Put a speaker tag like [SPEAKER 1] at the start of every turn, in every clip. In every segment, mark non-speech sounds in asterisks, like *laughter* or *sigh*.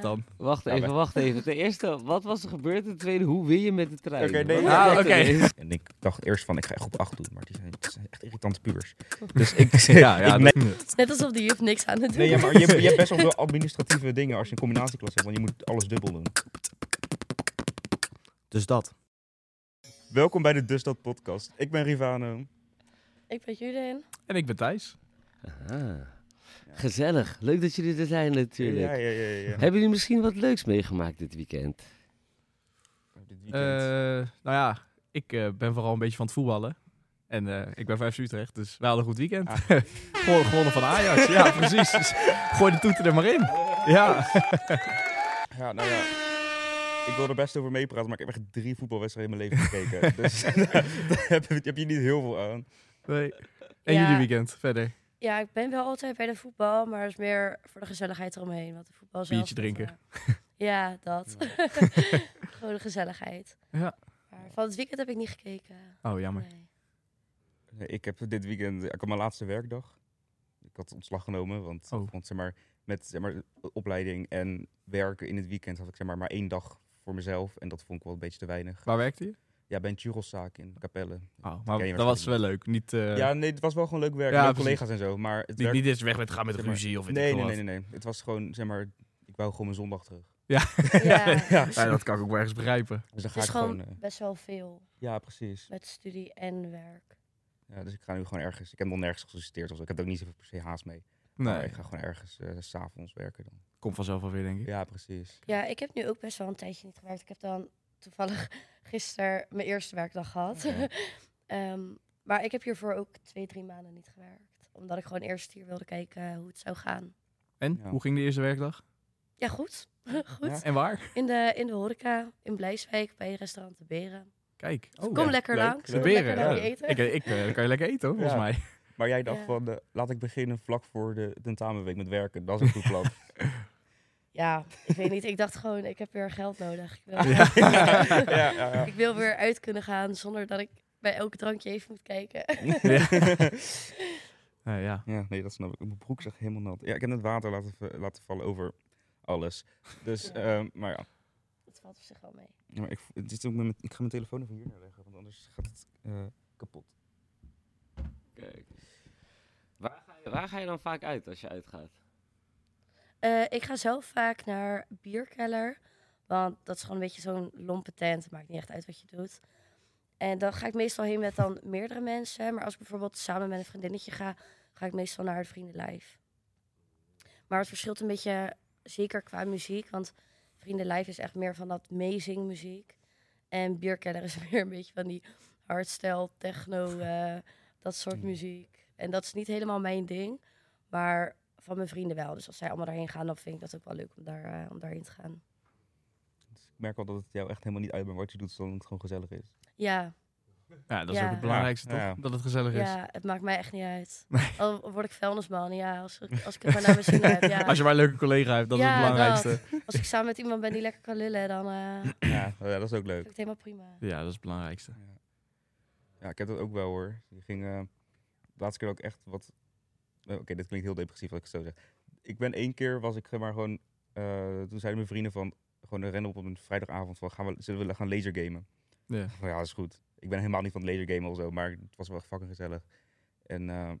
[SPEAKER 1] dan?
[SPEAKER 2] Wacht
[SPEAKER 3] Nou,
[SPEAKER 2] even, wacht even. Ten eerste, wat was er gebeurd? Ten tweede, hoe win je met de trein?
[SPEAKER 3] Oké, nee,
[SPEAKER 2] Wat
[SPEAKER 1] ja.
[SPEAKER 2] was
[SPEAKER 1] Ah,
[SPEAKER 2] dat
[SPEAKER 1] oké.
[SPEAKER 2] ineens?
[SPEAKER 1] *laughs*
[SPEAKER 3] En ik dacht eerst van, ik ga groep 8 doen, maar die zijn, het zijn echt irritante *laughs* pubers. Dus ik,
[SPEAKER 1] Ja, ja.
[SPEAKER 3] *laughs* ik
[SPEAKER 1] dat-
[SPEAKER 4] Het is net alsof de juf niks aan het doen
[SPEAKER 3] Nee, ja,
[SPEAKER 4] is.
[SPEAKER 3] maar je, hebt- je hebt best wel veel administratieve dingen als je een combinatieklas hebt, want je moet alles dubbel doen.
[SPEAKER 1] Dus dat.
[SPEAKER 3] Welkom bij de Dus Dat podcast. Ik ben Rivano.
[SPEAKER 4] Ik ben Juden.
[SPEAKER 1] En ik ben Thijs.
[SPEAKER 2] Ah, Gezellig. Leuk dat jullie er zijn natuurlijk.
[SPEAKER 3] Ja, ja, ja. ja, ja.
[SPEAKER 2] Hebben jullie misschien wat leuks meegemaakt dit weekend?
[SPEAKER 3] Dit weekend.
[SPEAKER 1] nou ja, ik eh, ben vooral een beetje van het voetballen. En eh, ik ben van FC Utrecht, dus wij hadden een goed weekend.
[SPEAKER 3] Ah.
[SPEAKER 1] *laughs* Gewoon Gewonnen van Ajax,
[SPEAKER 3] *laughs*
[SPEAKER 1] ja precies. Dus gooi de toeter er maar in. Ja.
[SPEAKER 3] Ja, nou ja. Ik wil er best over meepraten, maar ik heb echt drie voetbalwedstrijden in mijn leven *laughs* gekeken. dus daar heb, je- heb je niet heel veel aan.
[SPEAKER 1] Nee. En
[SPEAKER 4] Ja.
[SPEAKER 1] jullie weekend verder.
[SPEAKER 4] Ja, ik ben wel altijd bij de voetbal, maar het is meer voor de gezelligheid eromheen. Want de voetbal zelf...
[SPEAKER 1] Biertje drinken.
[SPEAKER 4] dat, eh, ja, dat. *laughs* Gewoon de gezelligheid.
[SPEAKER 1] Ja.
[SPEAKER 4] Maar van het weekend heb ik niet gekeken.
[SPEAKER 1] Oh, jammer.
[SPEAKER 4] Nee.
[SPEAKER 3] Nee, Eh, Ik heb dit weekend, ik had mijn laatste werkdag. Ik had ontslag genomen, want,
[SPEAKER 1] Oh.
[SPEAKER 3] want zeg maar, met zeg maar, opleiding en werken in het weekend had ik zeg maar, maar één dag voor mezelf. En dat vond ik wel een beetje te weinig.
[SPEAKER 1] Waar werkte je?
[SPEAKER 3] Ja, bij een churoszaak in Capelle.
[SPEAKER 1] Oh, maar
[SPEAKER 3] Ken je
[SPEAKER 1] dat was wel leuk. Niet, eh,
[SPEAKER 3] ja, nee, het was wel gewoon leuk werk.
[SPEAKER 1] ja,
[SPEAKER 3] Ja,
[SPEAKER 1] precies.
[SPEAKER 3] collega's en zo, maar het
[SPEAKER 1] niet,
[SPEAKER 3] werk...
[SPEAKER 1] niet eens weg met gaan met
[SPEAKER 3] Zeg maar,
[SPEAKER 1] ruzie of weet
[SPEAKER 3] nee,
[SPEAKER 1] ik
[SPEAKER 3] nee,
[SPEAKER 1] veel
[SPEAKER 3] nee,
[SPEAKER 1] wat.
[SPEAKER 3] nee, nee. Het was gewoon, zeg maar, ik wou gewoon mijn zondag terug.
[SPEAKER 1] *laughs*
[SPEAKER 4] Ja,
[SPEAKER 3] Ja,
[SPEAKER 1] Ja, dat kan ik ook wel ergens begrijpen.
[SPEAKER 3] dus dan
[SPEAKER 4] het
[SPEAKER 3] ga ik
[SPEAKER 4] is
[SPEAKER 3] gewoon...
[SPEAKER 4] gewoon
[SPEAKER 3] eh,
[SPEAKER 4] best wel veel
[SPEAKER 3] ja, precies.
[SPEAKER 4] met studie en werk.
[SPEAKER 3] Ja, dus ik ga nu gewoon ergens. Ik heb nog nergens gesolliciteerd. of zo. ik heb er ook niet zoveel per se haast mee. Maar
[SPEAKER 1] Nee,
[SPEAKER 3] ik ga gewoon ergens eh, s s'avonds werken dan.
[SPEAKER 1] komt vanzelf alweer, denk ik.
[SPEAKER 3] Ja, precies.
[SPEAKER 4] Ja, ik heb nu ook best wel een tijdje niet gewerkt. Ik heb dan toevallig *laughs* gisteren mijn eerste werkdag gehad.
[SPEAKER 3] Oké.
[SPEAKER 4] *laughs* Ehm, maar ik heb hiervoor ook twee, drie maanden niet gewerkt. Omdat ik gewoon eerst hier wilde kijken hoe het zou gaan.
[SPEAKER 1] En,
[SPEAKER 3] Ja.
[SPEAKER 1] hoe ging de eerste werkdag?
[SPEAKER 4] Ja, goed. *laughs* goed.
[SPEAKER 3] Ja.
[SPEAKER 1] En waar?
[SPEAKER 4] In, de, in de horeca, in Blijswijk, bij restaurant De Beren.
[SPEAKER 1] Kijk. Oh,
[SPEAKER 4] Dus kom
[SPEAKER 3] ja,
[SPEAKER 4] lekker
[SPEAKER 3] leuk,
[SPEAKER 4] langs.
[SPEAKER 3] leuk.
[SPEAKER 4] Kom lekker
[SPEAKER 1] Beren,
[SPEAKER 4] naar
[SPEAKER 1] ja.
[SPEAKER 4] je eten.
[SPEAKER 1] Ik, ik, eh, dan kan je lekker eten, hoor, volgens
[SPEAKER 3] Ja. *laughs*
[SPEAKER 1] mij.
[SPEAKER 3] Maar jij dacht
[SPEAKER 4] Ja.
[SPEAKER 3] van, eh, laat ik beginnen vlak voor de tentamenweek met werken. Dat is een goed *laughs* plan.
[SPEAKER 4] Ja, ik weet niet. Ik dacht gewoon, ik heb weer geld nodig. Ik
[SPEAKER 3] *laughs*
[SPEAKER 4] wil,
[SPEAKER 1] Ja.
[SPEAKER 3] ja, ja, ja.
[SPEAKER 4] ik wil weer uit kunnen gaan zonder dat ik bij elk drankje even moet kijken. *laughs*
[SPEAKER 1] Nou ja.
[SPEAKER 3] Ja, nee, dat snap ik. Mijn broek is echt helemaal nat. Ja, ik heb het water laten, v- laten vallen over alles. Dus, ehm, maar ja.
[SPEAKER 4] Dat valt op zich wel mee.
[SPEAKER 3] Ja, maar ik, v- het is ook met, mijn- ik ga mijn telefoon even hier neerleggen, want anders gaat het eh, kapot.
[SPEAKER 2] Kijk. Waar ga, je, waar ga je dan vaak uit als je uitgaat?
[SPEAKER 4] Eh, ik ga zelf vaak naar Bierkeller. Want dat is gewoon een beetje zo'n lompe tent. Maakt niet echt uit wat je doet. En dan ga ik meestal heen met dan meerdere mensen. Maar als ik bijvoorbeeld samen met een vriendinnetje ga, ga ik meestal naar het Vriendenlijf. Maar het verschilt een beetje, zeker qua muziek. Want Vriendenlijf is echt meer van dat amazing muziek. En Bierkeller is *laughs* meer een beetje van die hardstyle, techno, eh, dat soort muziek. En dat is niet helemaal mijn ding. Maar van mijn vrienden wel. Dus als zij allemaal daarheen gaan, dan vind ik dat ook wel leuk om, daar, eh, om daarheen te gaan.
[SPEAKER 3] Dus ik merk al dat het jou echt helemaal niet uitmaakt wat je doet, zolang het gewoon gezellig is.
[SPEAKER 4] Ja,
[SPEAKER 1] Ja, dat is
[SPEAKER 4] Ja.
[SPEAKER 1] ook het belangrijkste,
[SPEAKER 3] Ja, ja.
[SPEAKER 1] toch? Dat het gezellig is.
[SPEAKER 4] ja, het maakt mij echt niet uit. Al word ik vuilnisman, ja. Als, ik- als ik het maar naar mijn zin heb, ja.
[SPEAKER 1] *laughs* Als je maar een leuke collega hebt, dat is
[SPEAKER 4] Ja,
[SPEAKER 1] het belangrijkste.
[SPEAKER 4] Als ik samen met iemand ben die lekker kan lullen, dan eh, vind
[SPEAKER 3] ja, ja, dat is ook
[SPEAKER 4] ik
[SPEAKER 3] leuk.
[SPEAKER 4] het helemaal prima.
[SPEAKER 1] Ja, dat is het belangrijkste.
[SPEAKER 3] Ja, ik heb dat ook wel hoor. Die ging, eh, de laatste keer ook echt wat... eh, Oké, dit klinkt heel depressief als ik het zo zeg. Ik ben één keer, was ik zeg maar gewoon... eh, toen zeiden mijn vrienden van, gewoon een rennen op op een vrijdagavond van, gaan we, zullen we gaan lasergamen?
[SPEAKER 1] Ja.
[SPEAKER 3] Van, ja, dat is goed. Ik ben helemaal niet van het lasergamen of zo, maar het was wel echt fucking gezellig. En eh, *laughs*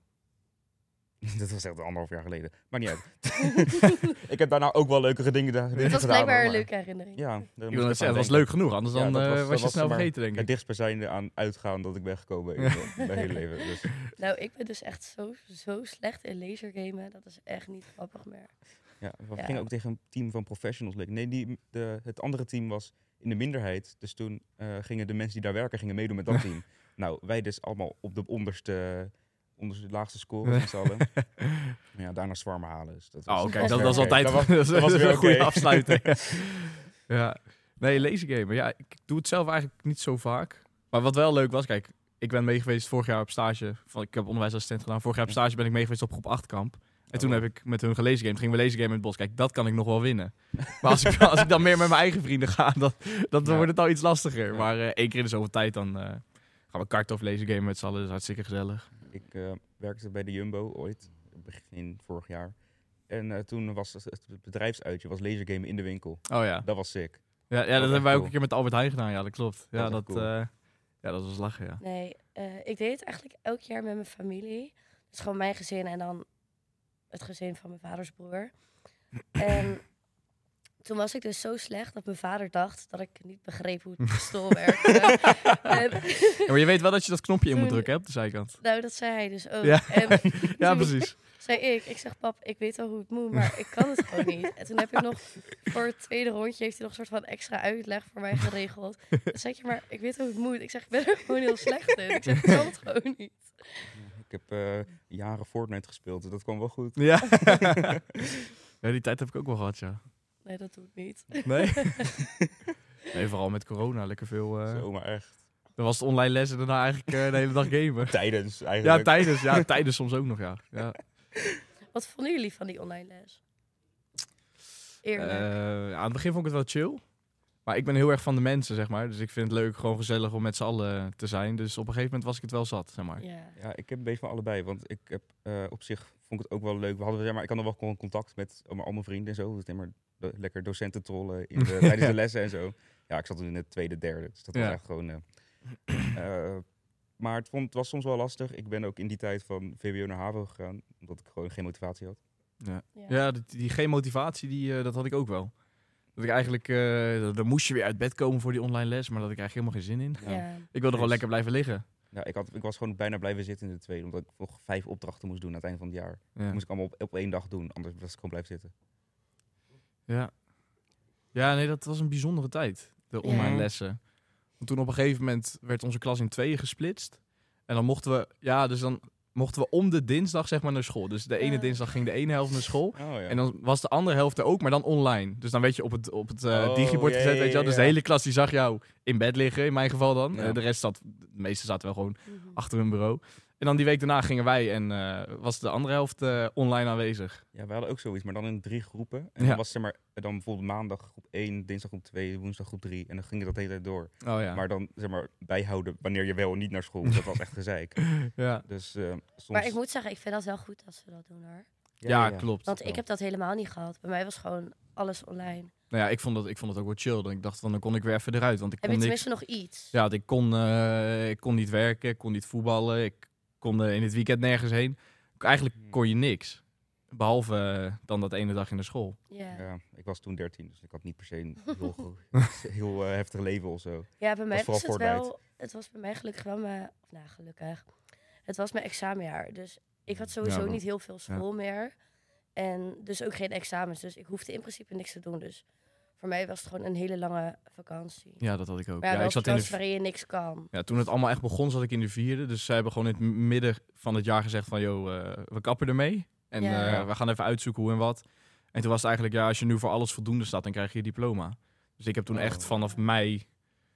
[SPEAKER 3] dat was echt anderhalf jaar geleden. Maar niet uit.
[SPEAKER 4] *laughs*
[SPEAKER 3] *laughs* ik heb daarna ook wel leukere dingen, dingen gedaan.
[SPEAKER 4] Het was blijkbaar
[SPEAKER 3] hoor,
[SPEAKER 4] een
[SPEAKER 3] maar-
[SPEAKER 4] leuke herinnering.
[SPEAKER 3] Ja, daar
[SPEAKER 1] Ik
[SPEAKER 3] moest
[SPEAKER 1] wil net
[SPEAKER 3] aan
[SPEAKER 1] zeggen, het was
[SPEAKER 3] denken
[SPEAKER 1] leuk genoeg, anders
[SPEAKER 3] Ja,
[SPEAKER 1] dan,
[SPEAKER 3] dat
[SPEAKER 1] eh,
[SPEAKER 3] was-
[SPEAKER 1] was,
[SPEAKER 3] dat
[SPEAKER 1] je
[SPEAKER 3] was
[SPEAKER 1] snel
[SPEAKER 3] maar
[SPEAKER 1] vergeten, denk
[SPEAKER 3] het
[SPEAKER 1] ik.
[SPEAKER 3] dichtstbijzijnde aan uitgaan dat ik ben
[SPEAKER 1] *laughs*
[SPEAKER 3] gekomen in mijn hele leven. Dus,
[SPEAKER 4] Nou, ik ben dus echt zo, zo slecht in lasergamen. Dat is echt niet grappig meer.
[SPEAKER 3] ja, we
[SPEAKER 4] Ja.
[SPEAKER 3] gingen ook tegen een team van professionals. leek. Nee, die, de, het andere team was in de minderheid. Dus toen eh, gingen de mensen die daar werken gingen meedoen
[SPEAKER 1] *laughs*
[SPEAKER 3] met dat team. nou, wij dus allemaal op de onderste, onderste laagste score met
[SPEAKER 1] *laughs*
[SPEAKER 3] z'n allen. Maar ja, daarna zwarmen halen. Dus dat was-
[SPEAKER 1] Oh, oké, dat,
[SPEAKER 3] weer
[SPEAKER 1] dat is
[SPEAKER 3] oké.
[SPEAKER 1] altijd
[SPEAKER 3] Dat was-
[SPEAKER 1] dat is
[SPEAKER 3] dat was
[SPEAKER 1] *laughs*
[SPEAKER 3] weer
[SPEAKER 1] een goede
[SPEAKER 3] oké. *laughs*
[SPEAKER 1] afsluiting. ja. Nee, lasergamen. Ja, ik doe het zelf eigenlijk niet zo vaak. Maar wat wel leuk was, kijk, ik ben meegeweest vorig jaar op stage. Van, ik heb onderwijsassistent gedaan. Vorig jaar op stage ben ik meegeweest op groep 8 kamp. En toen
[SPEAKER 3] Oh.
[SPEAKER 1] heb ik met hun gelezen game. Gingen we lasergamen in het bos. Kijk, dat kan ik nog wel winnen. Maar als ik, als ik dan meer met mijn eigen vrienden ga, dan, dan
[SPEAKER 3] Ja.
[SPEAKER 1] wordt het al iets lastiger.
[SPEAKER 3] Ja.
[SPEAKER 1] Maar eh, één keer in de zoveel tijd, dan eh, gaan we karten of lasergamen met z'n allen. Dat is hartstikke gezellig.
[SPEAKER 3] Ik eh, werkte bij de Jumbo ooit, begin vorig jaar. En En eh, toen was het, het bedrijfsuitje, was lasergame in de winkel.
[SPEAKER 1] Oh ja.
[SPEAKER 3] Dat was sick.
[SPEAKER 1] Ja, ja dat,
[SPEAKER 3] echt
[SPEAKER 1] hebben wij ook
[SPEAKER 3] cool.
[SPEAKER 1] een keer met Albert Heijn gedaan. Ja, dat klopt. Ja,
[SPEAKER 3] echt
[SPEAKER 1] dat,
[SPEAKER 3] cool.
[SPEAKER 1] eh, ja, dat was lachen, ja.
[SPEAKER 4] Nee, eh, ik deed het eigenlijk elk jaar met mijn familie. Dus gewoon mijn gezin en dan het gezin van mijn vaders
[SPEAKER 1] *coughs*
[SPEAKER 4] broer. En toen was ik dus zo slecht dat mijn vader dacht dat ik niet begreep hoe het pistool
[SPEAKER 1] *laughs*
[SPEAKER 4] werkte. en,
[SPEAKER 1] Ja, Maar je weet wel dat je dat knopje in moet
[SPEAKER 4] Toen-
[SPEAKER 1] drukken hè, op de zijkant.
[SPEAKER 4] nou, dat zei hij dus ook.
[SPEAKER 1] Ja.
[SPEAKER 4] En
[SPEAKER 1] Ja,
[SPEAKER 4] toen-
[SPEAKER 1] precies.
[SPEAKER 4] zei ik, ik zeg pap, ik weet wel hoe het moet, maar ik kan het gewoon niet. En toen heb ik nog voor het tweede rondje heeft hij nog een soort van extra uitleg voor mij geregeld. Dan zeg je maar, ik weet hoe het moet. Ik zeg, ik ben er gewoon heel slecht in. Ik zeg, ik kan het gewoon niet.
[SPEAKER 3] Ik heb eh, jaren Fortnite gespeeld, dus dat kwam wel goed.
[SPEAKER 1] Ja. ja, die tijd heb ik ook wel gehad, ja.
[SPEAKER 4] Nee, dat doet niet.
[SPEAKER 1] Nee? nee, vooral met corona. Lekker veel... eh
[SPEAKER 3] Zo, maar echt. *laughs*
[SPEAKER 1] dan was het online les en daarna eigenlijk eh, de hele dag gamen.
[SPEAKER 3] Tijdens eigenlijk.
[SPEAKER 1] Ja, tijdens. Ja, tijdens soms ook nog, ja. ja.
[SPEAKER 4] Wat vonden jullie van die online les? Eerlijk.
[SPEAKER 1] Eh, aan het begin vond ik het wel chill. Maar ik ben heel erg van de mensen, zeg maar. Dus ik vind het leuk, gewoon gezellig om met z'n allen te zijn. Dus op een gegeven moment was ik het wel zat, zeg maar.
[SPEAKER 4] ja.
[SPEAKER 3] Ja, ik heb een beetje van allebei. Want ik heb eh, op zich vond ik het ook wel leuk. We hadden, zeg maar, ik had nog wel gewoon contact met al mijn- al mijn vrienden en zo. Dus zeg maar do- lekker docenten trollen in
[SPEAKER 1] *laughs*
[SPEAKER 3] de, tijdens de lessen en zo. Ja, ik zat in het tweede, derde. Dus dat
[SPEAKER 1] Ja.
[SPEAKER 3] was echt gewoon. *clears throat* eh, eh, maar het, vond, het was soms wel lastig. Ik ben ook in die tijd van VWO naar HAVO gegaan. Omdat ik gewoon geen motivatie had.
[SPEAKER 4] Ja.
[SPEAKER 1] Ja, die, die geen motivatie, die, eh, dat had ik ook wel. Dat ik eigenlijk, eh, dat- dan moest je weer uit bed komen voor die online les, maar dat had ik eigenlijk helemaal geen zin in.
[SPEAKER 3] Ja.
[SPEAKER 4] Ja.
[SPEAKER 1] Ik wilde gewoon
[SPEAKER 3] Eens.
[SPEAKER 1] lekker blijven liggen.
[SPEAKER 3] Ja, ik, had, ik was gewoon bijna blijven zitten in de tweede. Omdat ik nog vijf opdrachten moest doen aan het eind van het jaar.
[SPEAKER 1] Ja.
[SPEAKER 3] moest ik allemaal op, op één dag doen. Anders was ik gewoon blijven zitten.
[SPEAKER 1] Ja. ja, nee, dat was een bijzondere tijd, de
[SPEAKER 4] Ja.
[SPEAKER 1] online lessen. Want toen op een gegeven moment werd onze klas in tweeën gesplitst. En dan mochten we, ja, dus dan mochten we om de dinsdag zeg maar naar school. Dus de ene
[SPEAKER 4] Ah.
[SPEAKER 1] dinsdag ging de ene helft naar school.
[SPEAKER 3] *laughs* Oh, ja.
[SPEAKER 1] En dan was de andere helft er ook, maar dan online. Dus dan werd je op het, op het eh,
[SPEAKER 3] Oh,
[SPEAKER 1] digibord
[SPEAKER 3] ja,
[SPEAKER 1] gezet,
[SPEAKER 3] ja,
[SPEAKER 1] weet je wel. Dus de
[SPEAKER 3] ja.
[SPEAKER 1] hele klas die zag jou in bed liggen, in mijn geval dan.
[SPEAKER 3] Ja.
[SPEAKER 1] Eh, de rest zat, de meeste zaten wel gewoon
[SPEAKER 4] Mhm.
[SPEAKER 1] achter hun bureau. En dan die week daarna gingen wij en eh, was de andere helft eh, online aanwezig.
[SPEAKER 3] Ja, we hadden ook zoiets, maar dan in drie groepen. En
[SPEAKER 1] Ja.
[SPEAKER 3] dan was zeg maar, dan bijvoorbeeld maandag groep 1, dinsdag groep 2, woensdag groep 3. En dan ging dat de hele tijd door.
[SPEAKER 1] Oh ja.
[SPEAKER 3] *laughs* Maar dan zeg maar bijhouden wanneer je wel en niet naar school. Dat was echt
[SPEAKER 1] *laughs*
[SPEAKER 3] gezeik.
[SPEAKER 1] ja.
[SPEAKER 3] Dus eh, soms...
[SPEAKER 4] Maar ik moet zeggen, ik vind dat wel goed als ze dat doen hoor.
[SPEAKER 1] Ja, klopt.
[SPEAKER 4] Want ik heb dat helemaal niet gehad. Bij mij was gewoon alles online.
[SPEAKER 1] Nou ja, ik vond, dat, ik vond het ook wel chill. Dan ik dacht, van, dan kon ik weer even eruit. Want ik
[SPEAKER 4] Heb
[SPEAKER 1] kon
[SPEAKER 4] je
[SPEAKER 1] niks...
[SPEAKER 4] tenminste nog iets?
[SPEAKER 1] Ja, want ik kon, eh, ik kon niet werken, ik kon niet voetballen, ik kon eh, in het weekend nergens heen. Eigenlijk kon je niks. Behalve eh, dan dat ene dag in de school.
[SPEAKER 4] Ja.
[SPEAKER 3] Ja, ik was toen 13, dus ik had niet per se een heel, gro- heel eh, heftig leven of zo.
[SPEAKER 4] Ja, bij mij was,
[SPEAKER 3] Was
[SPEAKER 4] het
[SPEAKER 3] vooral
[SPEAKER 4] wel. Het was bij mij gelukkig wel mijn. Of nou, gelukkig. Het was mijn examenjaar. Dus ik had sowieso
[SPEAKER 1] maar-
[SPEAKER 4] niet heel veel school meer. En dus ook geen examens. Dus ik hoefde in principe niks te doen. Dus voor mij was het gewoon een hele lange vakantie.
[SPEAKER 1] Ja, dat had ik ook.
[SPEAKER 4] Maar ja, wel
[SPEAKER 1] ik zat in de v-
[SPEAKER 4] waarin je niks kan.
[SPEAKER 1] ja, toen het allemaal echt begon, zat ik in de vierde. Dus zij hebben gewoon in het midden van het jaar gezegd van... ...joh, eh, we kappen ermee. En
[SPEAKER 4] Ja.
[SPEAKER 1] eh, we gaan even uitzoeken hoe en wat. En toen was het eigenlijk... ...ja, als je nu voor alles voldoende staat, dan krijg je je diploma. Dus ik heb toen
[SPEAKER 3] Oh.
[SPEAKER 1] echt vanaf mei...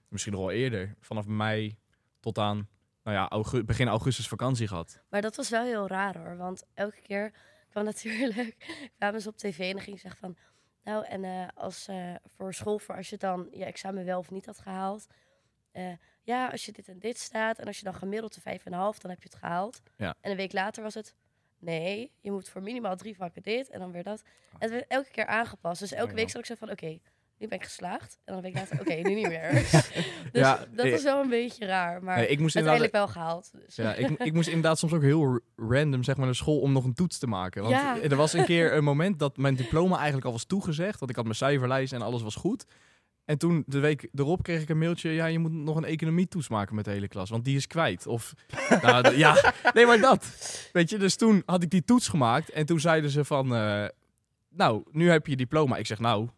[SPEAKER 1] ...misschien nog wel eerder... ...vanaf mei tot aan... ...nou ja, augu- begin augustus vakantie gehad.
[SPEAKER 4] Maar dat was wel heel raar hoor. Want elke keer kwam *laughs* natuurlijk. kwamen ze op tv en dan ging ze zeggen van. Nou, en eh, als, eh, voor school, voor als je dan je examen wel of niet had gehaald. eh, ja, als je dit en dit staat. En als je dan gemiddeld de 5,5, dan heb je het gehaald.
[SPEAKER 1] Ja.
[SPEAKER 4] En een week later was het. Nee, je moet voor minimaal drie vakken dit en dan weer dat. En
[SPEAKER 1] Ah.
[SPEAKER 4] het werd elke keer aangepast. Dus elke
[SPEAKER 3] Oh, ja.
[SPEAKER 4] week zat ik zo van: oké, nu ben ik geslaagd. En dan een week later: oké, nu niet
[SPEAKER 1] *laughs*
[SPEAKER 4] meer. dus
[SPEAKER 1] Ja,
[SPEAKER 4] dat
[SPEAKER 1] eh,
[SPEAKER 4] is wel een beetje raar. Maar
[SPEAKER 1] Nee, ik moest inderdaad...
[SPEAKER 4] uiteindelijk wel gehaald. Dus.
[SPEAKER 1] Ja,
[SPEAKER 4] *laughs*
[SPEAKER 1] ik, ik moest inderdaad soms ook heel r- random zeg maar, naar school om nog een toets te maken. Want
[SPEAKER 4] Ja.
[SPEAKER 1] er was een keer een moment dat mijn diploma eigenlijk al was toegezegd. Want ik had mijn cijferlijst en alles was goed. En toen de week erop kreeg ik een mailtje. Ja, je moet nog een economietoets maken met de hele klas. Want die is kwijt. Of, *laughs* nou, d- ja, nee, maar dat. Weet je, dus toen had ik die toets gemaakt. En toen zeiden ze van, eh, nou, nu heb je je diploma. Ik zeg, nou,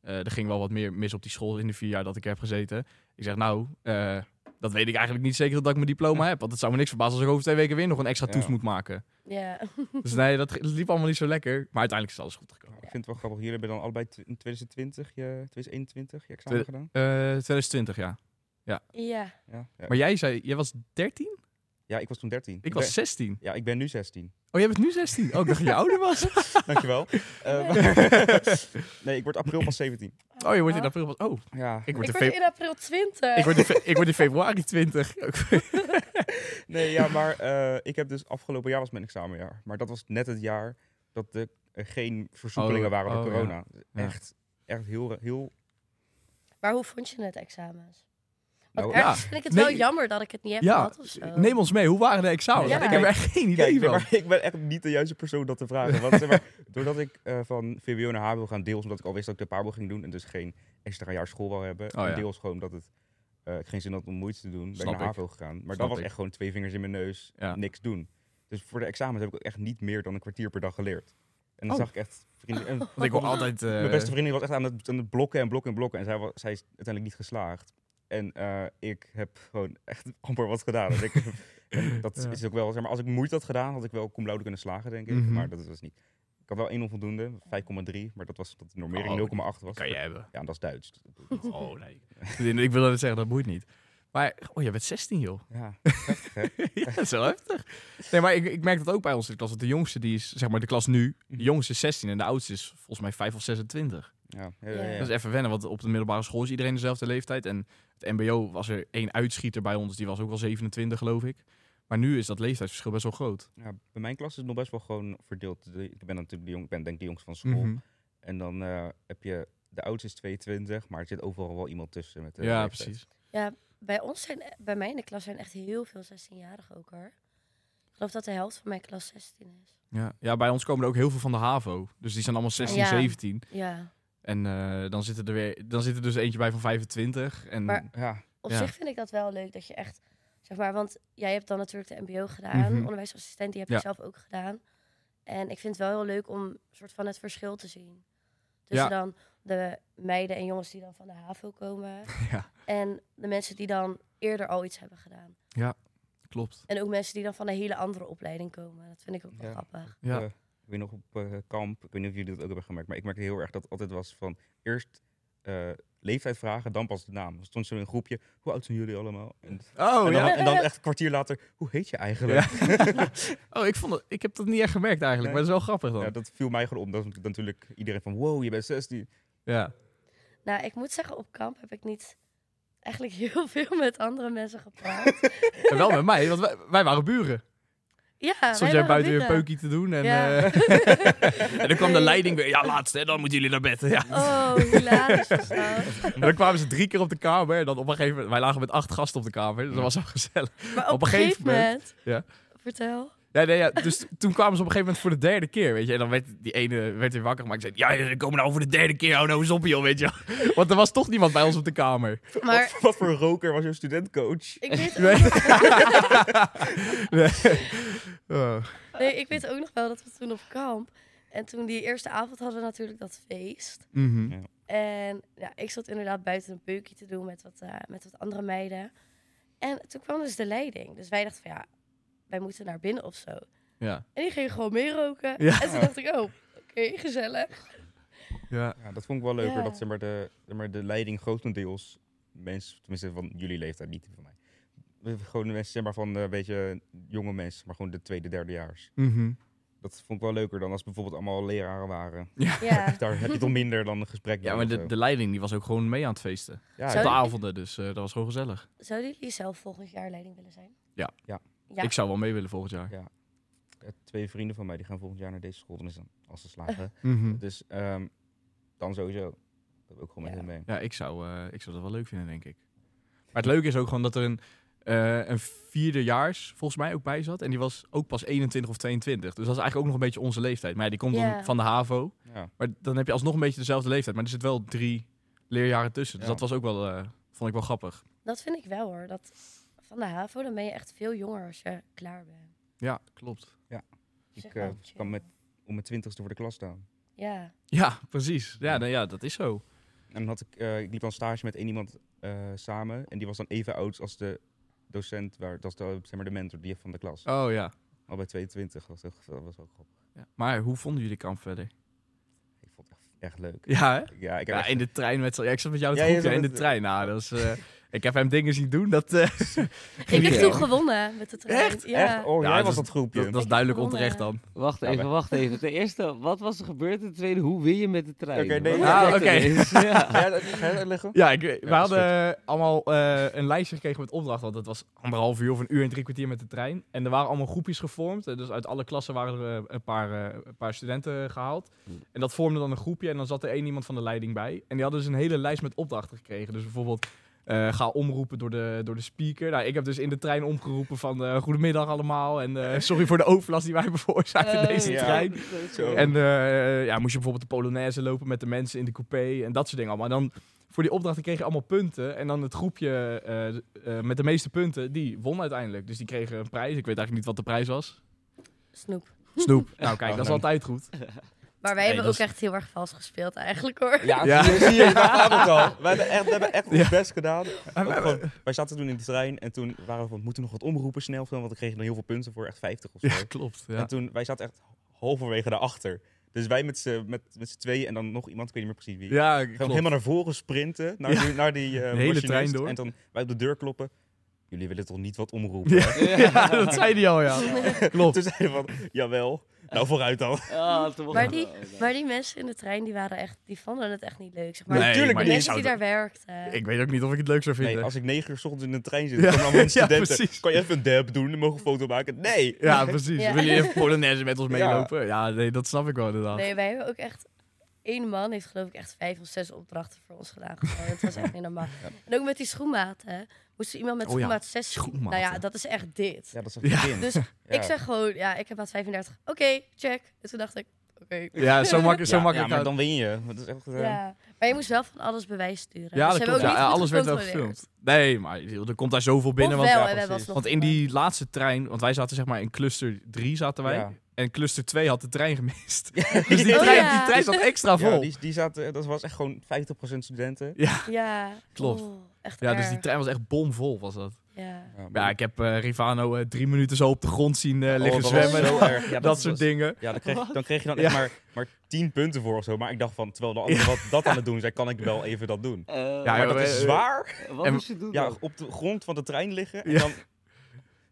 [SPEAKER 1] eh, er ging wel wat meer mis op die school in de vier jaar dat ik heb gezeten. Ik zeg, nou, eh, dat weet ik eigenlijk niet zeker dat ik mijn diploma heb. Want het zou me niks verbazen als ik over twee weken weer nog een extra
[SPEAKER 3] Ja.
[SPEAKER 1] toets moet *laughs* maken.
[SPEAKER 4] ja.
[SPEAKER 1] Dus nee, dat, dat liep allemaal niet zo lekker. Maar uiteindelijk is alles goed gekomen.
[SPEAKER 3] Ik vind het wel grappig. Jullie hebben dan allebei tw- in eh, 2020, je, 2021 je examen
[SPEAKER 1] Twe-
[SPEAKER 3] gedaan?
[SPEAKER 1] Eh 2020, ja.
[SPEAKER 4] ja.
[SPEAKER 3] Ja. Ja.
[SPEAKER 1] Maar jij zei, jij was 13?
[SPEAKER 3] ja, ik was toen 13.
[SPEAKER 1] Ik
[SPEAKER 3] ben-
[SPEAKER 1] was 16.
[SPEAKER 3] Ja, ik ben nu 16.
[SPEAKER 1] Oh, jij bent nu 16? Oh, ik dacht dat je ouder *laughs* was.
[SPEAKER 3] Dankjewel. Eh, maar- *laughs* nee, ik word april pas 17.
[SPEAKER 1] Oh, je wordt in april pas... Oh,
[SPEAKER 3] Ja.
[SPEAKER 1] ik word,
[SPEAKER 4] Ik
[SPEAKER 1] in, eh,
[SPEAKER 4] word
[SPEAKER 1] fe-
[SPEAKER 4] in april 20.
[SPEAKER 1] ik word in fe- ik word in februari 20. *laughs*
[SPEAKER 3] Nee, ja, maar eh, ik heb dus afgelopen jaar was mijn examenjaar. Maar dat was net het jaar dat de er geen versoepelingen
[SPEAKER 1] Oh,
[SPEAKER 3] waren door
[SPEAKER 1] oh, ja.
[SPEAKER 3] corona.
[SPEAKER 1] Ja.
[SPEAKER 3] Echt, echt heel, heel...
[SPEAKER 4] Maar hoe vond je het examens? Want
[SPEAKER 3] nou,
[SPEAKER 1] ja.
[SPEAKER 4] ergens vind ik het wel
[SPEAKER 1] Nee.
[SPEAKER 4] jammer dat ik het niet heb
[SPEAKER 1] Ja,
[SPEAKER 4] gehad of zo.
[SPEAKER 1] Neem ons mee, hoe waren de examens?
[SPEAKER 4] Ja.
[SPEAKER 1] Ik heb er echt geen
[SPEAKER 3] Kijk,
[SPEAKER 1] idee
[SPEAKER 3] nee,
[SPEAKER 1] van.
[SPEAKER 3] maar *laughs* ik ben echt niet de juiste persoon dat te vragen. Want,
[SPEAKER 1] *laughs*
[SPEAKER 3] zeg maar, doordat ik eh, van VWO naar HBO gaan, deels omdat ik al wist dat ik de Pabo ging doen en dus geen extra jaar school wou hebben.
[SPEAKER 1] Oh,
[SPEAKER 3] en
[SPEAKER 1] ja.
[SPEAKER 3] deels gewoon dat het eh, ik geen zin had om moeite te doen, ben
[SPEAKER 1] Snap
[SPEAKER 3] ik naar
[SPEAKER 1] ik.
[SPEAKER 3] HBO gegaan. Maar
[SPEAKER 1] Snap
[SPEAKER 3] dat was
[SPEAKER 1] ik.
[SPEAKER 3] echt gewoon twee vingers in mijn neus,
[SPEAKER 1] Ja.
[SPEAKER 3] niks doen. Dus voor de examens heb ik ook echt niet meer dan een kwartier per dag geleerd. En dan
[SPEAKER 1] Oh.
[SPEAKER 3] zag ik echt vrienden...
[SPEAKER 1] *laughs*
[SPEAKER 3] en
[SPEAKER 1] Want ik hoor altijd... eh,
[SPEAKER 3] Mijn beste vriendin was echt aan het, aan het blokken en blokken en blokken. En zij, was, zij is uiteindelijk niet geslaagd. En eh, ik heb gewoon echt *laughs* amper wat gedaan. Dus ik *laughs* heb- en dat
[SPEAKER 1] Ja.
[SPEAKER 3] is ook wel, zeg maar, als ik moeite had gedaan, had ik wel cum laude kunnen slagen, denk ik.
[SPEAKER 1] Mhm.
[SPEAKER 3] Maar dat was niet. Ik had wel één onvoldoende, 5,3. Maar dat was dat de
[SPEAKER 1] Oh,
[SPEAKER 3] normering 0,8 was.
[SPEAKER 1] Kan je hebben.
[SPEAKER 3] *laughs* Ja, en dat is Duits. Dus dat doe ik niet.
[SPEAKER 1] Oh, nee. ik wilde net zeggen, dat boeit niet. Maar, oh, jij bent 16, joh. *laughs*
[SPEAKER 3] Ja,
[SPEAKER 1] ja, dat is wel heftig. Nee, maar ik, ik merk dat ook bij ons in de klas. Dat de jongste, die is, zeg maar, de klas nu.
[SPEAKER 3] Mhm.
[SPEAKER 1] De jongste is 16 en de oudste is volgens mij 5 of 26.
[SPEAKER 3] ja, ja,
[SPEAKER 4] Ja.
[SPEAKER 3] ja, ja.
[SPEAKER 1] Dat is even wennen, want op de middelbare school is iedereen dezelfde leeftijd. En het mbo was er één uitschieter bij ons, die was ook wel 27, geloof ik. Maar nu is dat leeftijdsverschil best wel groot.
[SPEAKER 3] Ja, bij mijn klas is het nog best wel gewoon verdeeld. De- Ik ben dan natuurlijk de jong, ik ben denk ik de jongste van
[SPEAKER 1] Mhm.
[SPEAKER 3] school. En dan eh, heb je, de oudste is 22, maar er zit overal wel iemand tussen. Met de
[SPEAKER 1] Ja,
[SPEAKER 3] leeftijd.
[SPEAKER 1] precies.
[SPEAKER 4] Bij ons zijn, e- bij mij in de klas zijn echt heel veel 16-jarigen ook hoor. Ik geloof dat de helft van mijn klas 16 is.
[SPEAKER 1] Ja. ja, bij ons komen er ook heel veel van de HAVO. Dus die zijn allemaal 16,
[SPEAKER 4] Ja.
[SPEAKER 1] 17.
[SPEAKER 4] Ja.
[SPEAKER 1] En eh, dan, zitten er weer, dan zit er dus eentje bij van 25. En,
[SPEAKER 4] Maar-
[SPEAKER 3] Ja,
[SPEAKER 4] Op
[SPEAKER 1] Ja.
[SPEAKER 4] zich vind ik dat wel leuk dat je echt, zeg maar, want jij hebt dan natuurlijk de MBO gedaan,
[SPEAKER 1] Mhm.
[SPEAKER 4] onderwijsassistent, die heb
[SPEAKER 1] Ja.
[SPEAKER 4] ik zelf ook gedaan. En ik vind het wel heel leuk om soort van het verschil te zien.
[SPEAKER 1] Ja.
[SPEAKER 4] Tussen dan de meiden en jongens die dan van de HAVO komen
[SPEAKER 1] *laughs* ja,
[SPEAKER 4] en de mensen die dan eerder al iets hebben gedaan.
[SPEAKER 1] klopt.
[SPEAKER 4] En ook mensen die dan van een hele andere opleiding komen. Dat vind ik ook wel
[SPEAKER 3] Ja.
[SPEAKER 4] grappig.
[SPEAKER 1] Ja.
[SPEAKER 3] Eh, ik weet nog op eh, kamp, ik weet niet of jullie dat ook hebben gemerkt, maar ik merkte heel erg dat het altijd was van eerst eh, leeftijd vragen, dan pas de naam. Er stond zo in een groepje, hoe oud zijn jullie allemaal? En,
[SPEAKER 1] Oh,
[SPEAKER 3] en, dan,
[SPEAKER 1] ja.
[SPEAKER 3] en dan echt een kwartier later, hoe heet je eigenlijk? Ja,
[SPEAKER 1] *laughs* Oh, ik, vond het, ik heb dat niet echt gemerkt eigenlijk,
[SPEAKER 3] Nee.
[SPEAKER 1] maar het is wel grappig dan. Ja,
[SPEAKER 3] dat viel mij gewoon om. Dat is natuurlijk iedereen van, wow, je bent 16.
[SPEAKER 4] Nou, ik moet zeggen, op kamp heb ik niet eigenlijk *laughs* heel veel met andere mensen
[SPEAKER 1] *laughs*
[SPEAKER 4] gepraat.
[SPEAKER 1] En wel met mij, want wij, wij waren buren.
[SPEAKER 4] ja,
[SPEAKER 1] Soms jij buiten weer een peukie te doen en,
[SPEAKER 4] Ja.
[SPEAKER 1] eh,
[SPEAKER 4] *laughs*
[SPEAKER 1] en dan kwam de leiding weer. Ja, laatste, hè, dan moeten jullie naar bed. Ja.
[SPEAKER 4] Oh, hilarisch was dat.
[SPEAKER 1] *laughs* En dan kwamen ze drie keer op de kamer en dan op een gegeven moment... Wij lagen met acht gasten op de kamer, dus dat was wel gezellig.
[SPEAKER 4] Maar op, een gegeven moment. Vertel.
[SPEAKER 1] Ja, nee, ja, dus toen kwamen ze op een gegeven moment voor de derde keer, weet je. En dan werd die ene werd weer wakker gemaakt. Zei, ja, ja, ze komen nou voor de derde keer, hou nou eens op joh, weet je. wel. Want er was toch niemand bij ons op de kamer.
[SPEAKER 4] Maar
[SPEAKER 3] *laughs* Wat, wat voor een roker was jouw studentcoach?
[SPEAKER 4] ik
[SPEAKER 1] *laughs*
[SPEAKER 4] weet,
[SPEAKER 1] Nee.
[SPEAKER 4] ook,
[SPEAKER 1] Nee. Oh.
[SPEAKER 4] nee, ik weet ook nog wel dat we toen op kamp. En toen die eerste avond hadden we natuurlijk dat feest.
[SPEAKER 1] Mhm.
[SPEAKER 4] En ja, ik zat inderdaad buiten een peukje te doen met wat, eh, met wat andere meiden. En toen kwam dus de leiding. Dus wij dachten van ja, wij moeten naar binnen of zo.
[SPEAKER 1] Ja.
[SPEAKER 4] En die ging gewoon meeroken.
[SPEAKER 1] Ja.
[SPEAKER 4] En toen dacht ik, oh, oké, gezellig.
[SPEAKER 1] Ja.
[SPEAKER 3] Ja, dat vond ik wel leuker,
[SPEAKER 4] Ja.
[SPEAKER 3] dat zeg maar, de, zeg maar, de leiding grotendeels mensen, tenminste van jullie leeftijd, niet die van mij. Gewoon de mensen zeg maar, van eh, een beetje jonge mensen, maar gewoon de tweede, derdejaars.
[SPEAKER 1] Mhm.
[SPEAKER 3] Dat vond ik wel leuker dan als bijvoorbeeld allemaal leraren waren. Dus
[SPEAKER 4] Ja.
[SPEAKER 3] Daar heb je
[SPEAKER 4] *laughs*
[SPEAKER 3] toch minder dan een gesprek.
[SPEAKER 1] Ja,
[SPEAKER 3] dan
[SPEAKER 1] maar
[SPEAKER 3] of
[SPEAKER 1] de,
[SPEAKER 3] zo.
[SPEAKER 1] de leiding die was ook gewoon mee aan het feesten.
[SPEAKER 3] ja,
[SPEAKER 1] Op
[SPEAKER 4] Zou-
[SPEAKER 1] de
[SPEAKER 4] je-
[SPEAKER 1] avonden, dus eh, dat was gewoon gezellig.
[SPEAKER 4] Zouden jullie zelf volgend jaar leiding willen zijn?
[SPEAKER 1] Ja.
[SPEAKER 3] Ja.
[SPEAKER 4] Ja.
[SPEAKER 1] Ik zou wel mee willen volgend jaar.
[SPEAKER 3] ik- eh, twee vrienden van mij die gaan volgend jaar naar deze school. Dan is dan als ze slagen.
[SPEAKER 4] Eh.
[SPEAKER 1] Mhm.
[SPEAKER 3] dus ehm, dan sowieso. Dat heb ik ook gewoon met
[SPEAKER 4] Ja.
[SPEAKER 3] hen mee.
[SPEAKER 1] Ja, ik zou, eh, ik zou dat wel leuk vinden, denk ik. Maar het leuke is ook gewoon dat er een, eh een vierdejaars volgens mij ook bij zat. En die was ook pas 21 of 22. Dus dat is eigenlijk ook nog een beetje onze leeftijd. Maar ja, die komt
[SPEAKER 4] Ja.
[SPEAKER 1] dan van de HAVO.
[SPEAKER 3] Ja.
[SPEAKER 1] Maar dan heb je alsnog een beetje dezelfde leeftijd. Maar er zit wel drie leerjaren tussen. Dus
[SPEAKER 3] Ja.
[SPEAKER 1] dat was ook wel, eh, vond ik wel grappig.
[SPEAKER 4] Dat vind ik wel hoor. Dat van de HAVO, dan ben je echt veel jonger als je klaar bent.
[SPEAKER 1] Ja, klopt.
[SPEAKER 3] Ik
[SPEAKER 4] Zeg maar,
[SPEAKER 3] eh,
[SPEAKER 4] chill.
[SPEAKER 3] kan met, om mijn twintigste voor de klas staan.
[SPEAKER 4] Ja.
[SPEAKER 1] Ja, precies. Ja, nou ja dat is zo.
[SPEAKER 3] En dan had ik, eh, ik liep dan stage met één iemand eh, samen. En die was dan even oud als de docent, waar, dat is de, zeg maar de mentor die van de klas.
[SPEAKER 1] Oh ja.
[SPEAKER 3] Al bij 22 was dat, dat was ook grappig.
[SPEAKER 1] ja. Maar hoe vonden jullie kamp verder?
[SPEAKER 3] Ik vond het echt, echt leuk.
[SPEAKER 1] Ja, hè?
[SPEAKER 3] Ja, ik heb
[SPEAKER 1] Ja,
[SPEAKER 3] echt-
[SPEAKER 1] in de trein met... Ja, ik zat met jou in het
[SPEAKER 3] Ja, je
[SPEAKER 1] groepje in
[SPEAKER 3] zat
[SPEAKER 1] de
[SPEAKER 3] met-
[SPEAKER 1] trein. Nou, dat was, eh, Ik heb hem dingen zien doen, dat, eh,
[SPEAKER 4] Ik heb
[SPEAKER 2] Ja.
[SPEAKER 4] toen gewonnen met de trein.
[SPEAKER 1] Echt?
[SPEAKER 4] Ja.
[SPEAKER 3] Echt? Oh,
[SPEAKER 1] Ja,
[SPEAKER 3] jij
[SPEAKER 1] dat
[SPEAKER 3] was
[SPEAKER 1] is-
[SPEAKER 3] dat groepje.
[SPEAKER 1] dat, dat is
[SPEAKER 4] heb
[SPEAKER 1] duidelijk
[SPEAKER 4] gewonnen.
[SPEAKER 1] onterecht dan.
[SPEAKER 2] Wacht
[SPEAKER 3] Nou,
[SPEAKER 2] even,
[SPEAKER 3] wij-
[SPEAKER 2] wacht even. Ten eerste, wat was er gebeurd? Ten tweede, hoe win je met de trein?
[SPEAKER 3] Oké, nee,
[SPEAKER 2] Wat
[SPEAKER 1] ja.
[SPEAKER 2] gebeurt er
[SPEAKER 1] Ah, oké. *laughs*
[SPEAKER 2] ineens? Ja.
[SPEAKER 3] Ga jij dat- ga jij dat leggen?
[SPEAKER 1] Ja, ik, we
[SPEAKER 3] dat is
[SPEAKER 1] hadden eh, allemaal eh, een lijstje gekregen met opdrachten. Want het was anderhalf uur of een uur en drie kwartier met de trein. En er waren allemaal groepjes gevormd. Eh, Dus uit alle klassen waren er eh, een, paar, eh, een paar studenten gehaald. En dat vormde dan een groepje. En dan zat er één iemand van de leiding bij. En die hadden dus een hele lijst met opdrachten gekregen. Dus bijvoorbeeld... eh, ga omroepen door de, door de speaker. Nou, ik heb dus in de trein omgeroepen van eh, goedemiddag allemaal. En eh, sorry voor de overlast die wij *laughs* hebben veroorzaakt in deze
[SPEAKER 2] *laughs* Eh,
[SPEAKER 3] ja.
[SPEAKER 1] trein.
[SPEAKER 3] Zo.
[SPEAKER 1] En eh, ja, moest je bijvoorbeeld de Polonaise lopen met de mensen in de coupé en dat soort dingen allemaal. En dan voor die opdrachten kreeg je allemaal punten. En dan het groepje eh, eh, met de meeste punten, die won uiteindelijk. Dus die kregen een prijs. Ik weet eigenlijk niet wat de prijs was.
[SPEAKER 4] Snoep.
[SPEAKER 1] Snoep. *laughs* Nou kijk,
[SPEAKER 3] Oh,
[SPEAKER 1] dat is
[SPEAKER 3] nee.
[SPEAKER 1] altijd goed.
[SPEAKER 4] Maar wij
[SPEAKER 1] Nee,
[SPEAKER 4] hebben
[SPEAKER 1] dat
[SPEAKER 4] ook
[SPEAKER 1] is-
[SPEAKER 4] echt heel erg vals gespeeld eigenlijk hoor.
[SPEAKER 3] Ja,
[SPEAKER 1] Ja.
[SPEAKER 3] zie je, zie je, daar gaat het *laughs* al. We hebben echt, we hebben echt ons
[SPEAKER 1] Ja.
[SPEAKER 3] best gedaan. Ook *laughs* gewoon, wij zaten toen in de trein en toen waren we van, moeten we nog wat omroepen snel, snel, want we kregen dan heel veel punten voor, echt 50 of zo.
[SPEAKER 1] Ja, klopt. Ja.
[SPEAKER 3] En toen, wij zaten echt halverwege daarachter. Dus wij met z'n met, met z'n tweeën en dan nog iemand, ik weet niet meer precies wie.
[SPEAKER 1] Ja,
[SPEAKER 3] Gewoon
[SPEAKER 1] klopt.
[SPEAKER 3] helemaal naar voren sprinten, naar die, naar die
[SPEAKER 1] *laughs*
[SPEAKER 3] eh,
[SPEAKER 1] De hele
[SPEAKER 3] machinist.
[SPEAKER 1] trein door.
[SPEAKER 3] En dan wij op de deur kloppen. Jullie willen toch niet wat omroepen?
[SPEAKER 1] *laughs*
[SPEAKER 3] hè? *laughs*
[SPEAKER 1] Ja, dat zei die al, ja. Klopt.
[SPEAKER 3] Toen zeiden we van, jawel, nou vooruit dan.
[SPEAKER 2] Ah, toen mocht
[SPEAKER 4] Maar
[SPEAKER 2] ik-
[SPEAKER 4] die,
[SPEAKER 2] oh, nee.
[SPEAKER 4] maar die mensen in de trein die waren echt, die vonden het echt niet leuk. Zeg maar.
[SPEAKER 1] Nee,
[SPEAKER 3] Natuurlijk
[SPEAKER 1] maar
[SPEAKER 4] de
[SPEAKER 3] niet.
[SPEAKER 4] mensen die
[SPEAKER 1] zou
[SPEAKER 4] daar werkten.
[SPEAKER 1] Ik weet ook niet of ik het leuk zou vinden.
[SPEAKER 3] Nee, als ik negen uur 's ochtends in de trein zit,
[SPEAKER 1] Ja,
[SPEAKER 3] dan
[SPEAKER 1] *laughs*
[SPEAKER 3] komen allemaal
[SPEAKER 1] ja,
[SPEAKER 3] studenten.
[SPEAKER 1] precies.
[SPEAKER 3] kan je even een dab doen, mogen we een foto maken? Nee!
[SPEAKER 1] Ja, precies.
[SPEAKER 4] Ja.
[SPEAKER 1] Wil je even Polonaise met ons
[SPEAKER 3] Ja.
[SPEAKER 1] meelopen? Ja, nee, dat snap ik wel inderdaad.
[SPEAKER 4] Nee, wij hebben ook echt. Eén man heeft geloof ik echt vijf of zes opdrachten voor ons gedaan. Gewoon. Het was echt niet normaal. En ook met die schoenmaten. Moest er iemand met
[SPEAKER 1] Oh ja,
[SPEAKER 4] schoenmaat 6
[SPEAKER 1] schoenmaten.
[SPEAKER 4] Nou ja, dat is echt dit.
[SPEAKER 3] Ja, dat is een
[SPEAKER 1] Ja.
[SPEAKER 3] vriendin.
[SPEAKER 4] Dus
[SPEAKER 3] Ja.
[SPEAKER 4] ik zeg gewoon, ja, ik heb maat 35. Oké, check. En toen dacht ik, oké.
[SPEAKER 1] Ja, zo, mak zo
[SPEAKER 3] ja,
[SPEAKER 1] makkelijk.
[SPEAKER 3] Ja, maar
[SPEAKER 1] uit-
[SPEAKER 3] dan win je. Dat is echt, eh,
[SPEAKER 4] Ja. Maar je moest wel van alles bewijs sturen.
[SPEAKER 1] Ja,
[SPEAKER 4] Dus
[SPEAKER 1] dat
[SPEAKER 4] ze hebben
[SPEAKER 1] klopt.
[SPEAKER 4] ook
[SPEAKER 1] Ja,
[SPEAKER 4] niet goed
[SPEAKER 1] alles werd wel
[SPEAKER 4] gecontroleerd.
[SPEAKER 1] gefilmd. Nee, maar joh, er komt daar zoveel binnen.
[SPEAKER 4] Of
[SPEAKER 1] want,
[SPEAKER 4] wel,
[SPEAKER 1] ja,
[SPEAKER 4] en we hebben
[SPEAKER 3] precies.
[SPEAKER 4] alsnog
[SPEAKER 1] want in die laatste trein, want wij zaten zeg maar in cluster 3 zaten wij.
[SPEAKER 3] Ja.
[SPEAKER 1] En cluster 2 had de trein
[SPEAKER 3] *laughs*
[SPEAKER 1] gemist. *laughs* Dus die
[SPEAKER 4] Oh
[SPEAKER 1] trein,
[SPEAKER 4] ja.
[SPEAKER 1] die trein zat extra vol.
[SPEAKER 3] Ja,
[SPEAKER 1] Ja,
[SPEAKER 3] die, die zaten, dat was echt gewoon 50% studenten.
[SPEAKER 4] gewonnen. Ja.
[SPEAKER 1] Klopt.
[SPEAKER 4] Oeh, echt
[SPEAKER 1] dus die
[SPEAKER 4] erg.
[SPEAKER 1] trein was echt bomvol was dat.
[SPEAKER 4] Ja.
[SPEAKER 1] Ja, ik heb eh, Rivano eh, drie minuten zo op de grond zien eh,
[SPEAKER 3] Oh,
[SPEAKER 1] liggen
[SPEAKER 3] dat was
[SPEAKER 1] zwemmen. *laughs*
[SPEAKER 3] zo
[SPEAKER 1] Dat,
[SPEAKER 3] erg. Ja,
[SPEAKER 1] soort
[SPEAKER 3] was-
[SPEAKER 1] dingen.
[SPEAKER 3] Ja, dan kreeg, dan kreeg je dan echt maar, maar 10 punten voor of zo. Maar ik dacht van, terwijl de anderen wat dat aan het doen zijn, kan ik wel even dat doen.
[SPEAKER 2] Eh,
[SPEAKER 1] Ja,
[SPEAKER 3] Maar
[SPEAKER 1] joh,
[SPEAKER 3] dat
[SPEAKER 1] eh,
[SPEAKER 3] is
[SPEAKER 1] eh,
[SPEAKER 3] zwaar.
[SPEAKER 2] Wat
[SPEAKER 1] en-
[SPEAKER 2] moest je doen
[SPEAKER 3] Ja,
[SPEAKER 2] dan?
[SPEAKER 3] op de grond van de trein liggen. En
[SPEAKER 1] Ja.
[SPEAKER 3] dan,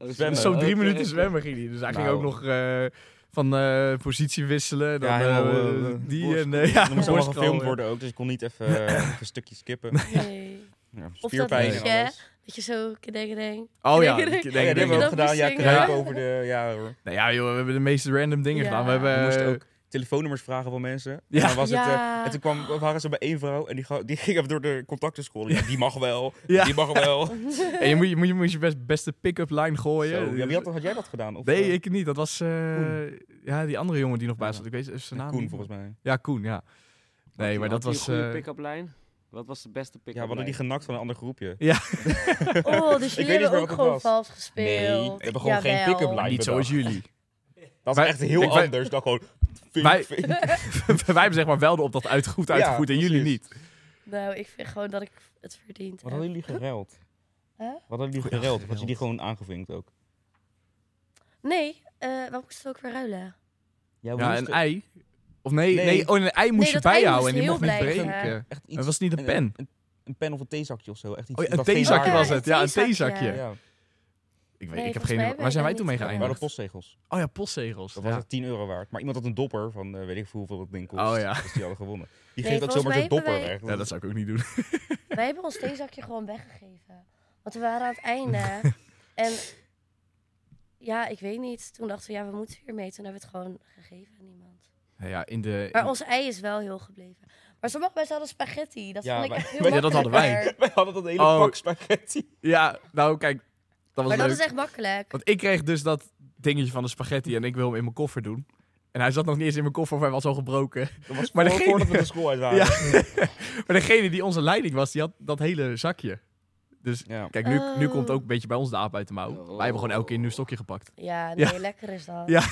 [SPEAKER 2] Oh,
[SPEAKER 3] zwemmen.
[SPEAKER 1] Dus Zo drie
[SPEAKER 2] Oké,
[SPEAKER 1] minuten
[SPEAKER 2] oké.
[SPEAKER 1] zwemmen ging die. Dus hij ging
[SPEAKER 3] Nou.
[SPEAKER 1] ook nog eh, van eh, positie wisselen. Dan,
[SPEAKER 3] Ja, helemaal,
[SPEAKER 1] eh,
[SPEAKER 3] eh,
[SPEAKER 1] die
[SPEAKER 3] voorst-
[SPEAKER 1] en eh, ja,
[SPEAKER 3] dan moest allemaal
[SPEAKER 1] voorscrollen.
[SPEAKER 3] gefilmd worden ook. Dus ik kon niet even, eh, even een stukje skippen.
[SPEAKER 4] Nee.
[SPEAKER 3] *laughs* Ja,
[SPEAKER 4] dat
[SPEAKER 3] spierpijn en
[SPEAKER 4] liedje, hè?
[SPEAKER 3] alles.
[SPEAKER 4] Dat je zo kedeng
[SPEAKER 1] Oh
[SPEAKER 4] *laughs*
[SPEAKER 1] ja,
[SPEAKER 4] Denk-
[SPEAKER 1] ik
[SPEAKER 3] Ja,
[SPEAKER 1] denk-
[SPEAKER 3] die hebben we ook
[SPEAKER 4] dat
[SPEAKER 3] gedaan.
[SPEAKER 4] moest
[SPEAKER 3] Ja,
[SPEAKER 4] zingen.
[SPEAKER 3] kruipen
[SPEAKER 4] Ja.
[SPEAKER 3] over de... Ja hoor.
[SPEAKER 1] Nou ja, joh, we hebben de meest random dingen
[SPEAKER 4] Ja.
[SPEAKER 1] gedaan. We hebben
[SPEAKER 3] We moesten
[SPEAKER 1] eh,
[SPEAKER 3] ook telefoonnummers vragen van mensen. En
[SPEAKER 1] Ja.
[SPEAKER 3] dan was het, *laughs* eh,
[SPEAKER 4] Ja.
[SPEAKER 3] en toen kwam, we waren ze bij één vrouw en die, ga- die *laughs* ging even door de contacten scrollen. Ja, die mag wel,
[SPEAKER 1] Ja.
[SPEAKER 3] die mag wel.
[SPEAKER 1] En eh, je moet je, moet je, moet je best, beste pick-up line gooien.
[SPEAKER 3] Zo, ja, wie had, had jij dat gedaan? Of,
[SPEAKER 1] nee,
[SPEAKER 3] eh,
[SPEAKER 1] ik niet. Dat was eh, ja, die andere jongen die nog bij zat. Ik weet even zijn naam.
[SPEAKER 3] Koen
[SPEAKER 1] niet.
[SPEAKER 3] volgens mij.
[SPEAKER 1] Ja, Koen, ja. Nee,
[SPEAKER 2] Had
[SPEAKER 1] maar
[SPEAKER 2] die-
[SPEAKER 1] dat
[SPEAKER 2] had die
[SPEAKER 1] was...
[SPEAKER 2] een goede
[SPEAKER 1] eh,
[SPEAKER 2] pick-up lijn? Wat was de beste
[SPEAKER 3] Ja, we
[SPEAKER 2] pick-up
[SPEAKER 3] hadden die
[SPEAKER 2] lijn?
[SPEAKER 3] genakt van een ander groepje.
[SPEAKER 4] Oh, dus jullie
[SPEAKER 3] weet niet
[SPEAKER 4] hebben
[SPEAKER 3] meer
[SPEAKER 4] ook
[SPEAKER 3] wat het
[SPEAKER 4] gewoon
[SPEAKER 3] was.
[SPEAKER 4] vals
[SPEAKER 3] Nee,
[SPEAKER 4] gespeeld.
[SPEAKER 3] we hebben gewoon geen
[SPEAKER 4] Jawel.
[SPEAKER 3] pick-up line.
[SPEAKER 1] niet zoals
[SPEAKER 3] *laughs*
[SPEAKER 1] jullie.
[SPEAKER 3] Dat is
[SPEAKER 1] Wij-
[SPEAKER 3] echt heel
[SPEAKER 1] Kijk, wij-
[SPEAKER 3] anders dan gewoon... vink,
[SPEAKER 1] Wij-
[SPEAKER 3] vink.
[SPEAKER 1] Wij hebben zeg maar wel de opdracht uit, goed
[SPEAKER 3] Ja,
[SPEAKER 1] uitgevoerd en jullie
[SPEAKER 3] precies.
[SPEAKER 1] niet.
[SPEAKER 4] Nou, ik vind gewoon dat ik het verdiend
[SPEAKER 3] Wat
[SPEAKER 4] heb.
[SPEAKER 3] hadden jullie geruild?
[SPEAKER 4] Huh?
[SPEAKER 3] Wat hadden jullie
[SPEAKER 1] Ja,
[SPEAKER 3] geruild? Of had je
[SPEAKER 1] geruild.
[SPEAKER 3] die gewoon aangevinkt ook?
[SPEAKER 4] Nee, eh we moesten ook weer ruilen.
[SPEAKER 3] we
[SPEAKER 1] Ja, een
[SPEAKER 3] moesten
[SPEAKER 1] ei. Of nee, nee.
[SPEAKER 3] Nee.
[SPEAKER 1] oh, een ei moest
[SPEAKER 4] Nee,
[SPEAKER 1] je
[SPEAKER 4] dat ei
[SPEAKER 1] bijhouden
[SPEAKER 4] moest
[SPEAKER 1] en die
[SPEAKER 4] heel
[SPEAKER 1] mocht niet
[SPEAKER 4] blijven.
[SPEAKER 1] breken.
[SPEAKER 3] echt iets-
[SPEAKER 1] Het was niet een pen.
[SPEAKER 3] Een, een pen of een theezakje of zo. Echt iets
[SPEAKER 1] Oh, ja,
[SPEAKER 3] dat
[SPEAKER 1] een
[SPEAKER 3] geen
[SPEAKER 1] theezakje
[SPEAKER 4] Ja,
[SPEAKER 3] haar-
[SPEAKER 1] was het. Ja, een
[SPEAKER 4] een theezakje.
[SPEAKER 1] theezakje.
[SPEAKER 3] Ja,
[SPEAKER 1] Ik, weet,
[SPEAKER 4] Nee,
[SPEAKER 1] ik heb
[SPEAKER 4] volgens mij
[SPEAKER 1] geen...
[SPEAKER 4] hebben
[SPEAKER 1] Waar zijn wij
[SPEAKER 4] wij
[SPEAKER 1] toen
[SPEAKER 4] dat
[SPEAKER 1] mee
[SPEAKER 4] niet
[SPEAKER 3] waren
[SPEAKER 1] geëindigd?
[SPEAKER 3] postzegels.
[SPEAKER 1] Oh ja, postzegels.
[SPEAKER 3] Dat was
[SPEAKER 1] Ja.
[SPEAKER 3] het 10 euro waard. Maar iemand had een dopper van eh, weet ik veel hoeveel dat ding kost.
[SPEAKER 1] Oh ja.
[SPEAKER 3] Dus die hadden gewonnen. Die
[SPEAKER 4] Nee,
[SPEAKER 3] geeft ook
[SPEAKER 4] volgens
[SPEAKER 3] zomaar
[SPEAKER 4] mij
[SPEAKER 3] zo'n dopper
[SPEAKER 4] hebben wij-
[SPEAKER 3] weg.
[SPEAKER 1] Ja, dat zou ik ook niet doen.
[SPEAKER 4] Wij hebben ons theezakje gewoon weggegeven. Want we waren aan het einde. en ja, ik weet niet. Toen dachten we, ja, we moeten hiermee. Toen hebben we het gewoon gegeven aan iemand.
[SPEAKER 1] Nou Ja, in de...
[SPEAKER 4] Maar ons ei is wel heel gebleven. Maar sommige mensen hadden spaghetti. Dat
[SPEAKER 3] Ja,
[SPEAKER 4] vond ik
[SPEAKER 3] wij-
[SPEAKER 4] echt heel
[SPEAKER 1] Ja, dat hadden wij.
[SPEAKER 4] makkelijker.
[SPEAKER 3] *laughs* Wij hadden dat hele
[SPEAKER 1] Oh.
[SPEAKER 3] pak spaghetti.
[SPEAKER 1] Ja, nou kijk, dat was
[SPEAKER 4] Maar dat
[SPEAKER 1] leuk.
[SPEAKER 4] is echt makkelijk.
[SPEAKER 1] Want ik kreeg dus dat dingetje van de spaghetti en ik wil hem in mijn koffer doen. En hij zat nog niet eens in mijn koffer of hij was al gebroken. *laughs*
[SPEAKER 3] Dat was
[SPEAKER 1] Maar
[SPEAKER 3] maar
[SPEAKER 1] degene-
[SPEAKER 3] voordat we de school uit waren.
[SPEAKER 1] Ja. Maar degene die onze leiding was, die had dat hele zakje. Dus
[SPEAKER 3] Ja.
[SPEAKER 1] kijk, nu, nu
[SPEAKER 4] Oh.
[SPEAKER 1] komt ook een beetje bij ons de aap uit de mouw. Wij hebben gewoon elke keer een nieuw stokje gepakt.
[SPEAKER 4] Ja, nee,
[SPEAKER 1] Ja.
[SPEAKER 4] lekker is dat.
[SPEAKER 1] Ja.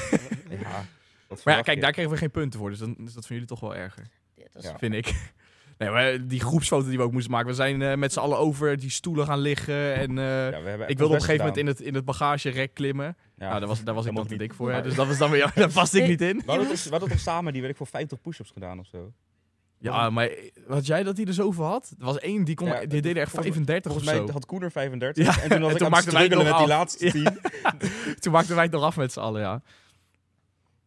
[SPEAKER 3] dat
[SPEAKER 1] Maar ja,
[SPEAKER 3] verwacht
[SPEAKER 1] kijk,
[SPEAKER 3] je.
[SPEAKER 1] daar kregen we geen punten voor. Dus dan is dat van jullie toch wel erger,
[SPEAKER 4] Dit was
[SPEAKER 3] Ja.
[SPEAKER 1] vind ik. *laughs* Nee, maar die groepsfoto die we ook moesten maken. We zijn eh, met z'n allen over die stoelen gaan liggen. En eh,
[SPEAKER 3] Ja, we hebben
[SPEAKER 1] ik wilde op een gegeven moment in het, in het bagagerek klimmen. nou, daar was, daar was
[SPEAKER 3] dat
[SPEAKER 1] ik dan
[SPEAKER 3] mocht
[SPEAKER 1] te
[SPEAKER 3] niet.
[SPEAKER 1] dik *laughs* voor. hè. Dus dat was dan weer, daar paste ik
[SPEAKER 4] Nee.
[SPEAKER 1] niet in.
[SPEAKER 3] We hadden, toch, we hadden toch samen die, weet ik voor 50 push-ups gedaan of zo?
[SPEAKER 1] Ja, maar had jij dat hij er zoveel had? Er was één, die, kon,
[SPEAKER 3] Ja,
[SPEAKER 1] die deed er echt
[SPEAKER 3] volgens-
[SPEAKER 1] 35 of
[SPEAKER 3] Volgens mij
[SPEAKER 1] zo.
[SPEAKER 3] had Koen er 35.
[SPEAKER 1] Ja,
[SPEAKER 3] en toen was
[SPEAKER 1] en
[SPEAKER 3] ik
[SPEAKER 1] toen
[SPEAKER 3] aan
[SPEAKER 1] maakten
[SPEAKER 3] het
[SPEAKER 1] wij het
[SPEAKER 3] struggelen met
[SPEAKER 1] nog
[SPEAKER 3] die
[SPEAKER 1] af.
[SPEAKER 3] laatste
[SPEAKER 1] Ja.
[SPEAKER 3] tien.
[SPEAKER 1] Toen maakten wij het nog af met z'n allen, ja.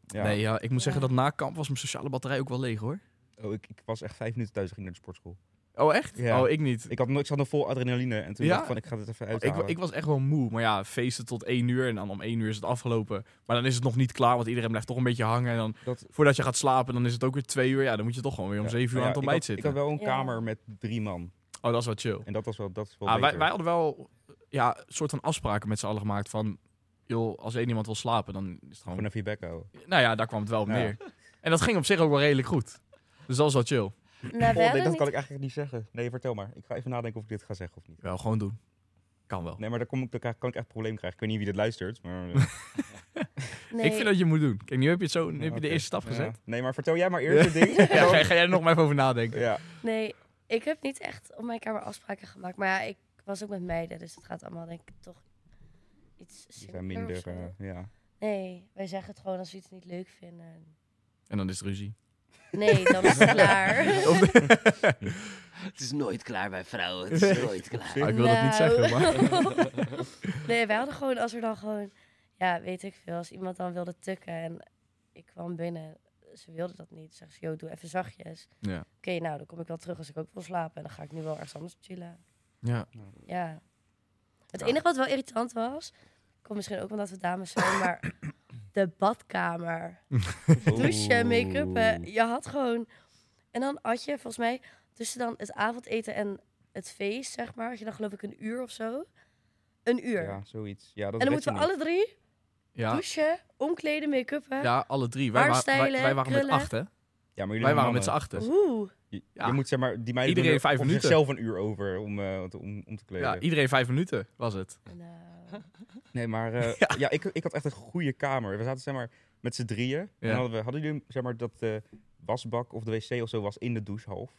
[SPEAKER 3] Ja.
[SPEAKER 1] Nee, ja, ik moet zeggen
[SPEAKER 4] Ja.
[SPEAKER 1] dat na kamp was mijn sociale batterij ook wel leeg, hoor.
[SPEAKER 3] Oh, ik, ik was echt vijf minuten thuis en ging naar de sportschool.
[SPEAKER 1] Oh, echt?
[SPEAKER 3] Ja.
[SPEAKER 1] Oh, ik niet.
[SPEAKER 3] Ik, had, nog- ik zat nog vol adrenaline en toen
[SPEAKER 1] Ja?
[SPEAKER 3] dacht ik van, ik ga dit even
[SPEAKER 1] Ik,
[SPEAKER 3] uithalen.
[SPEAKER 1] wa- ik was echt wel moe. Maar ja, feesten tot één uur en dan om één uur is het afgelopen. Maar dan is het nog niet klaar, want iedereen blijft toch een beetje hangen. En dan,
[SPEAKER 3] Dat-
[SPEAKER 1] voordat je gaat slapen, dan is het ook weer twee uur. Ja, dan moet je toch gewoon weer om
[SPEAKER 3] Ja.
[SPEAKER 1] zeven uur
[SPEAKER 3] Maar
[SPEAKER 1] aan het
[SPEAKER 3] ja, ik
[SPEAKER 1] ontbijt
[SPEAKER 3] had-
[SPEAKER 1] zitten.
[SPEAKER 3] Ik had wel een
[SPEAKER 4] Ja.
[SPEAKER 3] kamer met drie man.
[SPEAKER 1] Oh, dat is wel chill.
[SPEAKER 3] En dat was wel, dat is wel
[SPEAKER 1] Ah, wij,
[SPEAKER 3] beter.
[SPEAKER 1] wij hadden wel ja, een soort van afspraken met z'n allen gemaakt van... joh, als één iemand wil slapen, dan is het
[SPEAKER 3] Gewoon
[SPEAKER 1] gewoon...
[SPEAKER 3] even je bek houden.
[SPEAKER 1] Nou ja, daar kwam het wel op
[SPEAKER 3] Ja.
[SPEAKER 1] neer. En dat ging op zich ook wel redelijk goed. Dus dat was wel chill.
[SPEAKER 4] Nou, we
[SPEAKER 3] Oh, nee,
[SPEAKER 4] hadden
[SPEAKER 3] dat kan
[SPEAKER 4] niet...
[SPEAKER 3] ik eigenlijk niet zeggen. Nee, vertel maar. Ik ga even nadenken of ik dit ga zeggen of niet.
[SPEAKER 1] Wel, gewoon doen. Kan wel.
[SPEAKER 3] Nee, maar daar kom ik, daar kan ik echt een probleem krijgen. Ik weet niet wie dit luistert,
[SPEAKER 1] *laughs*
[SPEAKER 3] maar... eh,
[SPEAKER 4] Nee,
[SPEAKER 1] Ik vind dat je moet doen. Kijk, nu heb je, het zo, nu heb je
[SPEAKER 3] oké.
[SPEAKER 1] de eerste stap
[SPEAKER 3] ja. *laughs*
[SPEAKER 1] gezet.
[SPEAKER 3] Nee, maar vertel jij maar
[SPEAKER 1] *laughs*
[SPEAKER 3] eerst je ding.
[SPEAKER 1] Ja.
[SPEAKER 3] *laughs*
[SPEAKER 1] ga, ga jij er nog maar even over nadenken.
[SPEAKER 3] Ja.
[SPEAKER 4] nee, ik heb niet echt op mijn kamer afspraken gemaakt. Maar ja, ik was ook met meiden, dus het gaat allemaal denk ik toch
[SPEAKER 3] Die
[SPEAKER 4] iets
[SPEAKER 3] zijn
[SPEAKER 4] simpeler of
[SPEAKER 3] minder,
[SPEAKER 4] zo.
[SPEAKER 3] eh, ja.
[SPEAKER 4] Nee, wij zeggen het gewoon als we iets niet leuk vinden.
[SPEAKER 1] En dan is het
[SPEAKER 4] *laughs*
[SPEAKER 1] ruzie. Ah,
[SPEAKER 4] Nee, dan is het klaar.
[SPEAKER 1] *laughs*
[SPEAKER 2] *laughs* Het is nooit klaar bij vrouwen.
[SPEAKER 3] *laughs*
[SPEAKER 2] Het is nooit klaar.
[SPEAKER 1] Ah, ik wil dat niet zeggen,
[SPEAKER 4] Nou.
[SPEAKER 1] maar...
[SPEAKER 4] *laughs* maar... *laughs* nee, wij hadden gewoon, als er dan gewoon... Ja, weet ik veel. Als iemand dan wilde tukken en ik kwam binnen... Ze wilde dat niet. Zeg ze, joh, doe even zachtjes.
[SPEAKER 1] Ja.
[SPEAKER 4] Oké, nou, dan kom ik wel terug als ik ook wil slapen. En dan ga ik nu wel ergens anders chillen.
[SPEAKER 1] Ja.
[SPEAKER 4] Ja. Het
[SPEAKER 1] Ja.
[SPEAKER 4] enige wat wel irritant was... Komt misschien ook omdat we dames zijn, maar... De badkamer douchen, make-up. eh, Je had gewoon. En dan had je volgens mij tussen dan het avondeten en het feest, zeg maar, had je dan geloof ik een uur of zo. Een uur.
[SPEAKER 3] Ja, zoiets. Ja, dat
[SPEAKER 4] en dan
[SPEAKER 3] weet
[SPEAKER 4] moeten we
[SPEAKER 3] je niet.
[SPEAKER 4] alle drie
[SPEAKER 1] Ja.
[SPEAKER 4] douchen, omkleden, make-uppen.
[SPEAKER 1] ja, alle drie. Wij, wa- wij,
[SPEAKER 4] Haarstijlen,
[SPEAKER 1] wij waren met
[SPEAKER 4] krullen.
[SPEAKER 1] acht, hè?
[SPEAKER 3] Ja, maar jullie
[SPEAKER 1] Wij
[SPEAKER 3] zijn
[SPEAKER 1] waren
[SPEAKER 3] mannen.
[SPEAKER 1] met z'n achten. *laughs*
[SPEAKER 4] Oeh.
[SPEAKER 3] Je,
[SPEAKER 1] Ja.
[SPEAKER 3] je moet zeg maar, die meiden
[SPEAKER 1] Iedereen
[SPEAKER 3] doen er
[SPEAKER 1] vijf
[SPEAKER 3] op
[SPEAKER 1] minuten.
[SPEAKER 3] zichzelf een uur over om, eh, te- om, om te kleden.
[SPEAKER 1] Ja, iedereen vijf minuten was het.
[SPEAKER 4] Nou,
[SPEAKER 3] Nee,
[SPEAKER 1] *laughs*
[SPEAKER 3] maar eh, ja, ik, ik had echt een goede kamer. We zaten zeg maar met z'n drieën. En dan hadden, we, hadden jullie zeg maar dat de wasbak of de wc of zo was in de douche half?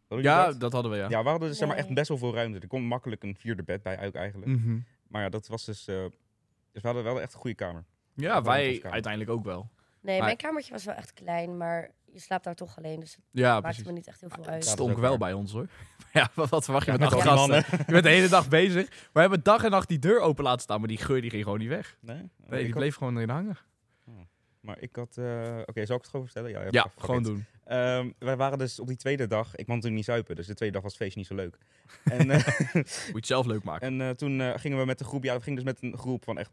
[SPEAKER 3] Hadden jullie
[SPEAKER 1] Ja,
[SPEAKER 3] dat?
[SPEAKER 1] dat hadden we, ja.
[SPEAKER 3] Ja, we hadden dus, zeg maar
[SPEAKER 4] Nee.
[SPEAKER 3] echt best wel veel ruimte. Er kon makkelijk een vierde bed bij uit eigenlijk.
[SPEAKER 1] Mhm.
[SPEAKER 3] Maar ja, dat was dus... eh, dus we hadden wel echt een goede kamer.
[SPEAKER 1] Ja,
[SPEAKER 3] Dat waren
[SPEAKER 1] wij
[SPEAKER 3] elkaar.
[SPEAKER 1] uiteindelijk ook wel.
[SPEAKER 4] Nee,
[SPEAKER 1] Maar-
[SPEAKER 4] mijn kamertje was wel echt klein, maar je slaapt daar toch alleen, dus het
[SPEAKER 1] Ja,
[SPEAKER 4] maakte
[SPEAKER 1] precies.
[SPEAKER 4] me niet echt heel veel
[SPEAKER 1] Het
[SPEAKER 4] uit.
[SPEAKER 3] Ja, dat
[SPEAKER 1] stonk
[SPEAKER 3] is ook
[SPEAKER 1] wel
[SPEAKER 3] waar.
[SPEAKER 1] bij ons hoor. *laughs* Ja, wat, wat verwacht je
[SPEAKER 3] Ja,
[SPEAKER 1] met
[SPEAKER 3] met
[SPEAKER 1] acht
[SPEAKER 3] al die
[SPEAKER 1] *laughs* gasten? Je bent de hele dag bezig. We hebben dag en nacht die deur open laten staan, maar die geur die ging gewoon niet weg.
[SPEAKER 3] Nee? Oh,
[SPEAKER 1] Nee,
[SPEAKER 3] ik
[SPEAKER 1] die
[SPEAKER 3] had-
[SPEAKER 1] bleef gewoon erin hangen.
[SPEAKER 3] Maar ik had... eh, Oké, zal ik het gewoon vertellen? Ja,
[SPEAKER 1] Ja,
[SPEAKER 3] fuck
[SPEAKER 1] gewoon
[SPEAKER 3] it.
[SPEAKER 1] doen.
[SPEAKER 3] Ehm, wij waren dus op die tweede dag... Ik kwam toen niet zuipen, dus de tweede dag was het feest niet zo leuk. En, eh,
[SPEAKER 1] Moet je het zelf leuk maken.
[SPEAKER 3] en eh, toen eh, gingen we met de groep... Ja, we gingen dus met een groep van echt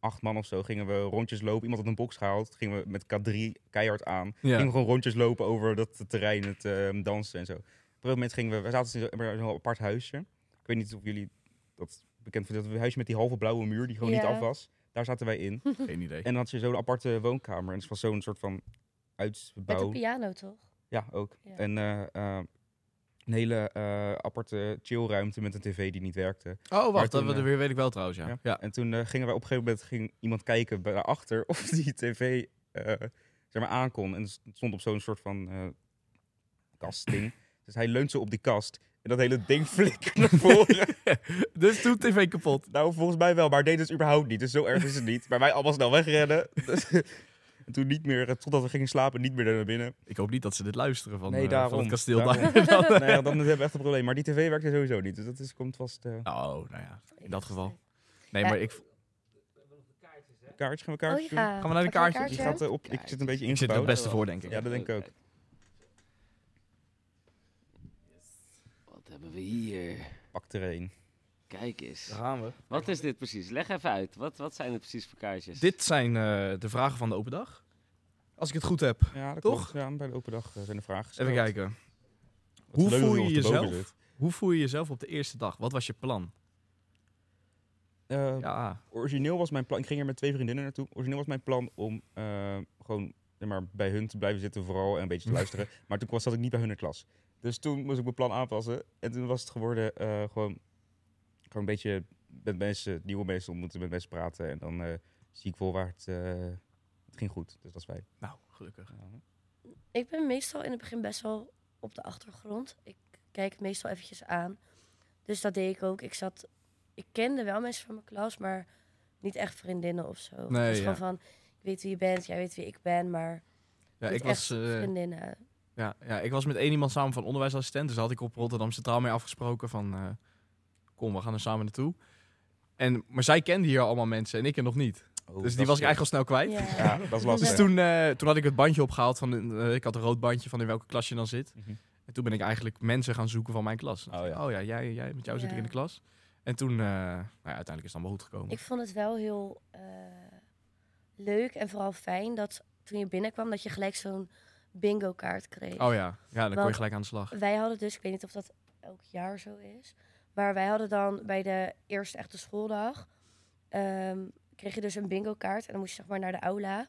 [SPEAKER 3] acht man of zo... Gingen we rondjes lopen. Iemand had een box gehaald. Gingen we met K3 keihard aan.
[SPEAKER 1] Ja.
[SPEAKER 3] Gingen we gewoon rondjes lopen over dat terrein, het eh, dansen en zo. Op een gegeven moment gingen we, we zaten dus in zo'n- in zo'n apart huisje. Ik weet niet of jullie dat bekend vinden, dat huisje met die halve blauwe muur die gewoon
[SPEAKER 4] Ja. Hm.
[SPEAKER 3] niet af was. Daar zaten wij in. En
[SPEAKER 1] Geen idee.
[SPEAKER 3] dan had je zo'n aparte woonkamer en het was zo'n soort van
[SPEAKER 4] Met de
[SPEAKER 3] uitbouw.
[SPEAKER 4] piano toch? Oh
[SPEAKER 3] Ja, ook.
[SPEAKER 4] Ja.
[SPEAKER 3] En eh, eh, een hele eh, aparte chillruimte met een tv die niet werkte.
[SPEAKER 1] Oh,
[SPEAKER 3] Maar
[SPEAKER 1] wacht,
[SPEAKER 3] toen,
[SPEAKER 1] dat we er
[SPEAKER 3] eh,
[SPEAKER 1] weer weet ik wel trouwens, ja.
[SPEAKER 3] ja.
[SPEAKER 1] Ja,
[SPEAKER 3] En toen eh, gingen wij op een gegeven moment ging iemand kijken bij- naar achter *laughs* of die tv eh, zeg maar aan kon. En het stond op zo'n soort van eh kastding. dus hij leunt zo op die kast. En dat hele ding *laughs* flikkert naar
[SPEAKER 1] *laughs*
[SPEAKER 3] voren.
[SPEAKER 1] Dus toen tv kapot.
[SPEAKER 3] nou, volgens mij wel, maar hij deed het überhaupt niet. Dus zo erg is het niet. Maar wij allemaal snel wegrennen. *laughs* Dus, en toen niet meer, eh, totdat we gingen slapen, niet meer naar
[SPEAKER 1] *laughs*
[SPEAKER 3] binnen.
[SPEAKER 1] Ik hoop niet dat ze dit luisteren van, eh, van het kasteel
[SPEAKER 3] Daarom.
[SPEAKER 1] daar. *laughs* eh,
[SPEAKER 3] *laughs* nee, Nou ja, dan hebben we echt een probleem. Maar die tv werkte sowieso niet. Dus dat is, komt vast... eh
[SPEAKER 1] Oh, nou ja, in dat geval. Nee,
[SPEAKER 4] Ja.
[SPEAKER 1] maar ik,
[SPEAKER 3] kaartje, gaan we
[SPEAKER 4] Oh
[SPEAKER 3] kaartje doen?
[SPEAKER 4] ja.
[SPEAKER 1] Gaan we naar de
[SPEAKER 4] Pak je
[SPEAKER 1] kaartjes?
[SPEAKER 3] Die
[SPEAKER 4] kaartje?
[SPEAKER 3] gaat eh, op, ik zit een beetje
[SPEAKER 1] ik zit er het
[SPEAKER 3] ingebouwd.
[SPEAKER 1] beste voor, denk ik.
[SPEAKER 3] Ja, dat denk ik ook.
[SPEAKER 2] Wat hebben we hier?
[SPEAKER 3] Pak er één.
[SPEAKER 2] Kijk eens.
[SPEAKER 1] gaan we.
[SPEAKER 2] Wat is dit precies? Leg even uit. Wat, wat zijn het precies voor kaartjes?
[SPEAKER 1] Dit zijn eh, de vragen van de open dag. Als ik het goed heb.
[SPEAKER 3] Ja, dat
[SPEAKER 1] Toch?
[SPEAKER 3] klopt. Ja, bij de open dag eh, zijn de vragen gesteld.
[SPEAKER 1] Even kijken.
[SPEAKER 3] Wat
[SPEAKER 1] Hoe
[SPEAKER 3] leuk dat
[SPEAKER 1] voel je
[SPEAKER 3] nog te boven
[SPEAKER 1] jezelf?
[SPEAKER 3] zit.
[SPEAKER 1] Hoe voel je jezelf op de eerste dag? Wat was je plan?
[SPEAKER 3] Eh,
[SPEAKER 1] Ja.
[SPEAKER 3] Origineel was mijn plan... Ik ging er met twee vriendinnen naartoe. Origineel was mijn plan om eh, gewoon zeg maar, bij hun te blijven zitten vooral en een
[SPEAKER 1] *laughs*
[SPEAKER 3] beetje te luisteren. Maar toen kwam- zat ik niet bij hun in de klas. Dus toen moest ik mijn plan aanpassen. En toen was het geworden eh, gewoon, gewoon een beetje met mensen, nieuwe mensen ontmoeten, met mensen praten. En dan eh, zie ik voorwaarts... eh het ging goed, dus dat is fijn.
[SPEAKER 1] Nou, gelukkig.
[SPEAKER 4] Ik ben meestal in het begin best wel op de achtergrond. Ik kijk het meestal eventjes aan. Dus dat deed ik ook. Ik zat... Ik kende wel mensen van mijn klas, maar niet echt vriendinnen of zo.
[SPEAKER 1] Nee,
[SPEAKER 4] het is
[SPEAKER 1] ja.
[SPEAKER 4] gewoon van, ik weet wie je bent, jij weet wie ik ben, maar
[SPEAKER 1] Ja,
[SPEAKER 4] niet
[SPEAKER 1] ik was,
[SPEAKER 4] echt
[SPEAKER 1] eh,
[SPEAKER 4] vriendinnen.
[SPEAKER 1] Ja, ja, ik was met één iemand samen van onderwijsassistent. Dus daar had ik op Rotterdam Centraal mee afgesproken van... eh, kom, we gaan er samen naartoe. En, maar zij kende hier allemaal mensen en ik er nog niet.
[SPEAKER 3] Oh,
[SPEAKER 1] dus die
[SPEAKER 3] dat
[SPEAKER 1] was
[SPEAKER 3] is
[SPEAKER 1] ik eigenlijk al snel kwijt.
[SPEAKER 4] Ja.
[SPEAKER 3] Ja, dat is lastig.
[SPEAKER 1] Dus toen, eh, toen had ik het bandje opgehaald. Van, eh, ik had een rood bandje van in welke klas je dan zit.
[SPEAKER 3] Mhm.
[SPEAKER 1] En toen ben ik eigenlijk mensen gaan zoeken van mijn klas.
[SPEAKER 3] Oh ja.
[SPEAKER 1] oh ja, jij, jij met jou zit ik
[SPEAKER 4] Ja.
[SPEAKER 1] in de klas. En toen, eh, nou ja, uiteindelijk is het allemaal goed gekomen.
[SPEAKER 4] Ik vond het wel heel eh, leuk en vooral fijn dat toen je binnenkwam, dat je gelijk zo'n bingo kaart kreeg.
[SPEAKER 1] Oh ja, ja dan kon je
[SPEAKER 4] Want-
[SPEAKER 1] gelijk aan de slag.
[SPEAKER 4] Wij hadden dus, ik weet niet of dat elk jaar zo is, maar wij hadden dan bij de eerste echte schooldag, ehm, kreeg je dus een bingo kaart en dan moest je zeg maar naar de aula.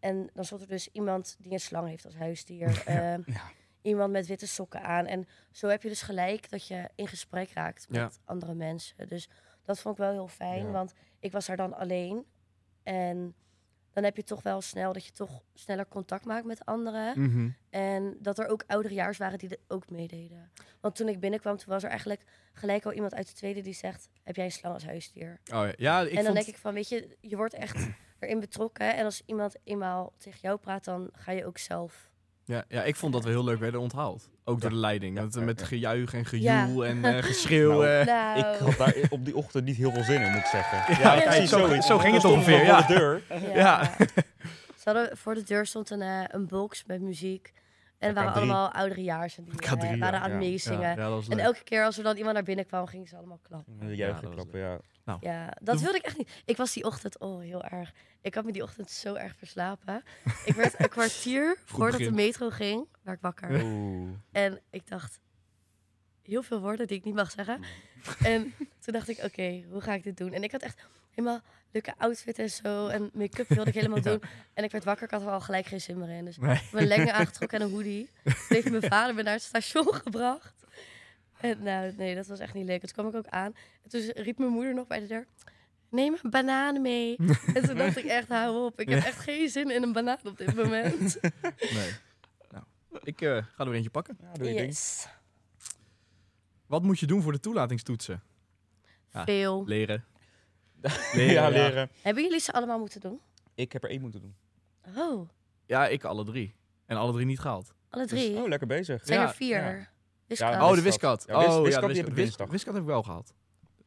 [SPEAKER 4] En dan stond er dus iemand die een slang heeft als huisdier. eh,
[SPEAKER 3] ja.
[SPEAKER 4] Iemand met witte sokken aan. En zo heb je dus gelijk dat je in gesprek raakt met
[SPEAKER 1] Ja.
[SPEAKER 4] andere mensen. Dus dat vond ik wel heel fijn,
[SPEAKER 1] Ja.
[SPEAKER 4] want ik was daar dan alleen. En dan heb je toch wel snel dat je toch sneller contact maakt met anderen.
[SPEAKER 1] Mhm.
[SPEAKER 4] En dat er ook ouderejaars waren die er ook meededen. Want toen ik binnenkwam, toen was er eigenlijk gelijk al iemand uit de tweede die zegt... heb jij een slang als huisdier?
[SPEAKER 1] Oh ja, ja ik
[SPEAKER 4] en dan
[SPEAKER 1] vond...
[SPEAKER 4] denk ik van, weet je, je wordt echt *clears throat* erin betrokken. En als iemand eenmaal tegen jou praat, dan ga je ook
[SPEAKER 1] *laughs*
[SPEAKER 4] zelf...
[SPEAKER 1] Ja, ja, ik vond dat we heel leuk werden onthaald. Ook door de leiding.
[SPEAKER 3] Ja,
[SPEAKER 1] Want, eh,
[SPEAKER 3] ja,
[SPEAKER 1] met
[SPEAKER 3] ja.
[SPEAKER 1] gejuich en
[SPEAKER 4] Ja.
[SPEAKER 1] gejoel en eh, geschreeuw.
[SPEAKER 3] Nou,
[SPEAKER 1] eh.
[SPEAKER 4] Nou,
[SPEAKER 3] Ik had daar op die ochtend niet heel veel zin in, moet ik zeggen.
[SPEAKER 1] Ja,
[SPEAKER 4] kijk,
[SPEAKER 3] precies
[SPEAKER 1] zo-
[SPEAKER 3] zoiets.
[SPEAKER 1] zo ging het
[SPEAKER 3] Toen stonden we
[SPEAKER 1] ongeveer,
[SPEAKER 3] voor de deur. *laughs*
[SPEAKER 4] Ja.
[SPEAKER 1] Ja.
[SPEAKER 4] *laughs* Ze hadden, voor de deur stond een, eh, een box met muziek. En er waren
[SPEAKER 3] K3.
[SPEAKER 4] allemaal ouderejaars en die eh,
[SPEAKER 1] K3, ja,
[SPEAKER 4] waren aan het
[SPEAKER 3] ja.
[SPEAKER 4] meezingen.
[SPEAKER 1] Ja, ja, dat was
[SPEAKER 4] En
[SPEAKER 1] leuk.
[SPEAKER 4] elke keer als er dan iemand naar binnen kwam, gingen ze allemaal klappen.
[SPEAKER 1] Ja,
[SPEAKER 3] Juichen,
[SPEAKER 1] dat was
[SPEAKER 3] klappen, ja.
[SPEAKER 4] Ja,
[SPEAKER 1] Dat-
[SPEAKER 4] dat wilde ik echt niet. Ik was die ochtend, oh, heel erg. Ik had me die ochtend zo erg verslapen. Ik werd een kwartier voordat
[SPEAKER 1] begin.
[SPEAKER 4] de metro ging, werd ik wakker.
[SPEAKER 3] Oeh.
[SPEAKER 4] En ik dacht, heel veel woorden die ik niet mag zeggen. En toen dacht ik, oké, hoe ga ik dit doen? En ik had echt helemaal leuke outfit en zo. En make-up wilde ik helemaal doen. En ik werd wakker, ik had er al gelijk geen zin meer in. Dus ik
[SPEAKER 1] Nee.
[SPEAKER 3] *laughs*
[SPEAKER 4] heb mijn lengen aangetrokken en een hoodie. Toen heeft mijn vader me naar het station gebracht. En nou, nee, dat was echt niet leuk. Toen kwam ik ook aan. En toen riep mijn moeder nog bij de deur... Neem een banaan mee. En toen dacht ik echt, hou op. Ik heb echt geen zin in een banaan op dit moment.
[SPEAKER 1] Nee. Nou, ik eh, ga er weer eentje pakken.
[SPEAKER 3] Ja, doe je ding.
[SPEAKER 4] Yes.
[SPEAKER 1] Wat moet je doen voor de toelatingstoetsen? Ja.
[SPEAKER 4] Veel.
[SPEAKER 1] *laughs* Leren.
[SPEAKER 3] Ja, leren.
[SPEAKER 4] Hebben jullie ze allemaal moeten doen?
[SPEAKER 3] Ik heb er één moeten doen.
[SPEAKER 4] Oh,
[SPEAKER 1] Ja, ik alle drie. En alle drie niet gehaald.
[SPEAKER 4] alle
[SPEAKER 1] Dus-
[SPEAKER 4] drie.
[SPEAKER 3] Oh, lekker bezig.
[SPEAKER 4] Het zijn
[SPEAKER 1] Ja,
[SPEAKER 4] er vier.
[SPEAKER 3] ja.
[SPEAKER 4] Dus
[SPEAKER 3] Ja,
[SPEAKER 4] kan.
[SPEAKER 3] dat
[SPEAKER 1] Oh,
[SPEAKER 3] is
[SPEAKER 1] de
[SPEAKER 3] Wiskat.
[SPEAKER 1] Wiskat.
[SPEAKER 3] Ja, Wis-
[SPEAKER 1] oh,
[SPEAKER 3] Wiskat,
[SPEAKER 1] de
[SPEAKER 3] die heb ik
[SPEAKER 1] Wis-
[SPEAKER 3] dinsdag.
[SPEAKER 1] Wiskat heb ik wel gehad.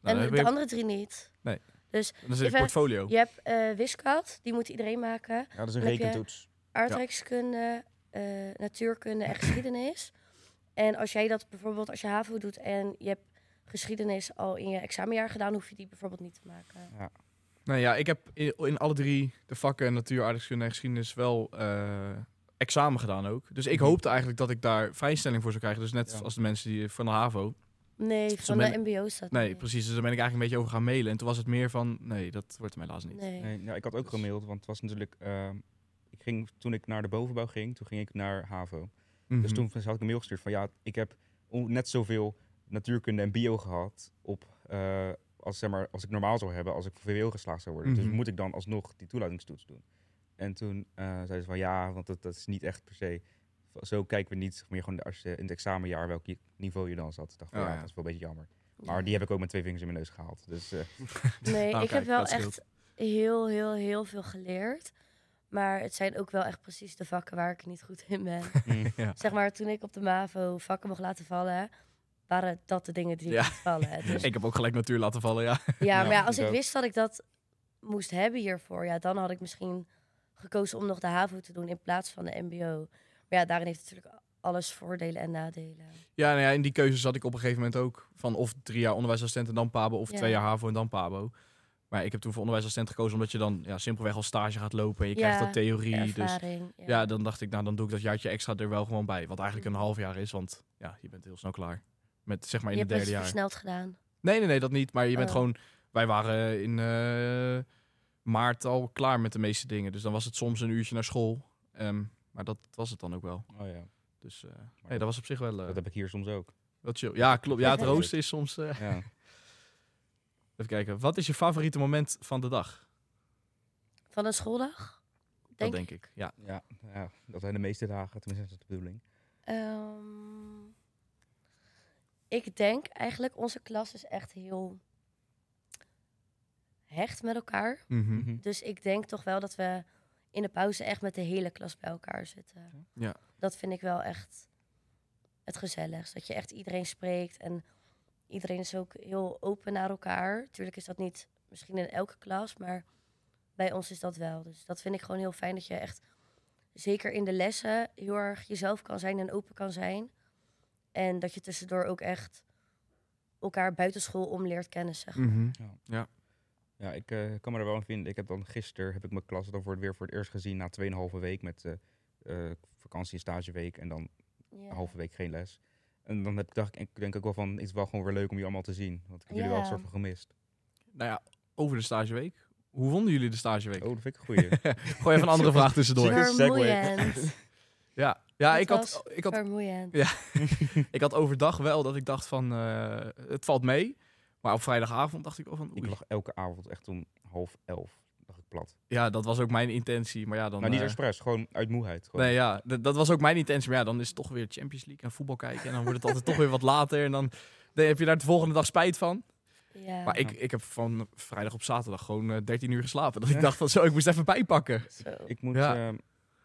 [SPEAKER 1] Nou,
[SPEAKER 4] en
[SPEAKER 1] dan,
[SPEAKER 4] de
[SPEAKER 1] heb ik,
[SPEAKER 4] andere drie niet.
[SPEAKER 1] Nee.
[SPEAKER 4] Dus
[SPEAKER 1] dan zit ik
[SPEAKER 4] ik
[SPEAKER 1] voor het folio.
[SPEAKER 4] je hebt eh wiskat, die moet iedereen maken.
[SPEAKER 3] Ja, dat is een
[SPEAKER 4] Dan heb je-
[SPEAKER 3] rekentoets.
[SPEAKER 4] Aardrijkskunde, eh, natuurkunde en geschiedenis. En als jij dat bijvoorbeeld als je HAVO doet en je hebt geschiedenis al in je examenjaar gedaan, hoef je die bijvoorbeeld niet te maken.
[SPEAKER 1] Nou ja, ik heb in, in alle drie de vakken natuur, aardrijkskunde en geschiedenis wel eh, examen gedaan ook. Dus ik
[SPEAKER 3] Mhm.
[SPEAKER 1] hoopte eigenlijk dat ik daar vrijstelling voor zou krijgen. Dus net
[SPEAKER 3] Ja.
[SPEAKER 1] als de mensen die van de HAVO.
[SPEAKER 4] Nee, van
[SPEAKER 1] ben-
[SPEAKER 4] de MBO staat
[SPEAKER 1] Nee,
[SPEAKER 4] niet.
[SPEAKER 1] precies. Dus daar ben ik eigenlijk een beetje over gaan mailen. En toen was het meer van, nee, dat wordt hem helaas niet.
[SPEAKER 4] Nee.
[SPEAKER 3] Nee, nou, ik had ook
[SPEAKER 1] Dus-
[SPEAKER 3] gemaild, want het was natuurlijk... ehm, ik ging, toen ik naar de bovenbouw ging, toen ging ik naar HAVO.
[SPEAKER 1] Mhm.
[SPEAKER 3] Dus toen had ik een mail gestuurd van ja, ik heb on- net zoveel natuurkunde en bio gehad op, eh, als, zeg maar, als ik normaal zou hebben, als ik voor VWO geslaagd zou worden.
[SPEAKER 1] Mhm.
[SPEAKER 3] Dus moet ik dan alsnog die toelatingstoets doen? En toen eh zei ze van ja, want dat, dat is niet echt per se. v- Zo kijken we niet, meer gewoon als je in het examenjaar welk je- niveau je dan zat. Ik dacht van
[SPEAKER 1] Oh,
[SPEAKER 3] ja,
[SPEAKER 1] ja.
[SPEAKER 3] dat is wel een beetje jammer. Maar die heb ik ook met twee vingers in mijn neus gehaald.
[SPEAKER 1] *laughs*
[SPEAKER 3] Dus eh,
[SPEAKER 4] Nee,
[SPEAKER 1] Nou,
[SPEAKER 4] ik
[SPEAKER 1] kijk,
[SPEAKER 4] heb wel
[SPEAKER 1] dat scheelt.
[SPEAKER 4] echt heel, heel, heel veel geleerd. Maar het zijn ook wel echt precies de vakken waar ik niet goed
[SPEAKER 1] *laughs*
[SPEAKER 4] in ben.
[SPEAKER 3] Mm.
[SPEAKER 1] Ja.
[SPEAKER 4] Zeg maar, toen ik op de MAVO vakken mocht laten vallen, waren dat de dingen die ik
[SPEAKER 1] Ja.
[SPEAKER 4] moest vallen. Dus,
[SPEAKER 1] Ik heb ook gelijk natuur laten vallen, ja.
[SPEAKER 4] ja, maar
[SPEAKER 3] Ja,
[SPEAKER 4] ja, als
[SPEAKER 3] ik
[SPEAKER 4] ik
[SPEAKER 3] ook.
[SPEAKER 4] wist dat ik dat moest hebben hiervoor, ja, dan had ik misschien gekozen om nog de HAVO te doen in plaats van de MBO. Maar ja, daarin heeft natuurlijk alles voordelen en nadelen.
[SPEAKER 1] Ja, nou ja, in die keuze zat ik op een gegeven moment ook. Van of drie jaar onderwijsassistent en dan PABO, of
[SPEAKER 4] Ja.
[SPEAKER 1] twee jaar HAVO en dan PABO. Maar ik heb toen voor onderwijsassistent gekozen omdat je dan ja, simpelweg als stage gaat lopen en je
[SPEAKER 4] Ja,
[SPEAKER 1] krijgt dat theorie. Dus
[SPEAKER 4] Ervaring. ja.
[SPEAKER 1] ja, dan dacht ik, nou dan doe ik dat jaartje extra er wel gewoon bij. Wat eigenlijk een half jaar is, want ja, je bent heel snel klaar. Met zeg maar
[SPEAKER 4] je
[SPEAKER 1] in het
[SPEAKER 4] hebt
[SPEAKER 1] derde
[SPEAKER 4] het
[SPEAKER 1] jaar.
[SPEAKER 4] versneld gedaan.
[SPEAKER 1] Nee, nee, nee, dat niet. Maar je bent
[SPEAKER 4] Oh.
[SPEAKER 1] gewoon. Wij waren in eh, maart al klaar met de meeste dingen. Dus dan was het soms een uurtje naar school. Ehm, maar dat was het dan ook wel.
[SPEAKER 3] oh ja,
[SPEAKER 1] Dus eh, nee, dat was op zich wel, eh,
[SPEAKER 3] dat heb ik hier soms ook.
[SPEAKER 1] wel chill. Ja, klopt. Ja, het
[SPEAKER 3] Ja.
[SPEAKER 1] roosten is soms. eh,
[SPEAKER 3] Ja.
[SPEAKER 1] Even kijken. Wat is je favoriete moment van de dag?
[SPEAKER 4] Van een schooldag?
[SPEAKER 1] dat
[SPEAKER 4] Denk
[SPEAKER 1] denk ik. Ja.
[SPEAKER 3] Ja, ja, dat zijn de meeste dagen, tenminste dat is de bedoeling.
[SPEAKER 4] Ehm, ik denk eigenlijk, onze klas is echt heel hecht met elkaar.
[SPEAKER 1] Mhm.
[SPEAKER 3] Mhm.
[SPEAKER 4] Dus ik denk toch wel dat we in de pauze echt met de hele klas bij elkaar zitten.
[SPEAKER 1] Ja.
[SPEAKER 4] Dat vind ik wel echt het gezelligst. Dat je echt iedereen spreekt en iedereen is ook heel open naar elkaar. Tuurlijk is dat niet misschien in elke klas, maar bij ons is dat wel. Dus dat vind ik gewoon heel fijn dat je echt, zeker in de lessen, heel erg jezelf kan zijn en open kan zijn. En dat je tussendoor ook echt elkaar buiten school om leert kennen, zeg maar.
[SPEAKER 1] Mhm.
[SPEAKER 3] Ja, ik eh, kan me er wel aan vinden. Ik heb dan gisteren heb ik mijn klas dan voor het weer voor het eerst gezien na 2,5 week met eh, eh, vakantie en stageweek en dan
[SPEAKER 4] Ja.
[SPEAKER 3] een halve week geen les. En dan heb ik, dacht ik, ik denk ook wel van, het is wel gewoon weer leuk om je allemaal te zien. Want ik heb jullie wel een
[SPEAKER 4] Ja.
[SPEAKER 3] soort van gemist.
[SPEAKER 1] Nou ja, over de stageweek. Hoe vonden jullie de stageweek?
[SPEAKER 3] Oh, dat vind ik een
[SPEAKER 1] *laughs*
[SPEAKER 3] goeie.
[SPEAKER 1] Gooi even een
[SPEAKER 4] *laughs*
[SPEAKER 1] andere vraag tussendoor.
[SPEAKER 3] Zeker.
[SPEAKER 4] Vermoeiend.
[SPEAKER 1] Ja, ja
[SPEAKER 4] Dat
[SPEAKER 1] ik, had, ik, had,
[SPEAKER 4] Vermoeiend.
[SPEAKER 1] ik had overdag wel dat ik dacht van, eh, het valt mee. Maar op vrijdagavond dacht ik al van,
[SPEAKER 3] ik
[SPEAKER 1] oei.
[SPEAKER 3] lag elke avond echt om half elf, dacht ik plat.
[SPEAKER 1] ja, dat was ook mijn intentie. Maar ja, dan...
[SPEAKER 3] nou, niet
[SPEAKER 1] eh,
[SPEAKER 3] expres, gewoon uit moeheid. Gewoon.
[SPEAKER 1] Nee, ja, dat, dat was ook mijn intentie. Maar ja, dan is het toch weer Champions League en voetbal kijken. En dan wordt het altijd toch weer wat later. En dan, dan heb je daar de volgende dag spijt van.
[SPEAKER 4] Ja.
[SPEAKER 1] Maar ik, ik heb van vrijdag op zaterdag gewoon eh, 13 uur geslapen. Dat ik dacht van zo, ik moest even bijpakken.
[SPEAKER 3] *laughs*
[SPEAKER 1] *laughs*
[SPEAKER 4] Zo.
[SPEAKER 3] Ik moet,
[SPEAKER 1] Ja.
[SPEAKER 3] ja.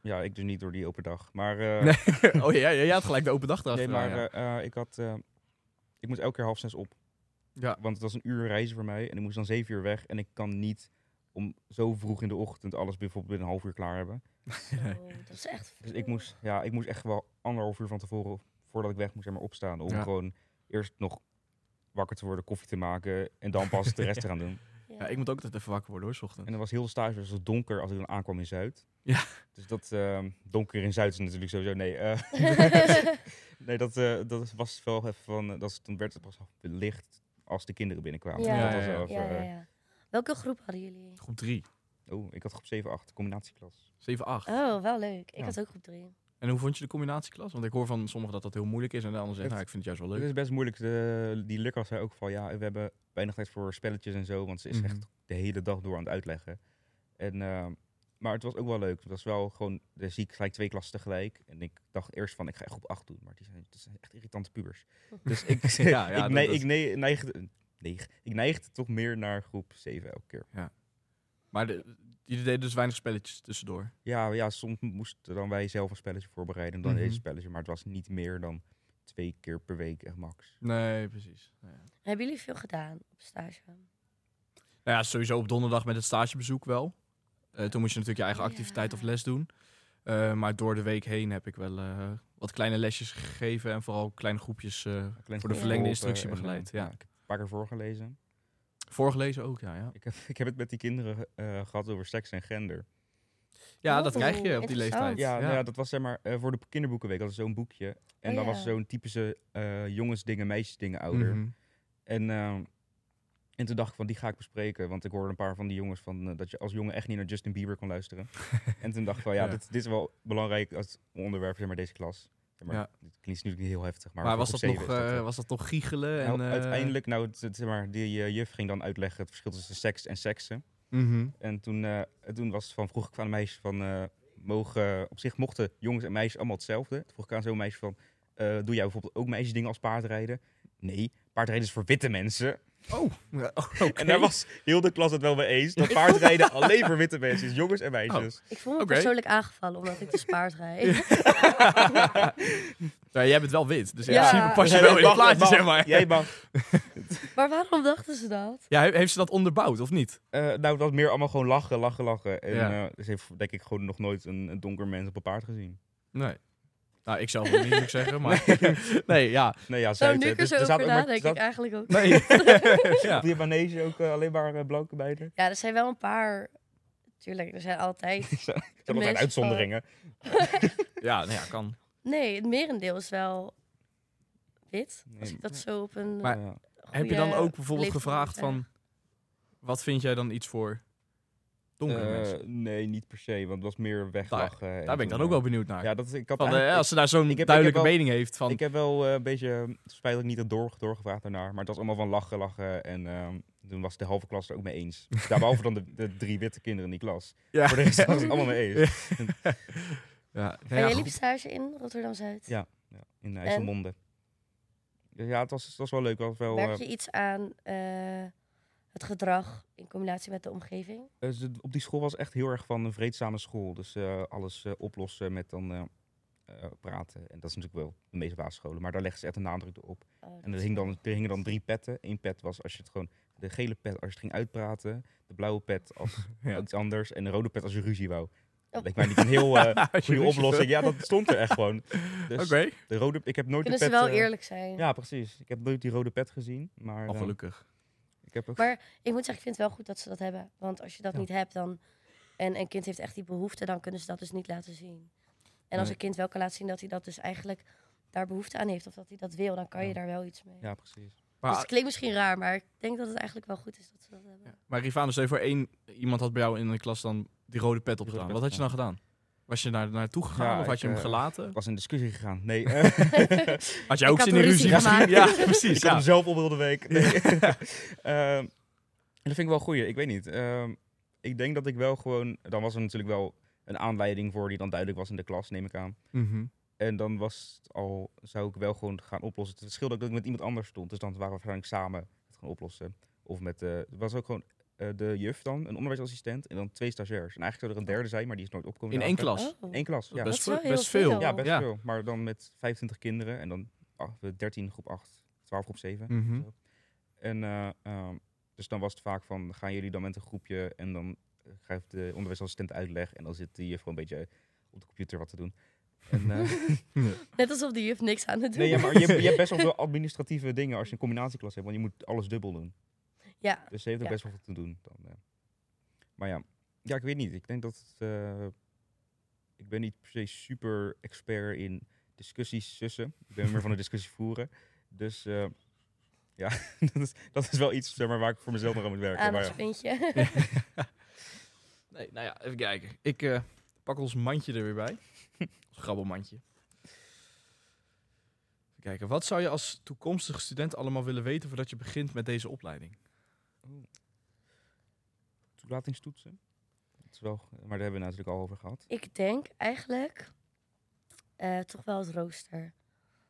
[SPEAKER 3] ja, ik dus niet door die open dag. Maar, eh,
[SPEAKER 1] Nee, oh ja, ja, jij had gelijk de open dag
[SPEAKER 3] nee,
[SPEAKER 1] erachter.
[SPEAKER 3] maar
[SPEAKER 1] ja.
[SPEAKER 3] eh, eh, ik had, eh, ik moest elke keer half zes op.
[SPEAKER 1] Ja.
[SPEAKER 3] Want het was een uur reizen voor mij en ik moest dan zeven uur weg. En ik kan niet om zo vroeg in de ochtend alles bijvoorbeeld binnen een half uur klaar hebben.
[SPEAKER 4] Zo, dat is echt
[SPEAKER 3] Dus ik
[SPEAKER 4] veel.
[SPEAKER 3] moest, ja, ik moest echt wel anderhalf uur van tevoren, voordat ik weg moest, zeg maar opstaan. Om
[SPEAKER 1] Ja.
[SPEAKER 3] gewoon eerst nog wakker te worden, koffie te maken en dan pas de
[SPEAKER 1] *laughs*
[SPEAKER 3] rest te gaan doen.
[SPEAKER 1] Ja, ik moet ook altijd even wakker worden hoor, 's ochtends.
[SPEAKER 3] En dan was heel de stage, dus het was donker als ik dan aankwam in Zuid.
[SPEAKER 1] Ja.
[SPEAKER 3] Dus dat ehm, donker in Zuid is natuurlijk sowieso, nee. eh,
[SPEAKER 4] *laughs*
[SPEAKER 3] nee, dat, eh, dat was wel even van, eh, dat is- toen werd het pas licht als de kinderen binnenkwamen.
[SPEAKER 4] Ja,
[SPEAKER 3] Dat
[SPEAKER 1] ja,
[SPEAKER 3] was
[SPEAKER 1] ja.
[SPEAKER 3] wel even,
[SPEAKER 4] ja, ja,
[SPEAKER 3] eh,
[SPEAKER 4] ja. Welke groep hadden jullie?
[SPEAKER 1] Groep 3,
[SPEAKER 3] Oh, ik had groep 7, 8, combinatieklas.
[SPEAKER 1] 7, 8.
[SPEAKER 4] Oh, wel leuk. Ik
[SPEAKER 3] Ja.
[SPEAKER 4] had ook groep 3.
[SPEAKER 1] En hoe vond je de combinatieklas? Want ik hoor van sommigen dat dat heel moeilijk is. En de anderen zeggen, nou,
[SPEAKER 3] Het-
[SPEAKER 1] ik vind het
[SPEAKER 3] *laughs*
[SPEAKER 1] juist wel
[SPEAKER 3] Het
[SPEAKER 1] leuk.
[SPEAKER 3] is best moeilijk. De, die Lucas zei ook van, ja, we hebben weinig tijd voor spelletjes en zo, want ze is echt
[SPEAKER 1] Mhm.
[SPEAKER 3] de hele dag door aan het uitleggen. En, eh, maar het was ook wel leuk. Het was wel gewoon, er zie ik gelijk twee klassen tegelijk. En ik dacht eerst van, ik ga groep 8 doen. Maar die zijn, dat zijn echt irritante pubers. Dus ik,
[SPEAKER 1] *laughs*
[SPEAKER 3] *laughs*
[SPEAKER 1] Ja, ja,
[SPEAKER 3] ik,
[SPEAKER 1] dat-
[SPEAKER 3] nei-
[SPEAKER 1] dat-
[SPEAKER 3] ik nei- neigde, eh, neig- ik neigde toch meer naar groep 7 elke keer.
[SPEAKER 1] Maar de- jullie deden dus weinig spelletjes tussendoor.
[SPEAKER 3] Ja, ja, soms moesten dan wij zelf een spelletje voorbereiden. En dan
[SPEAKER 1] Mhm.
[SPEAKER 3] deze spelletje. Maar het was niet meer dan twee keer per week echt max.
[SPEAKER 1] Nee, precies. Nee.
[SPEAKER 4] Hebben jullie veel gedaan op stage?
[SPEAKER 1] Nou ja, sowieso op donderdag met het stagebezoek wel. Eh, toen moest je natuurlijk je eigen
[SPEAKER 4] Ja.
[SPEAKER 1] activiteit of les doen. Eh, maar door de week heen heb ik wel eh, wat kleine lesjes gegeven. En vooral kleine groepjes eh,
[SPEAKER 3] Klein
[SPEAKER 1] Voor de
[SPEAKER 3] groepje
[SPEAKER 1] verlengde
[SPEAKER 3] geholpen
[SPEAKER 1] instructiebegeleid,
[SPEAKER 3] en, eh,
[SPEAKER 1] ja.
[SPEAKER 3] Ik heb een paar keer voorgelezen.
[SPEAKER 1] voorgelezen ook. Ja, ja.
[SPEAKER 3] Ik heb, ik heb het met die kinderen eh, gehad over seks en gender.
[SPEAKER 1] ja
[SPEAKER 4] Oh,
[SPEAKER 1] dat krijg je op die
[SPEAKER 4] interessant.
[SPEAKER 1] leeftijd.
[SPEAKER 3] Ja,
[SPEAKER 1] ja.
[SPEAKER 3] nou ja, dat was zeg maar eh, voor de kinderboekenweek. Dat was zo'n boekje. En
[SPEAKER 4] Oh,
[SPEAKER 3] dan
[SPEAKER 4] ja.
[SPEAKER 3] was zo'n typische eh, jongensdingen, meisjesdingen ouder.
[SPEAKER 1] Mhm.
[SPEAKER 3] En, ehm, en toen dacht ik van, die ga ik bespreken. Want ik hoorde een paar van die jongens van eh, dat je als jongen echt niet naar Justin Bieber kon luisteren. en toen dacht ik van, ja,
[SPEAKER 1] Ja.
[SPEAKER 3] Dit, dit is wel belangrijk als onderwerp, zeg maar, deze klas. Zeg maar,
[SPEAKER 1] Ja.
[SPEAKER 3] Het klinkt dus natuurlijk niet heel heftig, maar...
[SPEAKER 1] Maar
[SPEAKER 3] voor
[SPEAKER 1] was dat,
[SPEAKER 3] groep
[SPEAKER 1] nog,
[SPEAKER 3] zeven is
[SPEAKER 1] eh,
[SPEAKER 3] dat, eh,
[SPEAKER 1] was dat nog giechelen?
[SPEAKER 3] nou,
[SPEAKER 1] en, eh,
[SPEAKER 3] uiteindelijk, nou, het- het- zeg maar, die eh, juf ging dan uitleggen het verschil tussen seks en seksen.
[SPEAKER 1] mhm.
[SPEAKER 3] En toen, eh, toen was het van, vroeg ik aan een meisje van, eh, mogen, op zich mochten jongens en meisjes allemaal hetzelfde. Toen vroeg ik aan zo'n meisje van, eh, doe jij bijvoorbeeld ook meisjesdingen als paardrijden? Nee, paardrijden is voor witte mensen.
[SPEAKER 1] Oh, ja, oh, oké.
[SPEAKER 3] En daar
[SPEAKER 1] *laughs*
[SPEAKER 3] was heel de klas het wel mee eens, dat paardrijden alleen voor witte mensen is, jongens
[SPEAKER 1] Oh,
[SPEAKER 3] en meisjes.
[SPEAKER 4] Ik voel me
[SPEAKER 1] Oké.
[SPEAKER 4] persoonlijk aangevallen omdat ik de
[SPEAKER 1] *laughs*
[SPEAKER 4] spaard rijd.
[SPEAKER 1] Nou, jij bent wel wit, dus in
[SPEAKER 4] Ja.
[SPEAKER 1] principe pas je
[SPEAKER 3] Jij
[SPEAKER 1] wel in het
[SPEAKER 3] mag,
[SPEAKER 1] plaatje,
[SPEAKER 3] mag.
[SPEAKER 1] zeg maar.
[SPEAKER 3] Jij mag.
[SPEAKER 4] maar waarom dachten ze dat?
[SPEAKER 1] Ja, he- heeft ze dat onderbouwd of niet?
[SPEAKER 3] Eh, nou, dat meer allemaal gewoon lachen, lachen, lachen. En
[SPEAKER 1] Ja.
[SPEAKER 3] eh, ze heeft denk ik gewoon nog nooit een, een donker mens op een paard gezien.
[SPEAKER 1] Nee. Nou, ik zelf ook niet, moet ik zeggen. Maar *laughs* nee, ja.
[SPEAKER 3] Nee, ja,
[SPEAKER 4] Zo,
[SPEAKER 3] Zuid,
[SPEAKER 4] nu
[SPEAKER 3] hè.
[SPEAKER 4] ik er
[SPEAKER 3] Dus
[SPEAKER 4] zo
[SPEAKER 3] er zaten
[SPEAKER 4] over
[SPEAKER 3] ook maar-
[SPEAKER 4] nadenk,
[SPEAKER 3] zat-
[SPEAKER 4] ik eigenlijk ook.
[SPEAKER 1] Nee.
[SPEAKER 3] Op
[SPEAKER 1] *laughs* ja.
[SPEAKER 3] die manege ook eh, alleen maar eh, blanke meiden.
[SPEAKER 4] Ja, er zijn wel een paar... Tuurlijk, er zijn
[SPEAKER 1] *laughs*
[SPEAKER 4] altijd...
[SPEAKER 3] Dat
[SPEAKER 4] mensen
[SPEAKER 3] zijn
[SPEAKER 4] van-
[SPEAKER 3] uitzonderingen.
[SPEAKER 1] Oh. Ja, nou ja, kan.
[SPEAKER 4] Nee, het merendeel is wel wit.
[SPEAKER 3] Nee,
[SPEAKER 4] Als ik dat zo op een
[SPEAKER 1] Maar
[SPEAKER 3] Ja.
[SPEAKER 1] Heb je dan
[SPEAKER 4] goede
[SPEAKER 1] ook bijvoorbeeld
[SPEAKER 4] leeftijd
[SPEAKER 1] gevraagd
[SPEAKER 4] moet
[SPEAKER 1] van... Wat vind jij dan iets voor donkere
[SPEAKER 3] Eh,
[SPEAKER 1] mensen?
[SPEAKER 3] Nee, niet per se, want het was meer weglachen.
[SPEAKER 1] Daar
[SPEAKER 3] en
[SPEAKER 1] ben ik
[SPEAKER 3] toen,
[SPEAKER 1] dan ook
[SPEAKER 3] eh,
[SPEAKER 1] wel benieuwd naar.
[SPEAKER 3] Ja, dat is, ik, had
[SPEAKER 1] van, eh,
[SPEAKER 3] eigenlijk-
[SPEAKER 1] als ze daar zo'n
[SPEAKER 3] ik heb- ik
[SPEAKER 1] duidelijke
[SPEAKER 3] heb wel-
[SPEAKER 1] mening heeft van...
[SPEAKER 3] ik heb wel eh, een beetje, eh, het spijt dat ik niet had door, doorgevraagd daarna, maar het was allemaal van lachen, lachen. En ehm, toen was de halve klas er ook mee *laughs* eens. Daar behalve dan de, de drie witte kinderen in die klas.
[SPEAKER 1] ja.
[SPEAKER 3] *laughs* Voor de
[SPEAKER 1] *laughs*
[SPEAKER 3] rest was het allemaal mee eens.
[SPEAKER 1] Ja, nou
[SPEAKER 4] En
[SPEAKER 1] ja,
[SPEAKER 4] jij liep *laughs*
[SPEAKER 1] goed.
[SPEAKER 4] stage in Rotterdam-Zuid.
[SPEAKER 3] Ja. Ja, in IJsselmonde. Dus ja, het was, het was wel leuk. Het was wel, eh,
[SPEAKER 4] Merk je iets aan eh, het gedrag in combinatie met de omgeving.
[SPEAKER 3] Eh, ze- op die school was echt heel erg van een vreedzame school. Dus eh, alles eh, oplossen met dan eh, eh, praten. En dat is natuurlijk wel de meeste basisscholen. Maar daar legden ze echt een nadruk op.
[SPEAKER 4] Oh,
[SPEAKER 3] En
[SPEAKER 4] dat
[SPEAKER 3] er,
[SPEAKER 4] is
[SPEAKER 3] hing
[SPEAKER 4] wel-
[SPEAKER 3] dan, er hingen dan drie petten. Eén pet was als je het gewoon... De gele pet als je het ging uitpraten. De blauwe pet
[SPEAKER 1] *laughs*
[SPEAKER 3] als
[SPEAKER 1] Ja.
[SPEAKER 3] iets anders. En de rode pet als je ruzie wou. Dat
[SPEAKER 4] Oh.
[SPEAKER 3] leek mij niet een heel
[SPEAKER 1] *laughs*
[SPEAKER 3] eh
[SPEAKER 1] Als je
[SPEAKER 3] goede
[SPEAKER 1] ruzie
[SPEAKER 3] oplossing.
[SPEAKER 1] wil.
[SPEAKER 3] Ja, dat stond er echt gewoon.
[SPEAKER 1] Oké.
[SPEAKER 3] Dus de rode, ik heb nooit
[SPEAKER 4] Kunnen
[SPEAKER 3] de pet...
[SPEAKER 4] ze dus wel
[SPEAKER 3] eh,
[SPEAKER 4] eerlijk zijn.
[SPEAKER 3] Ja, precies. Ik heb nooit die rode pet gezien. Maar
[SPEAKER 1] Al
[SPEAKER 3] eh,
[SPEAKER 1] gelukkig.
[SPEAKER 3] ik heb ook...
[SPEAKER 4] Maar- Ik moet zeggen, ik vind het wel goed dat ze dat hebben. Want als je dat
[SPEAKER 3] Ja.
[SPEAKER 4] niet hebt dan, en een kind heeft echt die behoefte, dan kunnen ze dat dus niet laten zien. En als
[SPEAKER 1] Nee.
[SPEAKER 4] een kind wel kan laten zien dat hij dat dus eigenlijk daar behoefte aan heeft of dat hij dat wil, dan kan je
[SPEAKER 3] Ja.
[SPEAKER 4] daar wel iets mee.
[SPEAKER 3] Ja, precies.
[SPEAKER 4] Dus
[SPEAKER 1] Maar,
[SPEAKER 4] het klinkt misschien raar, maar ik denk dat het eigenlijk wel goed is dat ze dat hebben.
[SPEAKER 1] maar Rivano, stel je voor één iemand had bij jou in de klas dan die rode pet
[SPEAKER 3] rode
[SPEAKER 1] opgedaan.
[SPEAKER 3] pet
[SPEAKER 1] Wat had je dan gedaan? Was je daar naartoe gegaan
[SPEAKER 3] Ja,
[SPEAKER 1] of had
[SPEAKER 3] ik,
[SPEAKER 1] je hem
[SPEAKER 3] eh,
[SPEAKER 1] gelaten?
[SPEAKER 3] Ik was in discussie gegaan.
[SPEAKER 1] *laughs*
[SPEAKER 3] Nee, eh,
[SPEAKER 1] Had jij
[SPEAKER 4] Ik
[SPEAKER 1] ook
[SPEAKER 4] had
[SPEAKER 1] zin in
[SPEAKER 4] een
[SPEAKER 1] ruzie?
[SPEAKER 4] ruzie
[SPEAKER 1] misschien?
[SPEAKER 4] gemaakt.
[SPEAKER 1] *laughs* Ja, precies.
[SPEAKER 3] Ik had
[SPEAKER 1] Ja.
[SPEAKER 3] hem zelf op heel de week. Nee. *laughs* Ehm, en dat vind ik wel een goeie. Ik weet niet. Ehm, ik denk dat ik wel gewoon... Dan was er natuurlijk wel een aanleiding voor die dan duidelijk was in de klas, neem ik aan.
[SPEAKER 1] Mhm.
[SPEAKER 3] En dan was het al... Zou ik wel gewoon gaan oplossen. Het verschil dat ik met iemand anders stond. Dus dan waren we waarschijnlijk samen het gaan oplossen. Of met... eh, Het was ook gewoon eh, de juf dan, een onderwijsassistent. En dan twee stagiairs. En eigenlijk zou er een derde zijn, maar die is nooit opgekomen.
[SPEAKER 1] In één
[SPEAKER 3] dagen.
[SPEAKER 1] klas.
[SPEAKER 4] Oh.
[SPEAKER 3] Eén klas, ja.
[SPEAKER 4] Dat
[SPEAKER 1] Best,
[SPEAKER 4] is
[SPEAKER 1] veel-
[SPEAKER 4] wel heel
[SPEAKER 1] best veel.
[SPEAKER 4] veel.
[SPEAKER 3] Ja, best
[SPEAKER 1] Ja.
[SPEAKER 3] veel. Maar dan met 25 kinderen. En dan ah, 13 groep 8, 12 groep 7.
[SPEAKER 1] Mhm.
[SPEAKER 3] En eh, ehm, dus dan was het vaak van, gaan jullie dan met een groepje en dan eh, geeft de onderwijsassistent uitleg en dan zit die juffrouw een beetje op de computer wat te doen. En, eh,
[SPEAKER 4] Net alsof de juf niks aan het doen
[SPEAKER 3] nee, ja, maar
[SPEAKER 4] is.
[SPEAKER 3] je, hebt- je hebt best wel veel administratieve dingen als je een combinatieklas hebt, want je moet alles dubbel doen.
[SPEAKER 4] Ja,
[SPEAKER 3] Dus ze heeft ook
[SPEAKER 4] Ja.
[SPEAKER 3] best wel veel te doen. Dan, eh. Maar ja. ja, ik weet niet. Ik denk dat het, eh, ik ben niet per se super expert in discussies sussen. Ik ben
[SPEAKER 4] *laughs*
[SPEAKER 3] meer van de discussie voeren. Dus eh, ja, *laughs* dat is, dat is wel iets zeg maar, waar ik voor mezelf nog aan moet werken.
[SPEAKER 4] Ehm,
[SPEAKER 3] Maar ja.
[SPEAKER 4] aandachtspuntje.
[SPEAKER 1] *laughs* Nee, nou ja, even kijken. Ik eh, pak ons mandje er weer *laughs* bij. Ons grabbelmandje. Even kijken. Wat zou je als toekomstige student allemaal willen weten voordat je begint met deze opleiding?
[SPEAKER 3] toelatingstoetsen. Dat is wel, maar daar hebben we natuurlijk al over gehad.
[SPEAKER 4] Ik denk eigenlijk eh, toch wel het rooster.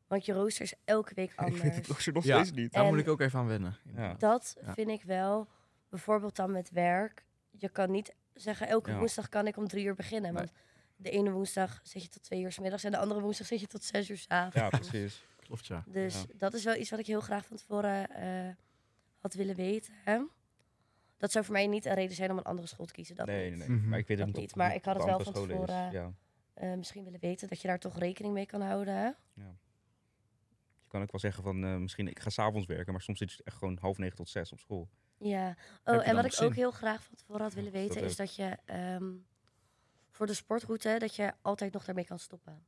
[SPEAKER 4] Want je rooster is elke
[SPEAKER 3] *laughs*
[SPEAKER 4] week anders.
[SPEAKER 3] ze nog
[SPEAKER 1] Ja.
[SPEAKER 3] niet.
[SPEAKER 1] Daar
[SPEAKER 4] En-
[SPEAKER 1] moet ik ook even aan wennen. inderdaad.
[SPEAKER 4] Dat
[SPEAKER 1] Ja.
[SPEAKER 4] vind ik wel. Bijvoorbeeld dan met werk. Je kan niet zeggen, elke
[SPEAKER 3] Ja.
[SPEAKER 4] woensdag kan ik om drie uur beginnen.
[SPEAKER 1] Nee.
[SPEAKER 4] Want de ene woensdag zit je tot twee uur 's middags en de andere woensdag zit je tot zes uur 's avonds.
[SPEAKER 3] Ja, precies.
[SPEAKER 1] Klopt, ja.
[SPEAKER 4] Dus
[SPEAKER 3] Ja.
[SPEAKER 4] dat is wel iets wat ik heel graag van tevoren eh, had willen weten. hè. Dat zou voor mij niet een reden zijn om een andere school te kiezen. Dat
[SPEAKER 3] Nee,
[SPEAKER 4] niet.
[SPEAKER 3] nee, nee.
[SPEAKER 1] Mhm.
[SPEAKER 3] Maar ik weet
[SPEAKER 4] Dat
[SPEAKER 3] het
[SPEAKER 4] niet, maar ik had het wel
[SPEAKER 3] van
[SPEAKER 4] van
[SPEAKER 3] Is.
[SPEAKER 4] tevoren.
[SPEAKER 3] Ja.
[SPEAKER 4] Eh, misschien willen weten dat je daar toch rekening mee kan houden. hè.
[SPEAKER 3] Je kan ook wel zeggen van, eh, misschien ik ga s'avonds werken, maar soms zit je echt gewoon half negen tot zes op school.
[SPEAKER 4] Ja,
[SPEAKER 1] je
[SPEAKER 4] oh,
[SPEAKER 1] dan
[SPEAKER 4] en wat
[SPEAKER 1] nog
[SPEAKER 4] ik
[SPEAKER 1] zin?
[SPEAKER 4] ook heel graag van tevoren had
[SPEAKER 3] Ja,
[SPEAKER 4] willen
[SPEAKER 3] dat
[SPEAKER 4] weten, is
[SPEAKER 3] ook.
[SPEAKER 4] dat je ehm, voor de sportroute, dat je altijd nog daarmee kan stoppen.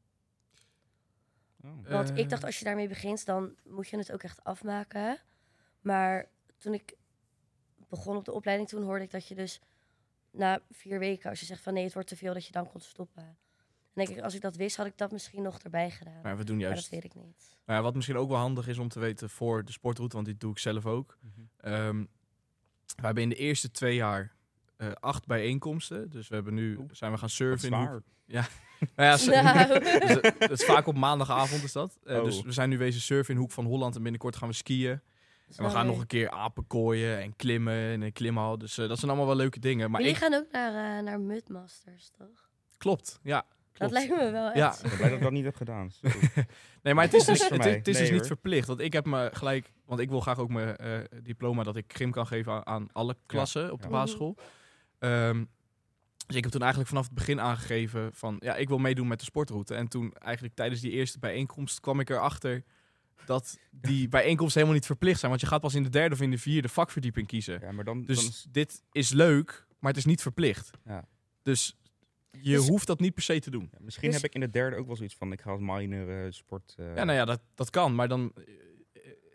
[SPEAKER 3] Oh,
[SPEAKER 1] Eh,
[SPEAKER 4] Want ik dacht, als je daarmee begint, dan moet je het ook echt afmaken. Maar toen ik begon op de opleiding, toen hoorde ik dat je dus na vier weken, als je zegt van nee, het wordt te veel, dat je dan kon stoppen. En denk ik, als ik dat wist, had ik dat misschien nog erbij gedaan.
[SPEAKER 1] Maar we doen
[SPEAKER 4] maar
[SPEAKER 1] Nou, juist.
[SPEAKER 4] dat weet ik niet.
[SPEAKER 1] Nou ja, wat misschien ook wel handig is om te weten voor de sportroute, want die doe ik zelf ook.
[SPEAKER 3] Mhm.
[SPEAKER 1] Ehm, we hebben in de eerste twee jaar eh, acht bijeenkomsten. Dus we hebben nu,
[SPEAKER 3] Oeh.
[SPEAKER 1] zijn we gaan
[SPEAKER 3] Wat
[SPEAKER 1] surfen in Hoek-
[SPEAKER 3] zwaar.
[SPEAKER 1] Nou
[SPEAKER 4] *laughs*
[SPEAKER 1] ja, s- *laughs*
[SPEAKER 4] Nou.
[SPEAKER 1] dus, eh, dat is vaak op maandagavond is dat. Eh,
[SPEAKER 3] Oh.
[SPEAKER 1] Dus we zijn nu wezen surfen in Hoek van Holland en binnenkort gaan we skiën. En we gaan nog een keer apen kooien en klimmen en een klimhal. Dus eh, dat zijn allemaal wel leuke dingen. Maar
[SPEAKER 4] Maar jullie
[SPEAKER 1] ik-
[SPEAKER 4] gaan ook naar, eh, naar Mudmasters, toch?
[SPEAKER 1] Klopt, ja.
[SPEAKER 4] Dat
[SPEAKER 1] klopt.
[SPEAKER 4] lijkt me wel echt
[SPEAKER 1] Ja.
[SPEAKER 3] Ik
[SPEAKER 4] super.
[SPEAKER 3] ben blij dat ik dat niet heb
[SPEAKER 1] *laughs*
[SPEAKER 3] gedaan. Zo.
[SPEAKER 1] Nee, maar het is dus,
[SPEAKER 3] *laughs* Niks voor
[SPEAKER 1] het, is-
[SPEAKER 3] mij.
[SPEAKER 1] het is
[SPEAKER 3] Nee,
[SPEAKER 1] dus niet
[SPEAKER 3] hoor.
[SPEAKER 1] verplicht. Want ik heb me gelijk... Want ik wil graag ook mijn eh, diploma dat ik gym kan geven aan, aan alle klassen op de
[SPEAKER 3] ja.
[SPEAKER 1] basisschool. Ehm, dus ik heb toen eigenlijk vanaf het begin aangegeven van... Ja, ik wil meedoen met de sportroute. En toen eigenlijk tijdens die eerste bijeenkomst kwam ik erachter... dat
[SPEAKER 3] *laughs*
[SPEAKER 1] die bijeenkomsten helemaal niet verplicht zijn. Want je gaat pas in de derde of in de vierde vakverdieping kiezen.
[SPEAKER 3] Ja, maar dan, dan
[SPEAKER 1] Dus
[SPEAKER 3] is-
[SPEAKER 1] dit is leuk, maar het is niet verplicht.
[SPEAKER 3] Ja.
[SPEAKER 1] Dus je
[SPEAKER 4] Dus-
[SPEAKER 1] hoeft dat niet per se te doen.
[SPEAKER 3] ja, misschien
[SPEAKER 4] dus-
[SPEAKER 3] heb ik in de derde ook wel zoiets van, ik ga als minor eh, sport... eh,
[SPEAKER 1] Ja, nou ja, dat, dat kan. Maar dan eh,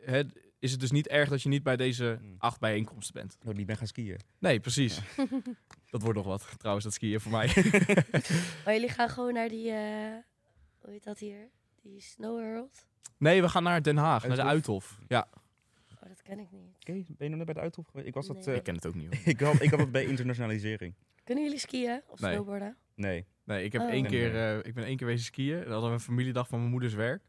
[SPEAKER 1] hè, is het dus niet erg dat je niet bij deze
[SPEAKER 3] Hmm.
[SPEAKER 1] acht bijeenkomsten bent.
[SPEAKER 3] dat ik oh, niet ben gaan skiën.
[SPEAKER 1] Nee, precies. *laughs* dat wordt nog wat, trouwens, dat skiën voor mij. *laughs*
[SPEAKER 4] Maar Oh, jullie gaan gewoon naar die, eh, hoe heet dat hier? Die Snow World?
[SPEAKER 1] nee, we gaan naar Den Haag, naar de Uithof. Ja,
[SPEAKER 4] Oh, dat ken ik niet.
[SPEAKER 3] Oké, ben je nog net bij de Uithof geweest? Ik was dat...
[SPEAKER 4] Nee.
[SPEAKER 3] eh, *laughs*
[SPEAKER 1] ik ken het ook niet. hoor.
[SPEAKER 3] ik, had, ik had het bij internationalisering.
[SPEAKER 4] Kunnen jullie skiën of
[SPEAKER 1] Nee.
[SPEAKER 4] snowboarden?
[SPEAKER 3] Nee.
[SPEAKER 1] Nee, ik, heb
[SPEAKER 4] Oh.
[SPEAKER 1] één
[SPEAKER 3] En,
[SPEAKER 1] keer,
[SPEAKER 3] eh,
[SPEAKER 1] eh, ik ben één keer wezen skiën. Dan hadden we een familiedag van mijn moeders werk.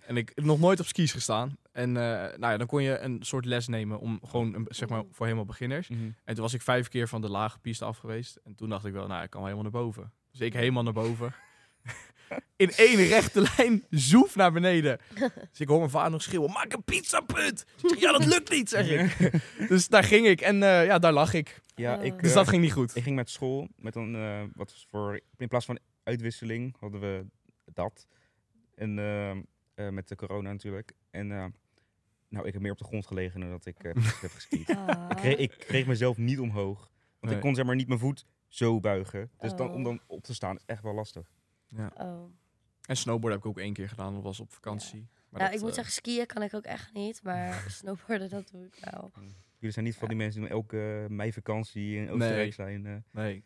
[SPEAKER 1] En ik heb nog nooit op skis gestaan. En eh, nou ja, dan kon je een soort les nemen om gewoon, een, zeg maar, voor helemaal beginners.
[SPEAKER 3] *laughs*
[SPEAKER 1] En toen was ik vijf keer van de lage piste af geweest. En toen dacht ik wel, nou, ik kan wel helemaal naar boven. Dus ik helemaal naar boven. *laughs* In één rechte *laughs* lijn, zoef naar
[SPEAKER 4] *laughs*
[SPEAKER 1] beneden. Dus ik hoor mijn vader nog schreeuwen, maak een pizzaput! Ik zeg, Ja, dat lukt niet, zeg *laughs* ik. Dus daar ging ik en eh, ja, daar lag ik.
[SPEAKER 3] Ja,
[SPEAKER 4] Oh.
[SPEAKER 3] ik,
[SPEAKER 1] Dus
[SPEAKER 3] eh,
[SPEAKER 1] dat ging niet goed.
[SPEAKER 3] ik ging met school, met een, eh, wat was voor, in plaats van uitwisseling hadden we dat. En eh, eh, met de corona natuurlijk. En eh, nou, ik heb meer op de grond gelegen dan dat ik eh, heb geskiet.
[SPEAKER 4] Ah.
[SPEAKER 3] Ik kreeg, ik kreeg mezelf niet omhoog. Want
[SPEAKER 1] Nee.
[SPEAKER 3] ik kon zeg maar niet mijn voet zo buigen. Dus dan, om
[SPEAKER 4] Oh.
[SPEAKER 3] dan op te staan is echt wel lastig.
[SPEAKER 4] Oh.
[SPEAKER 1] En snowboarden heb ik ook één keer gedaan, dat was op vakantie. Maar
[SPEAKER 4] Nou,
[SPEAKER 1] dat,
[SPEAKER 4] ik moet
[SPEAKER 1] eh,
[SPEAKER 4] zeggen, skiën kan ik ook echt niet. Maar *laughs* snowboarden, dat doe ik wel.
[SPEAKER 3] Jullie zijn niet van die mensen die elke eh, meivakantie in Oostenrijk zijn. eh.
[SPEAKER 1] Nee.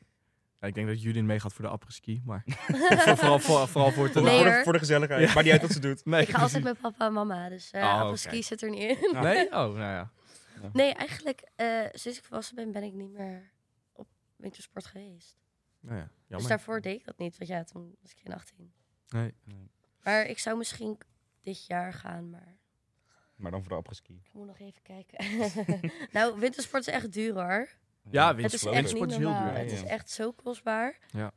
[SPEAKER 1] Ja, ik denk dat Judin meegaat voor de apres-ski,
[SPEAKER 4] *laughs*
[SPEAKER 1] maar *laughs* voor- vooral, voor, vooral voor het...
[SPEAKER 3] voor, de,
[SPEAKER 4] Nee,
[SPEAKER 3] voor, de,
[SPEAKER 4] hoor.
[SPEAKER 3] voor de gezelligheid. Maar niet uit wat ze
[SPEAKER 1] *laughs*
[SPEAKER 3] doet.
[SPEAKER 1] Nee.
[SPEAKER 4] *laughs* Ik ga altijd met papa en mama, dus eh
[SPEAKER 1] Oh,
[SPEAKER 4] oh,
[SPEAKER 1] oké.
[SPEAKER 4] zit er niet in.
[SPEAKER 3] Nou,
[SPEAKER 1] Nee? Oh, nou ja.
[SPEAKER 4] *laughs* Nee, eigenlijk, eh, sinds ik volwassen ben, ben ik niet meer op wintersport geweest.
[SPEAKER 1] Nou ja,
[SPEAKER 4] Dus
[SPEAKER 1] jammer.
[SPEAKER 4] daarvoor deed ik dat niet, want ja, toen was ik geen 18.
[SPEAKER 1] Nee.
[SPEAKER 4] Maar ik zou misschien dit jaar gaan, maar
[SPEAKER 3] Maar dan voor de apres-ski.
[SPEAKER 4] ik moet nog even kijken. *laughs* nou, wintersport is echt duur hoor.
[SPEAKER 1] Ja,
[SPEAKER 4] Het is
[SPEAKER 1] wintersport
[SPEAKER 4] echt niet
[SPEAKER 1] is heel
[SPEAKER 4] normaal.
[SPEAKER 1] duur.
[SPEAKER 4] Het
[SPEAKER 3] Ja,
[SPEAKER 4] is
[SPEAKER 3] ja.
[SPEAKER 4] echt zo kostbaar.
[SPEAKER 1] Ja.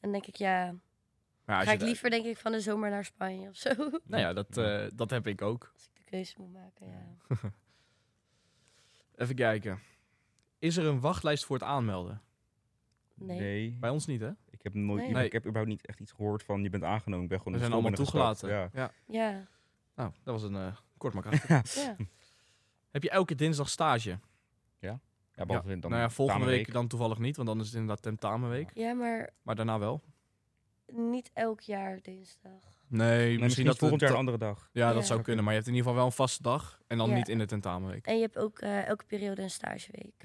[SPEAKER 4] En denk ik, ja,
[SPEAKER 1] Maar als
[SPEAKER 4] ga
[SPEAKER 1] je
[SPEAKER 4] ik
[SPEAKER 1] da-
[SPEAKER 4] liever denk ik van de zomer naar Spanje of zo. *laughs*
[SPEAKER 1] Nou ja, dat, eh, dat heb ik ook.
[SPEAKER 4] Als ik de keuze moet maken, ja.
[SPEAKER 1] Even kijken. Is er een wachtlijst voor het aanmelden?
[SPEAKER 4] Nee.
[SPEAKER 1] Bij ons niet, hè?
[SPEAKER 3] Ik heb nooit,
[SPEAKER 4] Nee.
[SPEAKER 1] Nee.
[SPEAKER 3] ik heb überhaupt niet echt iets gehoord van je bent aangenomen. Ik ben gewoon
[SPEAKER 1] We
[SPEAKER 3] in
[SPEAKER 1] zijn
[SPEAKER 3] de
[SPEAKER 1] allemaal
[SPEAKER 3] school binnen
[SPEAKER 1] toegelaten.
[SPEAKER 3] gestapt.
[SPEAKER 1] Ja.
[SPEAKER 4] Ja,
[SPEAKER 1] Nou, dat was een eh, kort maar
[SPEAKER 3] *laughs*
[SPEAKER 1] krachtig.
[SPEAKER 4] ja.
[SPEAKER 1] Heb je elke dinsdag stage?
[SPEAKER 3] Ja, ja behalve dan
[SPEAKER 1] nou ja, volgende week
[SPEAKER 3] tamenweek.
[SPEAKER 1] dan toevallig niet, want dan is het inderdaad tentamenweek.
[SPEAKER 4] ja, maar
[SPEAKER 1] Maar daarna wel.
[SPEAKER 4] niet elk jaar dinsdag.
[SPEAKER 1] Nee,
[SPEAKER 3] Nee, misschien dat
[SPEAKER 1] dat
[SPEAKER 3] volgend jaar een
[SPEAKER 1] dat-
[SPEAKER 3] andere dag.
[SPEAKER 1] Ja, dat
[SPEAKER 4] Ja.
[SPEAKER 1] zou kunnen. Maar je hebt in ieder geval wel een vaste dag. En dan
[SPEAKER 4] Ja.
[SPEAKER 1] niet in de tentamenweek.
[SPEAKER 4] En je hebt ook eh, elke periode een stageweek.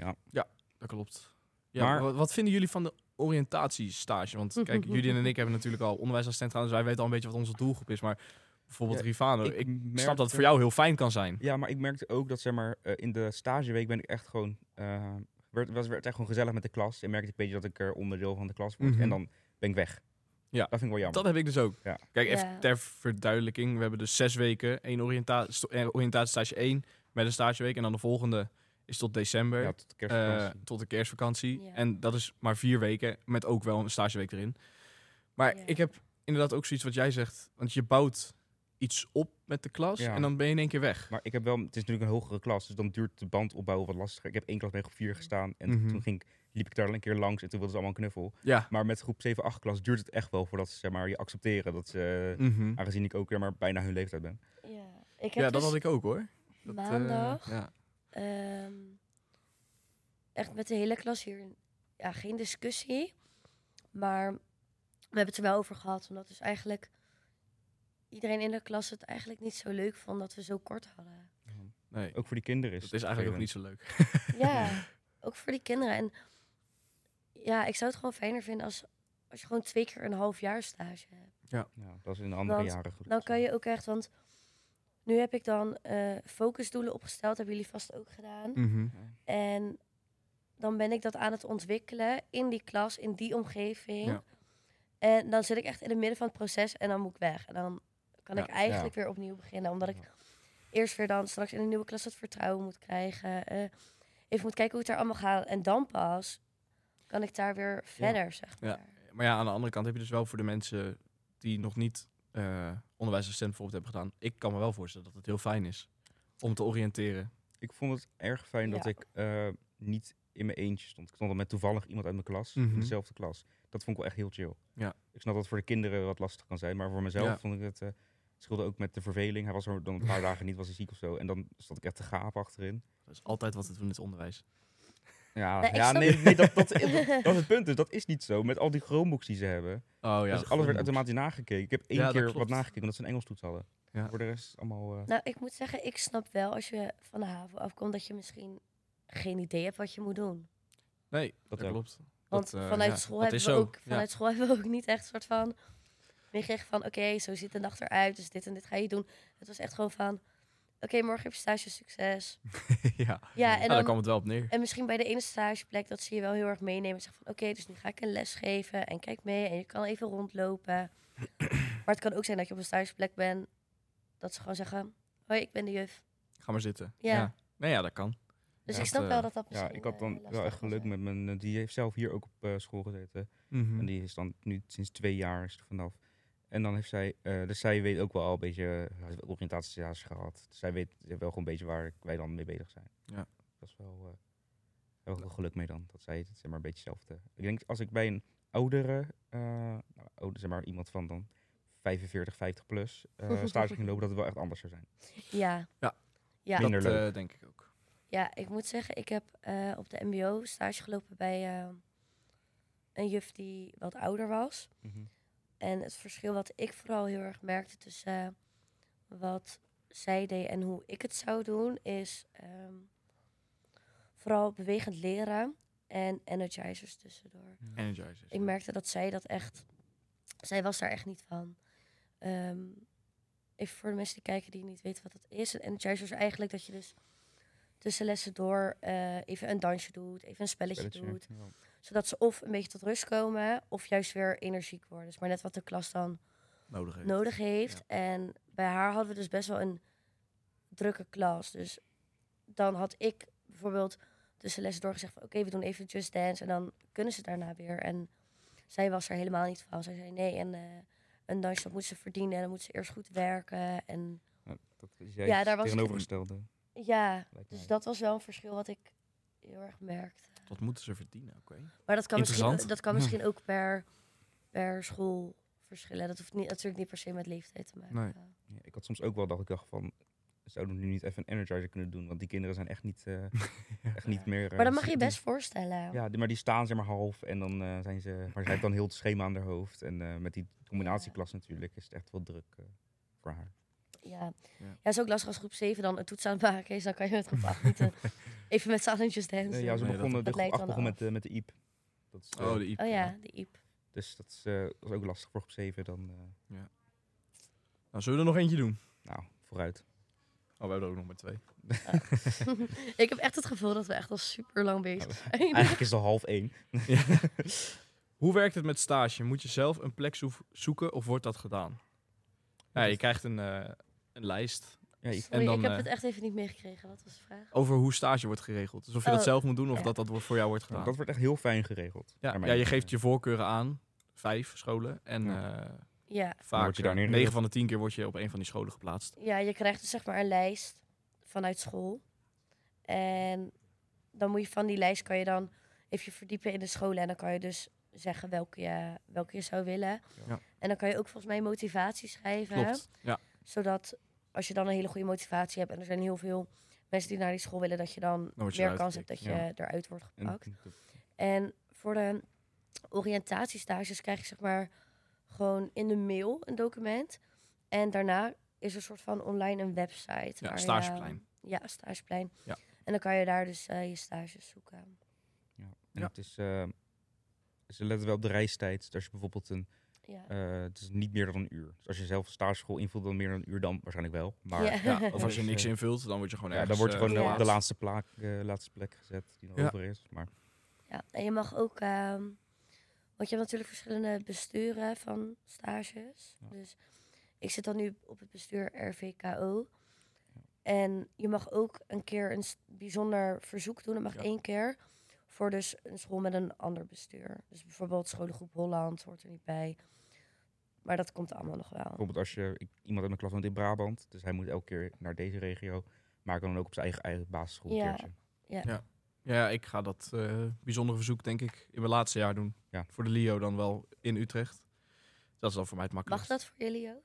[SPEAKER 1] Dat klopt. Ja,
[SPEAKER 3] Maar-
[SPEAKER 1] maar wat, wat vinden jullie van de oriëntatiestage?
[SPEAKER 4] *laughs*
[SPEAKER 1] Want kijk, jullie en ik hebben natuurlijk al onderwijsassistent gedaan, dus wij weten al een beetje wat onze doelgroep is. Maar bijvoorbeeld
[SPEAKER 3] Ja,
[SPEAKER 1] Rivano, Eh, ik, snap dat het
[SPEAKER 3] merkte-
[SPEAKER 1] voor jou heel fijn kan zijn.
[SPEAKER 3] Ja, maar ik merkte ook dat zeg maar, eh, in de stageweek ben ik echt gewoon. eh, werd, was, werd echt gewoon gezellig met de klas. En merkte ik een beetje dat ik er onderdeel van de klas word.
[SPEAKER 1] Mhm.
[SPEAKER 3] En dan ben ik weg.
[SPEAKER 1] Ja.
[SPEAKER 3] Dat vind ik wel jammer.
[SPEAKER 1] Dat heb ik dus ook.
[SPEAKER 3] Ja.
[SPEAKER 1] Kijk, even
[SPEAKER 4] Ja.
[SPEAKER 1] ter verduidelijking. We hebben dus zes weken. één oriënta sto- eh, oriëntatiestage 1 met een stageweek. En dan de volgende is tot december.
[SPEAKER 3] Ja, tot de kerstvakantie.
[SPEAKER 1] eh, tot de kerstvakantie.
[SPEAKER 4] Ja.
[SPEAKER 1] En dat is maar vier weken. Met ook wel een stageweek erin. Maar
[SPEAKER 4] Ja.
[SPEAKER 1] ik heb inderdaad ook zoiets wat jij zegt. Want je bouwt iets op met de klas.
[SPEAKER 3] Ja.
[SPEAKER 1] En dan ben je in één keer weg.
[SPEAKER 3] Maar ik heb wel, het is natuurlijk een hogere klas, dus dan duurt de band opbouwen wat lastiger. Ik heb één klas bij groep 4 gestaan en
[SPEAKER 1] Mhm.
[SPEAKER 3] toen ging, ik- liep ik daar al een keer langs en toen wilden ze allemaal een knuffel.
[SPEAKER 1] Ja.
[SPEAKER 3] Maar met groep 7, 8 klas duurt het echt wel voordat ze zeg maar, je accepteren. Dat ze,
[SPEAKER 1] Mhm.
[SPEAKER 3] aangezien ik ook weer maar bijna hun leeftijd ben.
[SPEAKER 4] Ja, ik heb
[SPEAKER 1] Ja, dat
[SPEAKER 4] dus
[SPEAKER 1] had ik ook hoor. Dat, eh,
[SPEAKER 4] maandag
[SPEAKER 1] ja.
[SPEAKER 4] ehm, echt met de hele klas hier ja, geen discussie. Maar we hebben het er wel over gehad. Omdat dus eigenlijk iedereen in de klas het eigenlijk niet zo leuk vond dat we zo kort hadden.
[SPEAKER 1] Nee,
[SPEAKER 3] Ook voor die kinderen is
[SPEAKER 1] dat is eigenlijk ook niet zo leuk.
[SPEAKER 4] Ja, ook voor die kinderen. En ja, ik zou het gewoon fijner vinden als, als je gewoon twee keer een half jaar stage hebt.
[SPEAKER 3] Ja, dat is in de andere
[SPEAKER 4] Want
[SPEAKER 3] jaren goed.
[SPEAKER 4] Dan kan je ook echt, want nu heb ik dan eh, focusdoelen opgesteld. Hebben jullie vast ook gedaan.
[SPEAKER 1] Mhm.
[SPEAKER 4] En dan ben ik dat aan het ontwikkelen in die klas, in die omgeving.
[SPEAKER 1] Ja.
[SPEAKER 4] En dan zit ik echt in het midden van het proces en dan moet ik weg. En dan kan
[SPEAKER 1] Ja,
[SPEAKER 4] ik eigenlijk weer opnieuw beginnen. Omdat ik eerst weer dan straks in een nieuwe klas dat vertrouwen moet krijgen. eh, even moet kijken hoe het daar allemaal gaat. En dan pas kan ik daar weer verder, zeg
[SPEAKER 1] Ja.
[SPEAKER 4] maar.
[SPEAKER 1] Maar ja, aan de andere kant heb je dus wel voor de mensen die nog niet eh onderwijsassistent bijvoorbeeld hebben gedaan. Ik kan me wel voorstellen dat het heel fijn is om te oriënteren.
[SPEAKER 3] Ik vond het erg fijn dat
[SPEAKER 4] Ja.
[SPEAKER 3] ik eh, niet in mijn eentje stond. Ik stond al met toevallig iemand uit mijn klas,
[SPEAKER 1] Mhm.
[SPEAKER 3] in dezelfde klas. Dat vond ik wel echt heel chill.
[SPEAKER 1] Ja.
[SPEAKER 3] Ik snap dat het voor de kinderen wat lastig kan zijn, maar voor mezelf
[SPEAKER 1] Ja.
[SPEAKER 3] vond ik het... eh het scheelde ook met de verveling. Hij was er dan een paar dagen niet, was hij ziek of zo. En dan stond ik echt te gaap achterin.
[SPEAKER 1] Dat is altijd wat te doen in het onderwijs.
[SPEAKER 3] Ja,
[SPEAKER 4] Nee, ik
[SPEAKER 3] ja
[SPEAKER 4] snap-
[SPEAKER 3] nee, nee
[SPEAKER 4] *laughs*
[SPEAKER 3] dat, dat, dat, dat is het punt. Dus dat is niet zo. Met al die Chromebooks die ze hebben.
[SPEAKER 1] Oh ja.
[SPEAKER 3] dus alles werd automatisch nagekeken. Ik heb één
[SPEAKER 1] Ja, dat
[SPEAKER 3] keer wat
[SPEAKER 1] klopt.
[SPEAKER 3] nagekeken, omdat ze een Engels toets hadden.
[SPEAKER 1] Ja.
[SPEAKER 3] Voor de rest allemaal... eh,
[SPEAKER 4] Nou, ik moet zeggen, ik snap wel als je van de haven afkomt dat je misschien geen idee hebt wat je moet doen.
[SPEAKER 1] Nee, dat,
[SPEAKER 3] dat ook.
[SPEAKER 1] klopt.
[SPEAKER 4] Want
[SPEAKER 1] Dat, eh,
[SPEAKER 4] vanuit,
[SPEAKER 1] ja,
[SPEAKER 4] school
[SPEAKER 1] dat
[SPEAKER 4] hebben
[SPEAKER 1] is
[SPEAKER 4] we
[SPEAKER 1] zo,
[SPEAKER 4] ook,
[SPEAKER 1] ja.
[SPEAKER 4] vanuit school hebben we ook niet echt soort van meegekregen van oké, zo ziet de dag eruit, dus dit en dit ga je doen. Het was echt gewoon van oké, morgen heb je stage succes.
[SPEAKER 1] *laughs* *laughs* ja. Nou,
[SPEAKER 4] Ja, en,
[SPEAKER 1] daar
[SPEAKER 4] dan,
[SPEAKER 1] kwam het wel op neer.
[SPEAKER 4] en misschien bij de ene stageplek dat zie je wel heel erg meenemen. en Zeg van oké, dus nu ga ik een les geven en
[SPEAKER 1] *clears throat*
[SPEAKER 4] kijk mee en je kan even rondlopen. maar het kan ook zijn dat je op een stageplek bent Dat ze gewoon zeggen, hoi, ik ben de juf.
[SPEAKER 1] Ga maar zitten.
[SPEAKER 4] Ja.
[SPEAKER 1] Nee, ja, dat kan.
[SPEAKER 4] Dus
[SPEAKER 1] Ja, dat,
[SPEAKER 4] ik snap
[SPEAKER 1] eh,
[SPEAKER 4] wel dat dat
[SPEAKER 3] Ja,
[SPEAKER 4] misschien,
[SPEAKER 3] ik had
[SPEAKER 4] eh,
[SPEAKER 3] dan
[SPEAKER 4] lastig
[SPEAKER 3] wel echt
[SPEAKER 4] kan
[SPEAKER 3] geluk
[SPEAKER 4] zijn.
[SPEAKER 3] met mijn... eh, Die heeft zelf hier ook op eh, school gezeten. En die is dan nu sinds twee jaar is er vanaf. En dan heeft zij, eh, dus zij weet ook wel al een beetje, eh, heeft oriëntatiejaars gehad. Dus zij weet wel gewoon een beetje waar wij dan mee bezig zijn.
[SPEAKER 1] Ja.
[SPEAKER 3] Dat is wel, eh daar heb ik wel geluk mee dan, dat zij het zeg maar een beetje zelf te... Ik denk als ik bij een oudere, eh nou, ouder, zeg maar iemand van dan 45, 50 plus, *laughs* eh stage ging lopen, dat het wel echt anders zou zijn.
[SPEAKER 4] Ja.
[SPEAKER 1] Ja.
[SPEAKER 4] Ja.
[SPEAKER 1] dat
[SPEAKER 3] Minder leuk.
[SPEAKER 1] eh, denk ik ook.
[SPEAKER 4] Ja, ik moet zeggen, ik heb eh, op de MBO stage gelopen bij eh, een juf die wat ouder was.
[SPEAKER 3] Mhm.
[SPEAKER 4] En het verschil wat ik vooral heel erg merkte tussen eh, wat zij deed en hoe ik het zou doen, is ehm, vooral bewegend leren en energizers tussendoor.
[SPEAKER 1] Energizers.
[SPEAKER 4] Ik merkte dat zij dat echt. Zij was daar echt niet van. Ehm, even voor de mensen die kijken die niet weten wat dat is. Een energizer is eigenlijk dat je dus tussen lessen door eh, even een dansje doet, even een spelletje,
[SPEAKER 3] Spelletje,
[SPEAKER 4] doet.
[SPEAKER 3] ja.
[SPEAKER 4] Zodat ze of een beetje tot rust komen, of juist weer energiek worden. Dus maar net wat de klas dan
[SPEAKER 1] nodig. heeft.
[SPEAKER 4] nodig heeft. En bij haar hadden we dus best wel een drukke klas. Dus dan had ik bijvoorbeeld tussen lessen doorgezegd van... oké, we doen even Just Dance en dan kunnen ze daarna weer. En zij was er helemaal niet van. Zij zei nee, en eh, een dansje dat moet ze verdienen... en dan moet ze eerst goed werken. En
[SPEAKER 3] Dat is jij ja,
[SPEAKER 4] Ja, daar
[SPEAKER 3] daar
[SPEAKER 4] was ik-
[SPEAKER 3] tegenovergestelde.
[SPEAKER 4] ja,
[SPEAKER 3] lijkt
[SPEAKER 4] dus
[SPEAKER 3] mij.
[SPEAKER 4] dat was wel een verschil wat ik heel erg merkte.
[SPEAKER 1] Wat moeten ze verdienen? Oké.
[SPEAKER 4] Maar dat kan misschien,
[SPEAKER 1] Interessant.
[SPEAKER 4] dat kan
[SPEAKER 3] *laughs*
[SPEAKER 4] misschien ook per, per school verschillen. Dat hoeft niet, natuurlijk niet per se met leeftijd te maken.
[SPEAKER 1] Nee.
[SPEAKER 3] Ja, ik had soms ook wel dat ik dacht van, zouden we nu niet even een energizer kunnen doen? Want die kinderen zijn echt niet,
[SPEAKER 1] *laughs*
[SPEAKER 3] eh, echt niet meer... eh,
[SPEAKER 4] Maar dat mag
[SPEAKER 3] st-
[SPEAKER 4] je
[SPEAKER 3] die-
[SPEAKER 4] best voorstellen.
[SPEAKER 3] Ja, die- maar die staan zeg maar half en dan eh, zijn ze... Maar zij heeft dan heel het schema aan haar hoofd. En eh, met die combinatieklas natuurlijk is het echt wel druk eh, voor haar.
[SPEAKER 4] Ja.
[SPEAKER 1] Ja.
[SPEAKER 4] ja, is ook lastig als groep 7 dan een toets aan het maken is. Dan kan je met groep 8 niet eh, even met z'n allen just dansen.
[SPEAKER 3] Nee, Eh, ja, ze
[SPEAKER 1] Nee, dat-
[SPEAKER 3] begonnen, de
[SPEAKER 4] dat
[SPEAKER 3] groep
[SPEAKER 4] lijkt
[SPEAKER 3] acht
[SPEAKER 4] dan
[SPEAKER 3] begon
[SPEAKER 4] af.
[SPEAKER 3] met, eh, met de IEP. Dat is, eh,
[SPEAKER 1] Oh, de IP.
[SPEAKER 4] Oh ja, de Iep.
[SPEAKER 3] Dus dat is, eh, was ook lastig voor op 7 dan... eh,
[SPEAKER 1] Nou, zullen we er nog eentje doen?
[SPEAKER 3] nou,
[SPEAKER 4] *laughs*
[SPEAKER 3] vooruit.
[SPEAKER 1] Oh, we hebben er ook nog maar twee.
[SPEAKER 4] Ik heb echt het gevoel dat we echt al super lang bezig zijn. *laughs*
[SPEAKER 3] Eigenlijk is het al half één.
[SPEAKER 1] *laughs* Hoe werkt het met stage? Moet je zelf een plek zoef- zoeken of wordt dat gedaan? Ja, je krijgt een, eh, een lijst
[SPEAKER 3] Ja, ik-
[SPEAKER 4] Sorry,
[SPEAKER 1] dan,
[SPEAKER 4] ik heb
[SPEAKER 1] eh,
[SPEAKER 4] het echt even niet meegekregen. Wat was de vraag?
[SPEAKER 1] over hoe stage wordt geregeld. Dus of je
[SPEAKER 4] Oh,
[SPEAKER 1] dat zelf moet doen of
[SPEAKER 4] ja.
[SPEAKER 1] dat dat wo- voor jou wordt gedaan.
[SPEAKER 3] dat wordt echt heel fijn geregeld.
[SPEAKER 1] ja,
[SPEAKER 3] naar
[SPEAKER 1] ja,
[SPEAKER 3] mijn
[SPEAKER 1] je
[SPEAKER 3] idee.
[SPEAKER 1] geeft je voorkeuren aan. Vijf scholen. En
[SPEAKER 3] Ja.
[SPEAKER 1] eh,
[SPEAKER 4] Ja.
[SPEAKER 1] vaak
[SPEAKER 3] word je daar
[SPEAKER 1] eh,
[SPEAKER 3] neergezet.
[SPEAKER 1] negen van de tien keer word je op een van die scholen geplaatst.
[SPEAKER 4] ja, je krijgt dus zeg maar een lijst vanuit school. En dan moet je van die lijst kan je dan even verdiepen in de scholen. En dan kan je dus zeggen welke je, welke je zou willen.
[SPEAKER 1] Ja.
[SPEAKER 4] En dan kan je ook volgens mij motivatie schrijven.
[SPEAKER 1] Klopt. Ja.
[SPEAKER 4] Zodat als je dan een hele goede motivatie hebt en er zijn heel veel mensen die naar die school willen, dat je dan,
[SPEAKER 1] word je
[SPEAKER 4] meer
[SPEAKER 1] eruit
[SPEAKER 4] kans hebt dat je
[SPEAKER 3] getikt,
[SPEAKER 4] eruit wordt
[SPEAKER 3] En-
[SPEAKER 4] gepakt. En voor de oriëntatiestages krijg je zeg maar gewoon in de mail een document. En daarna is er soort van online een website.
[SPEAKER 1] Ja,
[SPEAKER 4] waar je-
[SPEAKER 1] stageplein.
[SPEAKER 4] ja, stageplein.
[SPEAKER 1] Ja.
[SPEAKER 4] En dan kan je daar dus eh, je stages zoeken.
[SPEAKER 3] Ja. En
[SPEAKER 1] Ja.
[SPEAKER 3] het is... eh, ze letten wel op de reistijd. Dus als je bijvoorbeeld een
[SPEAKER 4] Ja.
[SPEAKER 3] Eh, het is niet meer dan een uur. Dus als je zelf stageschool invult, dan meer dan een uur dan waarschijnlijk wel. Maar ja.
[SPEAKER 1] Ja, *laughs* of als je
[SPEAKER 3] Dus,
[SPEAKER 1] niks
[SPEAKER 3] eh,
[SPEAKER 1] invult, dan word je gewoon ergens...
[SPEAKER 3] dan word je
[SPEAKER 1] eh,
[SPEAKER 3] gewoon
[SPEAKER 4] ja.
[SPEAKER 3] op de laatste, plaak, eh, laatste plek gezet die nog
[SPEAKER 1] Ja.
[SPEAKER 3] over is. Maar
[SPEAKER 4] Ja, en je mag ook, ehm, want je hebt natuurlijk verschillende besturen van stages.
[SPEAKER 3] Ja.
[SPEAKER 4] Dus ik zit dan nu op het bestuur RVKO. En je mag ook een keer een s- bijzonder verzoek doen. Dat mag
[SPEAKER 1] Ja.
[SPEAKER 4] één keer voor dus een school met een ander bestuur. Dus bijvoorbeeld scholengroep Holland hoort er niet bij. Maar dat komt allemaal nog wel.
[SPEAKER 3] bijvoorbeeld als je ik, iemand uit mijn klas woont in Brabant, dus hij moet elke keer naar deze regio, maar hij kan dan ook op zijn eigen, eigen basisschool
[SPEAKER 4] Ja.
[SPEAKER 3] een keertje.
[SPEAKER 1] Ja, ik ga dat eh, bijzondere verzoek denk ik in mijn laatste jaar doen.
[SPEAKER 3] Ja.
[SPEAKER 1] Voor de LIO dan wel in Utrecht. Dat is dan voor mij het
[SPEAKER 4] Mag
[SPEAKER 1] makkelijkste.
[SPEAKER 4] dat voor jullie ook?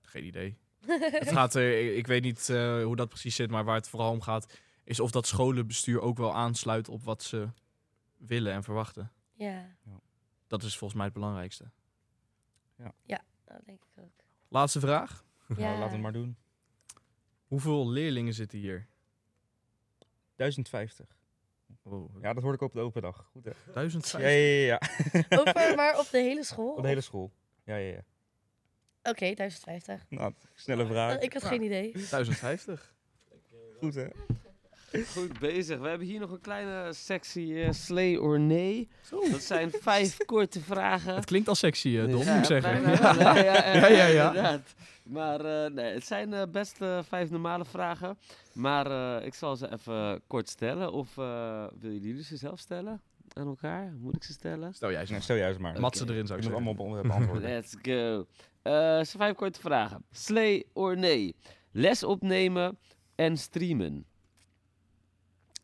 [SPEAKER 1] Geen idee.
[SPEAKER 4] *laughs*
[SPEAKER 1] het gaat, eh, ik- ik weet niet eh, hoe dat precies zit, maar waar het vooral om gaat... is of dat scholenbestuur ook wel aansluit op wat ze willen en verwachten.
[SPEAKER 4] Ja,
[SPEAKER 1] Dat is volgens mij het belangrijkste.
[SPEAKER 4] dat denk ik ook.
[SPEAKER 1] Laatste vraag.
[SPEAKER 3] Nou,
[SPEAKER 4] Ja.
[SPEAKER 3] laten we het maar doen.
[SPEAKER 1] Hoeveel leerlingen zitten hier?
[SPEAKER 3] 1050.
[SPEAKER 1] Oh,
[SPEAKER 3] Ja, dat hoorde ik op de open dag. Goed hè? Ja,
[SPEAKER 1] 1050.
[SPEAKER 3] ja, ja. ja.
[SPEAKER 4] Over, maar op de hele school?
[SPEAKER 3] Op de hele school. Ja, ja, ja.
[SPEAKER 4] Oké, 1050.
[SPEAKER 3] Nou, snelle vraag.
[SPEAKER 4] ik had Oh, geen idee.
[SPEAKER 1] 1050.
[SPEAKER 3] Goed hè?
[SPEAKER 2] Goed bezig. We hebben hier nog een kleine sectie eh, slay or nee. Dat zijn
[SPEAKER 1] *laughs*
[SPEAKER 2] vijf korte vragen.
[SPEAKER 1] Het klinkt al sexy, eh, Don,
[SPEAKER 2] Ja,
[SPEAKER 1] moet ik zeggen.
[SPEAKER 2] bijna wel, hè? Ja, ja,
[SPEAKER 1] Ja, ja, ja.
[SPEAKER 2] inderdaad. Maar eh, nee, het zijn eh, best eh, vijf normale vragen. Maar eh, ik zal ze even kort stellen. Of eh willen jullie ze zelf stellen aan elkaar? Moet ik ze
[SPEAKER 1] *laughs*
[SPEAKER 2] stellen?
[SPEAKER 1] Stel jij
[SPEAKER 3] Nee,
[SPEAKER 1] eens.
[SPEAKER 3] stel juist maar.
[SPEAKER 1] Matsen erin, zou
[SPEAKER 3] Ik
[SPEAKER 1] ik
[SPEAKER 3] moet
[SPEAKER 1] zeggen.
[SPEAKER 3] allemaal
[SPEAKER 1] *laughs*
[SPEAKER 3] be- beantwoorden.
[SPEAKER 2] Let's go. Eh zijn vijf korte vragen. Slay or nee? Les opnemen en streamen.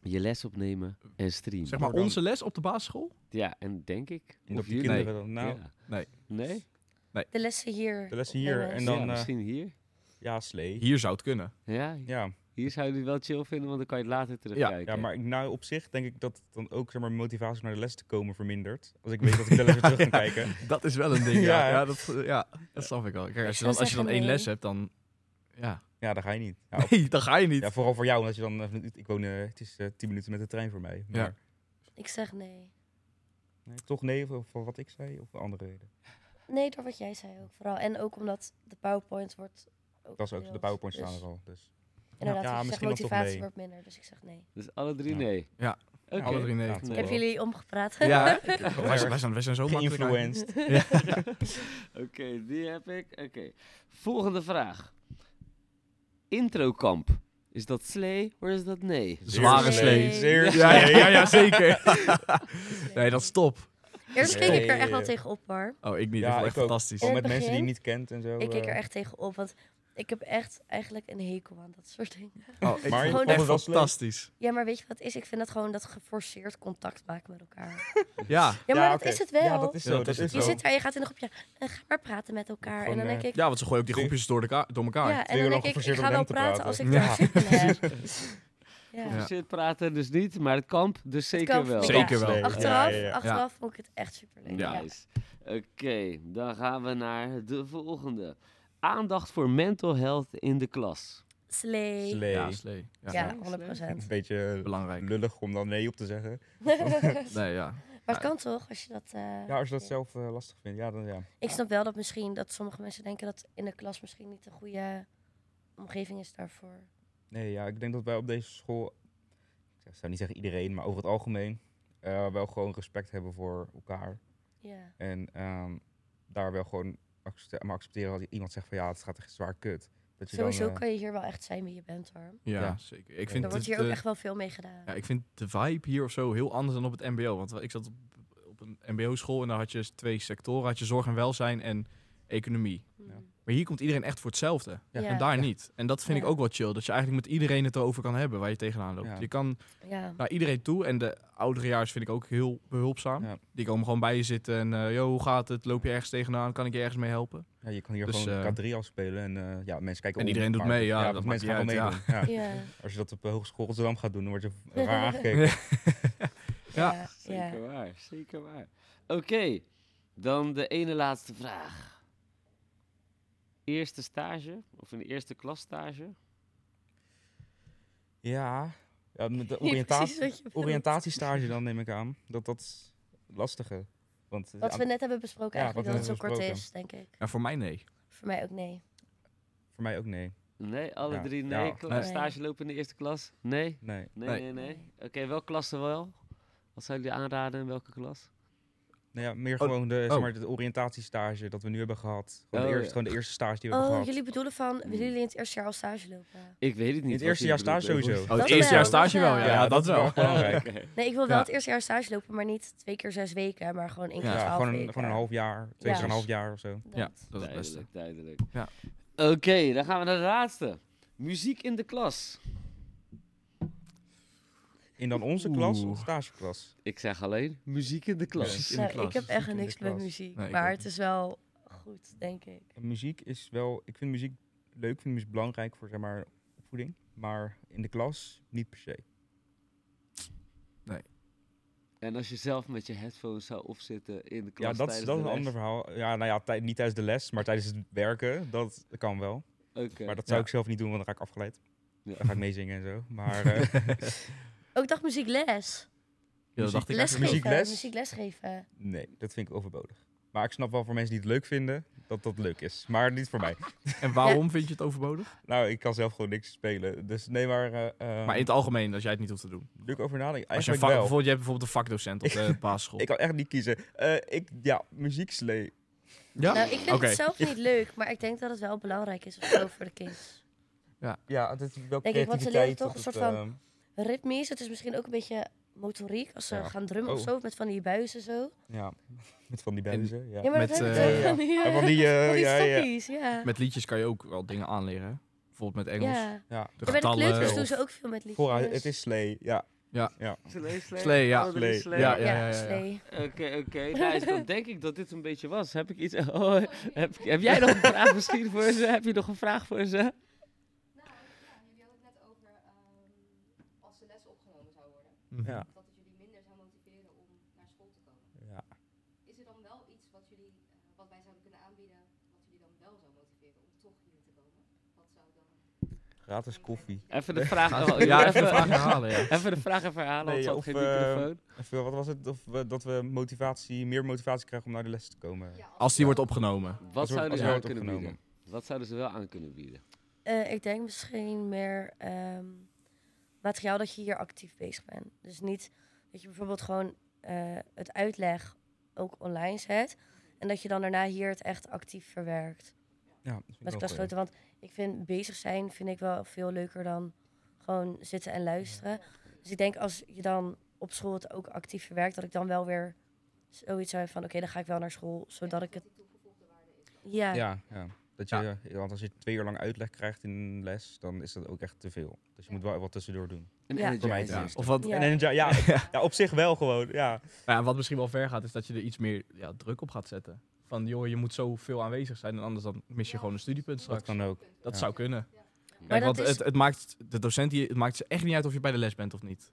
[SPEAKER 2] Je les opnemen en streamen.
[SPEAKER 1] Zeg maar
[SPEAKER 3] Door dan-
[SPEAKER 1] onze les op de basisschool?
[SPEAKER 2] Ja, en denk ik.
[SPEAKER 3] En
[SPEAKER 2] of
[SPEAKER 3] dat die
[SPEAKER 2] jullie.
[SPEAKER 3] kinderen dan, nou,
[SPEAKER 2] Ja.
[SPEAKER 1] Nee.
[SPEAKER 2] Nee?
[SPEAKER 4] De lessen hier.
[SPEAKER 3] de lessen
[SPEAKER 4] opnemen
[SPEAKER 3] hier en dan,
[SPEAKER 2] Ja,
[SPEAKER 3] eh,
[SPEAKER 2] misschien hier.
[SPEAKER 3] ja, slee.
[SPEAKER 1] Hier zou het kunnen.
[SPEAKER 2] Ja,
[SPEAKER 3] Ja,
[SPEAKER 2] hier zou je het wel chill vinden, want dan kan je het later terugkijken.
[SPEAKER 3] ja, maar ik- nou op zich denk ik dat dan ook zeg maar, motivatie om naar de les te komen vermindert. Als ik weet dat ik wel eens weer
[SPEAKER 1] *laughs*
[SPEAKER 3] terug kan kijken.
[SPEAKER 1] Dat is wel een ding, ja.
[SPEAKER 3] Ja.
[SPEAKER 1] ja. dat, eh, ja, dat snap ik wel. Kijk, als je
[SPEAKER 4] zou
[SPEAKER 1] dan, als je dan
[SPEAKER 4] zeggen
[SPEAKER 1] één
[SPEAKER 4] nee.
[SPEAKER 1] les hebt, dan... Ja,
[SPEAKER 3] Ja, daar ga je niet. Ja, op-
[SPEAKER 1] nee, dan ga je niet.
[SPEAKER 3] ja, vooral voor jou, omdat je dan... eh, Ik woon, eh, het is eh, 10 minuten met de trein voor mij. Maar
[SPEAKER 4] Ik zeg nee.
[SPEAKER 3] nee, toch nee voor, voor wat ik zei of voor andere reden.
[SPEAKER 4] Nee, door wat jij zei ook vooral. En ook omdat de PowerPoint wordt. Ook
[SPEAKER 3] Ik was ook de
[SPEAKER 4] gedeeld.
[SPEAKER 3] PowerPoint staan
[SPEAKER 4] Dus
[SPEAKER 3] er al. Dus.
[SPEAKER 4] Inderdaad,
[SPEAKER 3] Ja,
[SPEAKER 4] wat je zegt,
[SPEAKER 3] misschien dan toch
[SPEAKER 4] motivatie
[SPEAKER 3] nee.
[SPEAKER 4] wordt minder, dus ik zeg nee.
[SPEAKER 2] Dus alle drie
[SPEAKER 3] Ja.
[SPEAKER 2] nee.
[SPEAKER 1] Ja.
[SPEAKER 2] Oké.
[SPEAKER 1] Alle *laughs* drie nee.
[SPEAKER 3] Ja, toch
[SPEAKER 2] Nee.
[SPEAKER 4] Hebben
[SPEAKER 3] wel.
[SPEAKER 4] jullie omgepraat?
[SPEAKER 1] Ja,
[SPEAKER 4] *laughs*
[SPEAKER 1] hè?
[SPEAKER 3] wel
[SPEAKER 1] wij, zijn,
[SPEAKER 3] erg
[SPEAKER 1] wij, zijn, wij zijn zo makkelijk.
[SPEAKER 3] Geïnfluenced.
[SPEAKER 2] *laughs* Oké, die heb ik. Oké. Volgende vraag. Introkamp. Is dat slay of is dat nee?
[SPEAKER 1] eigenlijk. Zware
[SPEAKER 4] Nee.
[SPEAKER 1] slee.
[SPEAKER 3] Zeer
[SPEAKER 1] Ja, ja,
[SPEAKER 3] slee.
[SPEAKER 1] ja,
[SPEAKER 3] *laughs*
[SPEAKER 1] ja, zeker. Nee, dat is top.
[SPEAKER 4] Eerst
[SPEAKER 3] Nee.
[SPEAKER 4] keek ik er echt wel
[SPEAKER 3] Nee.
[SPEAKER 4] tegenop hoor.
[SPEAKER 1] Oh, ik niet.
[SPEAKER 3] Ja,
[SPEAKER 1] dat
[SPEAKER 3] ik
[SPEAKER 1] is echt
[SPEAKER 3] ook.
[SPEAKER 1] fantastisch.
[SPEAKER 3] Al
[SPEAKER 4] In
[SPEAKER 3] met
[SPEAKER 4] het
[SPEAKER 3] mensen die je
[SPEAKER 4] begin-
[SPEAKER 3] niet kent en zo.
[SPEAKER 4] Ik keek
[SPEAKER 3] eh,
[SPEAKER 4] er echt tegenop, want ik heb echt eigenlijk een hekel aan dat soort dingen.
[SPEAKER 1] Oh, ik
[SPEAKER 3] Maar
[SPEAKER 1] vond
[SPEAKER 4] je
[SPEAKER 1] het
[SPEAKER 3] het
[SPEAKER 4] vond
[SPEAKER 3] wel
[SPEAKER 1] echt
[SPEAKER 3] slee?
[SPEAKER 1] fantastisch.
[SPEAKER 4] Ja, maar weet je wat het is? Ik vind dat gewoon dat geforceerd contact maken met elkaar.
[SPEAKER 1] Ja.
[SPEAKER 4] Ja, maar dat
[SPEAKER 3] oké.
[SPEAKER 4] is het wel.
[SPEAKER 3] Ja, dat is
[SPEAKER 1] Ja,
[SPEAKER 3] zo.
[SPEAKER 1] dat
[SPEAKER 3] dat
[SPEAKER 1] is
[SPEAKER 3] is
[SPEAKER 1] het
[SPEAKER 4] je
[SPEAKER 3] zo.
[SPEAKER 4] zit daar, je gaat in een groepje, eh, ga maar praten met elkaar.
[SPEAKER 3] Gewoon,
[SPEAKER 4] en dan denk
[SPEAKER 3] eh,
[SPEAKER 4] ik,
[SPEAKER 1] ja, want ze gooien ook die groepjes door, elkaar- door elkaar.
[SPEAKER 4] ja, en
[SPEAKER 3] twee uur
[SPEAKER 4] dan
[SPEAKER 3] lang
[SPEAKER 4] denk ik, ik
[SPEAKER 3] geforceerd om
[SPEAKER 4] ga wel
[SPEAKER 3] hem te
[SPEAKER 4] praten
[SPEAKER 3] praten.
[SPEAKER 4] als ik
[SPEAKER 1] Ja.
[SPEAKER 4] daar zin in heb. Ja.
[SPEAKER 1] Ja.
[SPEAKER 2] Geforceerd praten dus niet, maar het kamp dus zeker
[SPEAKER 4] kamp
[SPEAKER 2] wel.
[SPEAKER 4] vind ik
[SPEAKER 1] Zeker wel.
[SPEAKER 3] Ja,
[SPEAKER 4] Achteraf,
[SPEAKER 3] ja, ja.
[SPEAKER 4] achteraf vond ik het echt super leuk.
[SPEAKER 1] Ja.
[SPEAKER 2] Nice. Oké, dan gaan we naar de volgende. Aandacht voor mental health in de klas.
[SPEAKER 4] Slee.
[SPEAKER 3] Slee.
[SPEAKER 1] Ja, slee. Ja,
[SPEAKER 4] Ja,
[SPEAKER 2] Slee.
[SPEAKER 4] 100
[SPEAKER 3] Een beetje
[SPEAKER 1] Belangrijk.
[SPEAKER 3] lullig om dan nee op te zeggen.
[SPEAKER 1] Nee, ja.
[SPEAKER 4] *laughs* maar het kan toch, als je dat... eh,
[SPEAKER 3] Ja, als je dat zelf eh, lastig vindt. Ja, dan ja.
[SPEAKER 4] Ik snap wel dat misschien dat sommige mensen denken dat in de klas misschien niet de goede omgeving is daarvoor.
[SPEAKER 3] Nee, ja, ik denk dat wij op deze school, ik zeg- zou niet zeggen iedereen, maar over het algemeen, eh, wel gewoon respect hebben voor elkaar.
[SPEAKER 4] Ja.
[SPEAKER 3] En ehm, daar wel gewoon accepte- maar accepteren als iemand zegt van ja, het gaat echt zwaar kut. Dat je
[SPEAKER 4] Sowieso
[SPEAKER 3] dan, eh,
[SPEAKER 4] kan je hier wel echt zijn wie je bent hoor.
[SPEAKER 1] Ja,
[SPEAKER 3] Ja.
[SPEAKER 1] zeker. Ik
[SPEAKER 3] Er
[SPEAKER 1] vind
[SPEAKER 4] Er wordt
[SPEAKER 1] het,
[SPEAKER 4] hier ook
[SPEAKER 1] eh,
[SPEAKER 4] echt wel veel mee gedaan.
[SPEAKER 1] Ja, ik vind de vibe hier of zo heel anders dan op het MBO. Want ik zat op, op een MBO-school en daar had je twee sectoren: had je zorg en welzijn en economie.
[SPEAKER 3] Ja.
[SPEAKER 4] Mm.
[SPEAKER 1] Maar hier komt iedereen echt voor hetzelfde.
[SPEAKER 3] Ja.
[SPEAKER 4] Ja.
[SPEAKER 1] En daar niet. En dat vind
[SPEAKER 4] Ja.
[SPEAKER 1] ik ook wel chill. Dat je eigenlijk met iedereen het erover kan hebben waar je tegenaan loopt.
[SPEAKER 3] Ja.
[SPEAKER 1] Je kan
[SPEAKER 4] Ja.
[SPEAKER 1] naar iedereen toe. En de ouderejaars vind ik ook heel behulpzaam.
[SPEAKER 3] Ja.
[SPEAKER 1] Die komen gewoon bij je zitten en eh yo, hoe gaat het? Loop je ergens tegenaan? Kan ik je ergens mee helpen?
[SPEAKER 3] ja, je kan hier
[SPEAKER 1] Dus,
[SPEAKER 3] gewoon
[SPEAKER 1] eh,
[SPEAKER 3] K3 afspelen en eh, ja, mensen kijken
[SPEAKER 1] en
[SPEAKER 3] om,
[SPEAKER 1] iedereen doet
[SPEAKER 3] maar-
[SPEAKER 1] mee, ja, dat
[SPEAKER 3] want
[SPEAKER 1] maakt
[SPEAKER 3] mensen gaan
[SPEAKER 1] niet
[SPEAKER 3] wel
[SPEAKER 1] uit,
[SPEAKER 3] meedoen. Ja.
[SPEAKER 4] Ja.
[SPEAKER 3] Als je dat op de Hogeschool Rotterdam gaat doen, dan word je raar aangekeken.
[SPEAKER 1] Ja.
[SPEAKER 4] Ja. ja.
[SPEAKER 2] Zeker waar, zeker waar. Oké, dan de ene laatste vraag. Eerste stage, of een eerste klasstage.
[SPEAKER 3] Ja, ja met de
[SPEAKER 4] Niet
[SPEAKER 3] oriëntatie,
[SPEAKER 4] precies wat *laughs* je bedoelt.
[SPEAKER 3] oriëntatiestage dan neem ik aan. Dat dat is lastige. Want eh,
[SPEAKER 4] Wat
[SPEAKER 3] aan-
[SPEAKER 4] we net hebben besproken
[SPEAKER 3] Ja,
[SPEAKER 4] eigenlijk,
[SPEAKER 3] wat
[SPEAKER 4] dat
[SPEAKER 3] we
[SPEAKER 4] het zo
[SPEAKER 3] net
[SPEAKER 4] kort
[SPEAKER 3] hebben
[SPEAKER 4] is, denk ik.
[SPEAKER 1] En voor mij nee.
[SPEAKER 4] Voor mij ook nee.
[SPEAKER 3] voor mij ook nee.
[SPEAKER 2] Nee, alle
[SPEAKER 3] Ja.
[SPEAKER 2] drie
[SPEAKER 3] Ja.
[SPEAKER 2] nee. Kla-
[SPEAKER 1] Nee.
[SPEAKER 2] Stage lopen in de eerste klas? Nee,
[SPEAKER 3] Nee.
[SPEAKER 2] nee, nee,
[SPEAKER 1] Nee.
[SPEAKER 2] nee. Oké, welke klasse wel? Wat zou jullie aanraden in welke klas?
[SPEAKER 3] Nou ja, meer gewoon de, zeg
[SPEAKER 1] oh.
[SPEAKER 3] maar, de oriëntatiestage dat we nu hebben gehad. Gewoon,
[SPEAKER 2] Oh,
[SPEAKER 3] de, eerste,
[SPEAKER 2] ja.
[SPEAKER 3] gewoon de eerste stage die we hebben
[SPEAKER 4] Oh,
[SPEAKER 3] gehad. Hmm.
[SPEAKER 4] jullie bedoelen van, willen
[SPEAKER 2] Mm.
[SPEAKER 4] jullie in het eerste jaar al stage lopen?
[SPEAKER 2] Ik weet het niet.
[SPEAKER 3] In het
[SPEAKER 2] wat
[SPEAKER 3] eerste
[SPEAKER 2] jullie
[SPEAKER 3] jaar stage
[SPEAKER 2] bedoelt. Oh,
[SPEAKER 3] sowieso.
[SPEAKER 1] Oh, het
[SPEAKER 4] Dat
[SPEAKER 1] eerste jaar
[SPEAKER 4] wel, dat
[SPEAKER 1] stage wel.
[SPEAKER 4] wel.
[SPEAKER 1] Ja, dat, wel.
[SPEAKER 2] *laughs*
[SPEAKER 3] belangrijk.
[SPEAKER 2] Oké.
[SPEAKER 4] Nee, ik wil wel
[SPEAKER 1] Ja.
[SPEAKER 4] het eerste jaar stage lopen, maar niet twee keer zes weken, maar gewoon één keer
[SPEAKER 1] Ja,
[SPEAKER 4] twaalf
[SPEAKER 3] Ja, gewoon
[SPEAKER 4] weken.
[SPEAKER 3] een, gewoon een half jaar, twee
[SPEAKER 4] Ja.
[SPEAKER 3] keer een half jaar of zo.
[SPEAKER 4] Dat.
[SPEAKER 1] Ja, dat is het beste.
[SPEAKER 2] Duidelijk, duidelijk.
[SPEAKER 1] Ja.
[SPEAKER 2] Oké, dan gaan we naar de laatste. Muziek in de klas.
[SPEAKER 3] In dan onze klas
[SPEAKER 1] Oeh.
[SPEAKER 3] of stageklas?
[SPEAKER 2] Ik zeg alleen muziek in de klas.
[SPEAKER 1] Muziek in de
[SPEAKER 4] Nou,
[SPEAKER 1] klas.
[SPEAKER 4] ik heb
[SPEAKER 3] Muziek
[SPEAKER 4] echt
[SPEAKER 3] in de
[SPEAKER 4] niks met
[SPEAKER 3] klas.
[SPEAKER 4] muziek,
[SPEAKER 1] Nee, ik
[SPEAKER 4] maar
[SPEAKER 1] ook
[SPEAKER 4] het
[SPEAKER 1] niet.
[SPEAKER 4] is wel goed, denk ik.
[SPEAKER 3] Muziek is wel, ik vind muziek leuk, ik vind muziek belangrijk voor zeg maar opvoeding. Maar in de klas niet per se.
[SPEAKER 2] En als je zelf met je headphones zou opzitten in de klas
[SPEAKER 3] Ja, dat is,
[SPEAKER 2] tijdens
[SPEAKER 3] dat
[SPEAKER 2] de
[SPEAKER 3] is een
[SPEAKER 2] les?
[SPEAKER 3] ander verhaal. Ja, nou ja, tij- niet tijdens de les, maar tijdens het werken, dat kan wel.
[SPEAKER 2] Oké.
[SPEAKER 3] Maar dat zou
[SPEAKER 1] Ja.
[SPEAKER 3] ik zelf niet doen, want dan ga ik afgeleid.
[SPEAKER 2] Ja.
[SPEAKER 3] Dan ga ik meezingen en zo. Maar
[SPEAKER 4] *laughs*
[SPEAKER 3] eh,
[SPEAKER 1] *laughs*
[SPEAKER 4] Ook dag muziekles.
[SPEAKER 1] Ja, dat dacht ik
[SPEAKER 4] Lesgeven.
[SPEAKER 1] eigenlijk
[SPEAKER 3] Muziekles?
[SPEAKER 4] Muziekles geven.
[SPEAKER 3] nee, dat vind ik overbodig. Maar ik snap wel voor mensen die het leuk vinden, dat dat leuk is. Maar niet voor mij.
[SPEAKER 1] En waarom vind je het overbodig?
[SPEAKER 3] Nou, ik kan zelf gewoon niks spelen. Dus nee, maar... eh, eh,
[SPEAKER 1] Maar in het algemeen, als jij het niet hoeft te doen.
[SPEAKER 3] leuk over nadenken.
[SPEAKER 1] Als je, een
[SPEAKER 3] Eigenlijk
[SPEAKER 1] vak,
[SPEAKER 3] wel.
[SPEAKER 1] bijvoorbeeld, je hebt bijvoorbeeld een vakdocent *laughs* op de basisschool.
[SPEAKER 3] Ik kan echt niet kiezen. Eh, ik, ja, muziekslee.
[SPEAKER 1] ja?
[SPEAKER 4] Nou, ik vind
[SPEAKER 1] Oké.
[SPEAKER 4] het zelf niet leuk, maar ik denk dat het wel belangrijk is of zo voor de kids.
[SPEAKER 3] Ja, het is wel
[SPEAKER 4] Denk ik, want ze leren toch
[SPEAKER 3] creativiteit,
[SPEAKER 4] een soort
[SPEAKER 3] dat
[SPEAKER 4] van-
[SPEAKER 3] het, ehm,
[SPEAKER 4] Ritmisch, het is misschien ook een beetje motoriek als ze
[SPEAKER 3] Ja.
[SPEAKER 4] gaan drummen of
[SPEAKER 3] Oh.
[SPEAKER 4] zo, met van die buizen zo.
[SPEAKER 3] eh, ja, met van die buizen. Ja.
[SPEAKER 4] Ja, maar
[SPEAKER 1] Met,
[SPEAKER 4] dat hebben
[SPEAKER 1] eh,
[SPEAKER 4] we toch van die,
[SPEAKER 3] Ja,
[SPEAKER 4] eh,
[SPEAKER 3] van
[SPEAKER 4] *laughs*
[SPEAKER 3] die, eh,
[SPEAKER 4] van die
[SPEAKER 3] ja, ja.
[SPEAKER 4] stokjes, ja.
[SPEAKER 1] Met liedjes kan je ook wel dingen aanleren. hè? Bijvoorbeeld met Engels.
[SPEAKER 4] Ja.
[SPEAKER 3] Ja.
[SPEAKER 1] De
[SPEAKER 4] Ja, bij de
[SPEAKER 1] getallen.
[SPEAKER 4] kleuters doen
[SPEAKER 1] of-
[SPEAKER 4] ze ook veel met liedjes.
[SPEAKER 3] Vooruit, het is slee. Ja.
[SPEAKER 2] Slee, slee.
[SPEAKER 1] Slee, ja.
[SPEAKER 2] Oh, dat is
[SPEAKER 3] Slee.
[SPEAKER 2] slee.
[SPEAKER 1] Ja,
[SPEAKER 4] Ja,
[SPEAKER 1] ja, ja.
[SPEAKER 4] slee.
[SPEAKER 2] Oké, oké. *laughs* Nice. Dan denk ik dat dit een beetje was. Heb ik iets... *laughs* Oh, heb, heb jij nog een vraag misschien voor ze? Heb je nog een vraag voor ze?
[SPEAKER 5] Nou, ehm,
[SPEAKER 1] Mhm.
[SPEAKER 3] Ja.
[SPEAKER 5] dat het jullie minder zou motiveren om naar school te komen.
[SPEAKER 3] ja.
[SPEAKER 5] Is er dan wel iets wat, jullie, eh, wat wij zouden kunnen aanbieden, wat jullie dan wel zou motiveren om toch hier te komen? Wat zou dan...
[SPEAKER 3] Gratis koffie.
[SPEAKER 2] Even de vraag... oh, *laughs*
[SPEAKER 1] Ja, even de vraag herhalen, ja.
[SPEAKER 2] Even de vraag even herhalen, want
[SPEAKER 3] Nee,
[SPEAKER 2] ze had
[SPEAKER 3] of,
[SPEAKER 2] geen
[SPEAKER 3] eh,
[SPEAKER 2] microfoon.
[SPEAKER 3] Of, eh, wat was het? Of we, dat we motivatie, meer motivatie krijgen om naar de les te komen.
[SPEAKER 1] Als die wordt opgenomen.
[SPEAKER 2] Wat
[SPEAKER 3] als er-
[SPEAKER 2] zouden
[SPEAKER 3] als
[SPEAKER 2] ze
[SPEAKER 3] er
[SPEAKER 2] wel
[SPEAKER 3] wordt
[SPEAKER 2] kunnen bieden?
[SPEAKER 3] opgenomen.
[SPEAKER 2] Wat zouden ze wel aan kunnen bieden?
[SPEAKER 4] Eh, ik denk misschien meer ehm, materiaal dat je hier actief bezig bent. Dus niet dat je bijvoorbeeld gewoon eh, het uitleg ook online zet. En dat je dan daarna hier het echt actief verwerkt.
[SPEAKER 3] Ja, dat vind ik
[SPEAKER 4] Met
[SPEAKER 3] wel goed.
[SPEAKER 4] klasgenoten. Want ik vind bezig zijn vind ik wel veel leuker dan gewoon zitten en luisteren. Dus ik denk als je dan op school het ook actief verwerkt, dat ik dan wel weer zoiets zou hebben van oké, dan ga ik wel naar school. Zodat ik het. Ja,
[SPEAKER 3] Ja, ja. Dat je,
[SPEAKER 1] Ja.
[SPEAKER 3] eh, Want als je twee uur lang uitleg krijgt in een les, dan is dat ook echt te veel. Dus je moet wel wat tussendoor doen.
[SPEAKER 2] Een
[SPEAKER 4] Ja.
[SPEAKER 2] energizer.
[SPEAKER 3] Voor mij het
[SPEAKER 1] Ja.
[SPEAKER 3] eerste.
[SPEAKER 1] Of wat,
[SPEAKER 4] Ja.
[SPEAKER 3] En, en ja, ja, ja, op zich wel gewoon. Ja.
[SPEAKER 1] Maar ja, wat misschien wel ver gaat, is dat je er iets meer ja, druk op gaat zetten. Van, joh, je moet zoveel aanwezig zijn en anders dan mis je gewoon een studiepunt
[SPEAKER 3] Dat
[SPEAKER 1] straks. Dat,
[SPEAKER 3] kan ook. ja.
[SPEAKER 1] zou kunnen. Kijk,
[SPEAKER 4] Maar dat
[SPEAKER 1] want
[SPEAKER 4] is-
[SPEAKER 1] het, het maakt de docent die, het maakt ze echt niet uit of je bij de les bent of niet.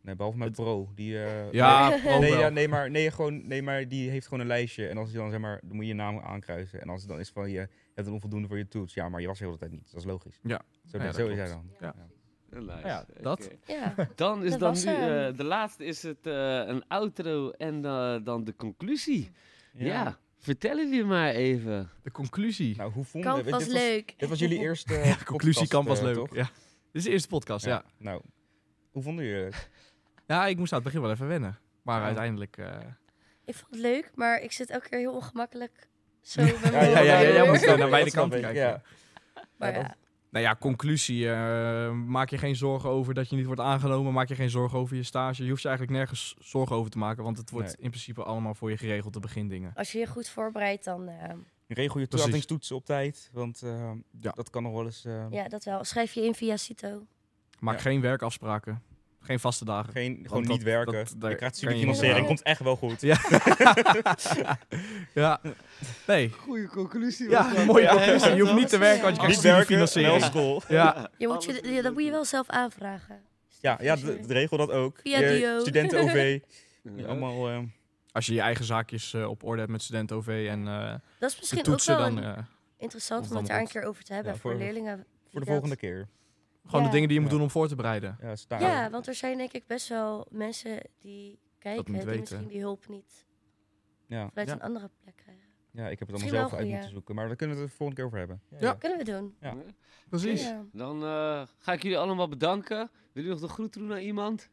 [SPEAKER 3] Nee, behalve mijn pro. Die, eh,
[SPEAKER 1] Ja,
[SPEAKER 4] Nee,
[SPEAKER 1] pro
[SPEAKER 3] Nee,
[SPEAKER 1] wel.
[SPEAKER 3] ja, nee, maar, nee, gewoon, nee, maar die heeft gewoon een lijstje. En als je dan zeg maar, dan moet je je naam aankruisen. En als het dan is van je hebt een onvoldoende voor je toets. Ja, maar je was de hele tijd niet. Dat is logisch.
[SPEAKER 1] Ja.
[SPEAKER 3] Zo,
[SPEAKER 1] Ja,
[SPEAKER 3] zo
[SPEAKER 1] dat
[SPEAKER 3] is hij
[SPEAKER 1] klopt. Ja.
[SPEAKER 3] dan.
[SPEAKER 2] Een lijst.
[SPEAKER 1] Ja, dat.
[SPEAKER 2] Oké.
[SPEAKER 4] ja.
[SPEAKER 2] Dan is
[SPEAKER 4] Dat
[SPEAKER 2] dan
[SPEAKER 4] was
[SPEAKER 2] nu, eh,
[SPEAKER 4] hem.
[SPEAKER 2] de laatste is het eh, een outro en eh, dan de conclusie. Ja. vertel het je maar even.
[SPEAKER 1] De conclusie.
[SPEAKER 3] Nou, hoe vonden
[SPEAKER 4] Kamp
[SPEAKER 3] dit
[SPEAKER 4] was leuk.
[SPEAKER 3] Dit
[SPEAKER 4] *laughs*
[SPEAKER 3] was jullie
[SPEAKER 1] *laughs*
[SPEAKER 3] eerste eh,
[SPEAKER 1] de conclusiekamp was leuk.
[SPEAKER 3] Toch?
[SPEAKER 1] Ja. Dit is de eerste podcast, ja. ja.
[SPEAKER 3] Nou, hoe vonden jullie het?
[SPEAKER 1] ik moest aan het begin wel even wennen. Maar
[SPEAKER 3] Ja.
[SPEAKER 1] uiteindelijk... eh,
[SPEAKER 4] Ik vond het leuk, maar ik zit elke keer heel ongemakkelijk zo bij mijn
[SPEAKER 1] Ja, ja, ja,
[SPEAKER 4] moeder.
[SPEAKER 1] jij moest
[SPEAKER 3] Ja,
[SPEAKER 1] daar naar
[SPEAKER 3] dat
[SPEAKER 1] beide
[SPEAKER 3] snap
[SPEAKER 1] kanten
[SPEAKER 3] ik,
[SPEAKER 1] kijken.
[SPEAKER 3] ja.
[SPEAKER 4] Maar
[SPEAKER 3] Ja,
[SPEAKER 4] ja,
[SPEAKER 3] dat-
[SPEAKER 1] Nou ja, conclusie. eh, maak je geen zorgen over dat je niet wordt aangenomen. Maak je geen zorgen over je stage. Je hoeft je eigenlijk nergens zorgen over te maken. Want het wordt
[SPEAKER 3] Nee.
[SPEAKER 1] in principe allemaal voor je geregeld te begindingen.
[SPEAKER 4] als je je goed voorbereidt, dan eh,
[SPEAKER 3] Regel je
[SPEAKER 1] Precies.
[SPEAKER 3] toelatingstoetsen op tijd. Want eh,
[SPEAKER 1] Ja.
[SPEAKER 3] dat kan nog wel eens... eh,
[SPEAKER 4] ja, dat wel. Schrijf je in via Cito.
[SPEAKER 1] Maak
[SPEAKER 3] Ja.
[SPEAKER 1] geen werkafspraken. Geen vaste dagen.
[SPEAKER 3] Geen, gewoon
[SPEAKER 1] dat-
[SPEAKER 3] niet werken.
[SPEAKER 1] dat- daar
[SPEAKER 3] je krijgt
[SPEAKER 1] kan je
[SPEAKER 3] studie financiering.
[SPEAKER 4] niet-
[SPEAKER 3] komt echt wel goed.
[SPEAKER 1] Ja. *laughs* ja. Nee.
[SPEAKER 2] Goeie conclusie.
[SPEAKER 1] Ja, *laughs* mooie conclusie. Je hoeft niet te werken, want je krijgt
[SPEAKER 4] Ja.
[SPEAKER 3] Niet
[SPEAKER 1] studie
[SPEAKER 3] werken, wel
[SPEAKER 1] financiering.
[SPEAKER 3] school.
[SPEAKER 1] Ja,
[SPEAKER 4] Je moet je, ja, dat moet je wel zelf aanvragen.
[SPEAKER 3] Ja, ja d- d- regel dat ook.
[SPEAKER 4] Via
[SPEAKER 3] Je
[SPEAKER 4] Duo. *laughs*
[SPEAKER 3] Studenten-OV. die allemaal... eh,
[SPEAKER 1] als je je eigen zaakjes eh, op orde hebt met student OV en eh,
[SPEAKER 4] Dat is
[SPEAKER 1] de
[SPEAKER 4] misschien ook
[SPEAKER 1] toetsen,
[SPEAKER 4] wel
[SPEAKER 1] dan
[SPEAKER 4] een-
[SPEAKER 1] eh,
[SPEAKER 4] interessant
[SPEAKER 1] of
[SPEAKER 4] om
[SPEAKER 1] dan
[SPEAKER 4] het daar een
[SPEAKER 1] moet-
[SPEAKER 4] keer over te hebben
[SPEAKER 3] Ja,
[SPEAKER 4] voor,
[SPEAKER 3] voor-
[SPEAKER 4] leerlingen.
[SPEAKER 3] voor de volgende keer.
[SPEAKER 1] gewoon
[SPEAKER 4] Ja.
[SPEAKER 1] de dingen die je moet
[SPEAKER 3] Ja.
[SPEAKER 1] doen om voor te bereiden.
[SPEAKER 3] Ja, staan.
[SPEAKER 4] Ja, want er zijn denk ik best wel mensen die kijken,
[SPEAKER 1] niet
[SPEAKER 4] die
[SPEAKER 1] weten.
[SPEAKER 4] misschien die hulp niet
[SPEAKER 3] Ja.
[SPEAKER 4] vanuit
[SPEAKER 1] Ja.
[SPEAKER 4] een andere plek krijgen.
[SPEAKER 3] Ja, ik heb het
[SPEAKER 4] Misschien
[SPEAKER 3] allemaal
[SPEAKER 4] wel
[SPEAKER 3] zelf
[SPEAKER 4] goed,
[SPEAKER 3] uit
[SPEAKER 4] ja.
[SPEAKER 3] moeten zoeken. Maar daar kunnen we het de volgende keer over hebben.
[SPEAKER 1] Ja.
[SPEAKER 4] Kunnen we doen.
[SPEAKER 3] Ja.
[SPEAKER 1] Precies.
[SPEAKER 4] Ja.
[SPEAKER 2] Dan eh, ga ik jullie allemaal bedanken. Wil je nog de groet doen naar iemand?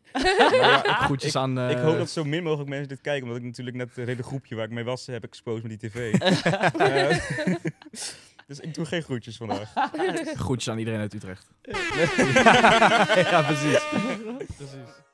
[SPEAKER 1] *laughs*
[SPEAKER 3] Nou ja,
[SPEAKER 1] Groetjes aan...
[SPEAKER 3] ik
[SPEAKER 1] eh,
[SPEAKER 3] hoop dat zo min mogelijk mensen dit kijken. Omdat ik natuurlijk net het hele groepje waar ik mee was, heb exposed met die tv. Eh, *laughs* dus ik doe geen groetjes vandaag.
[SPEAKER 1] *laughs* Groetjes aan iedereen uit Utrecht. ja, precies. precies.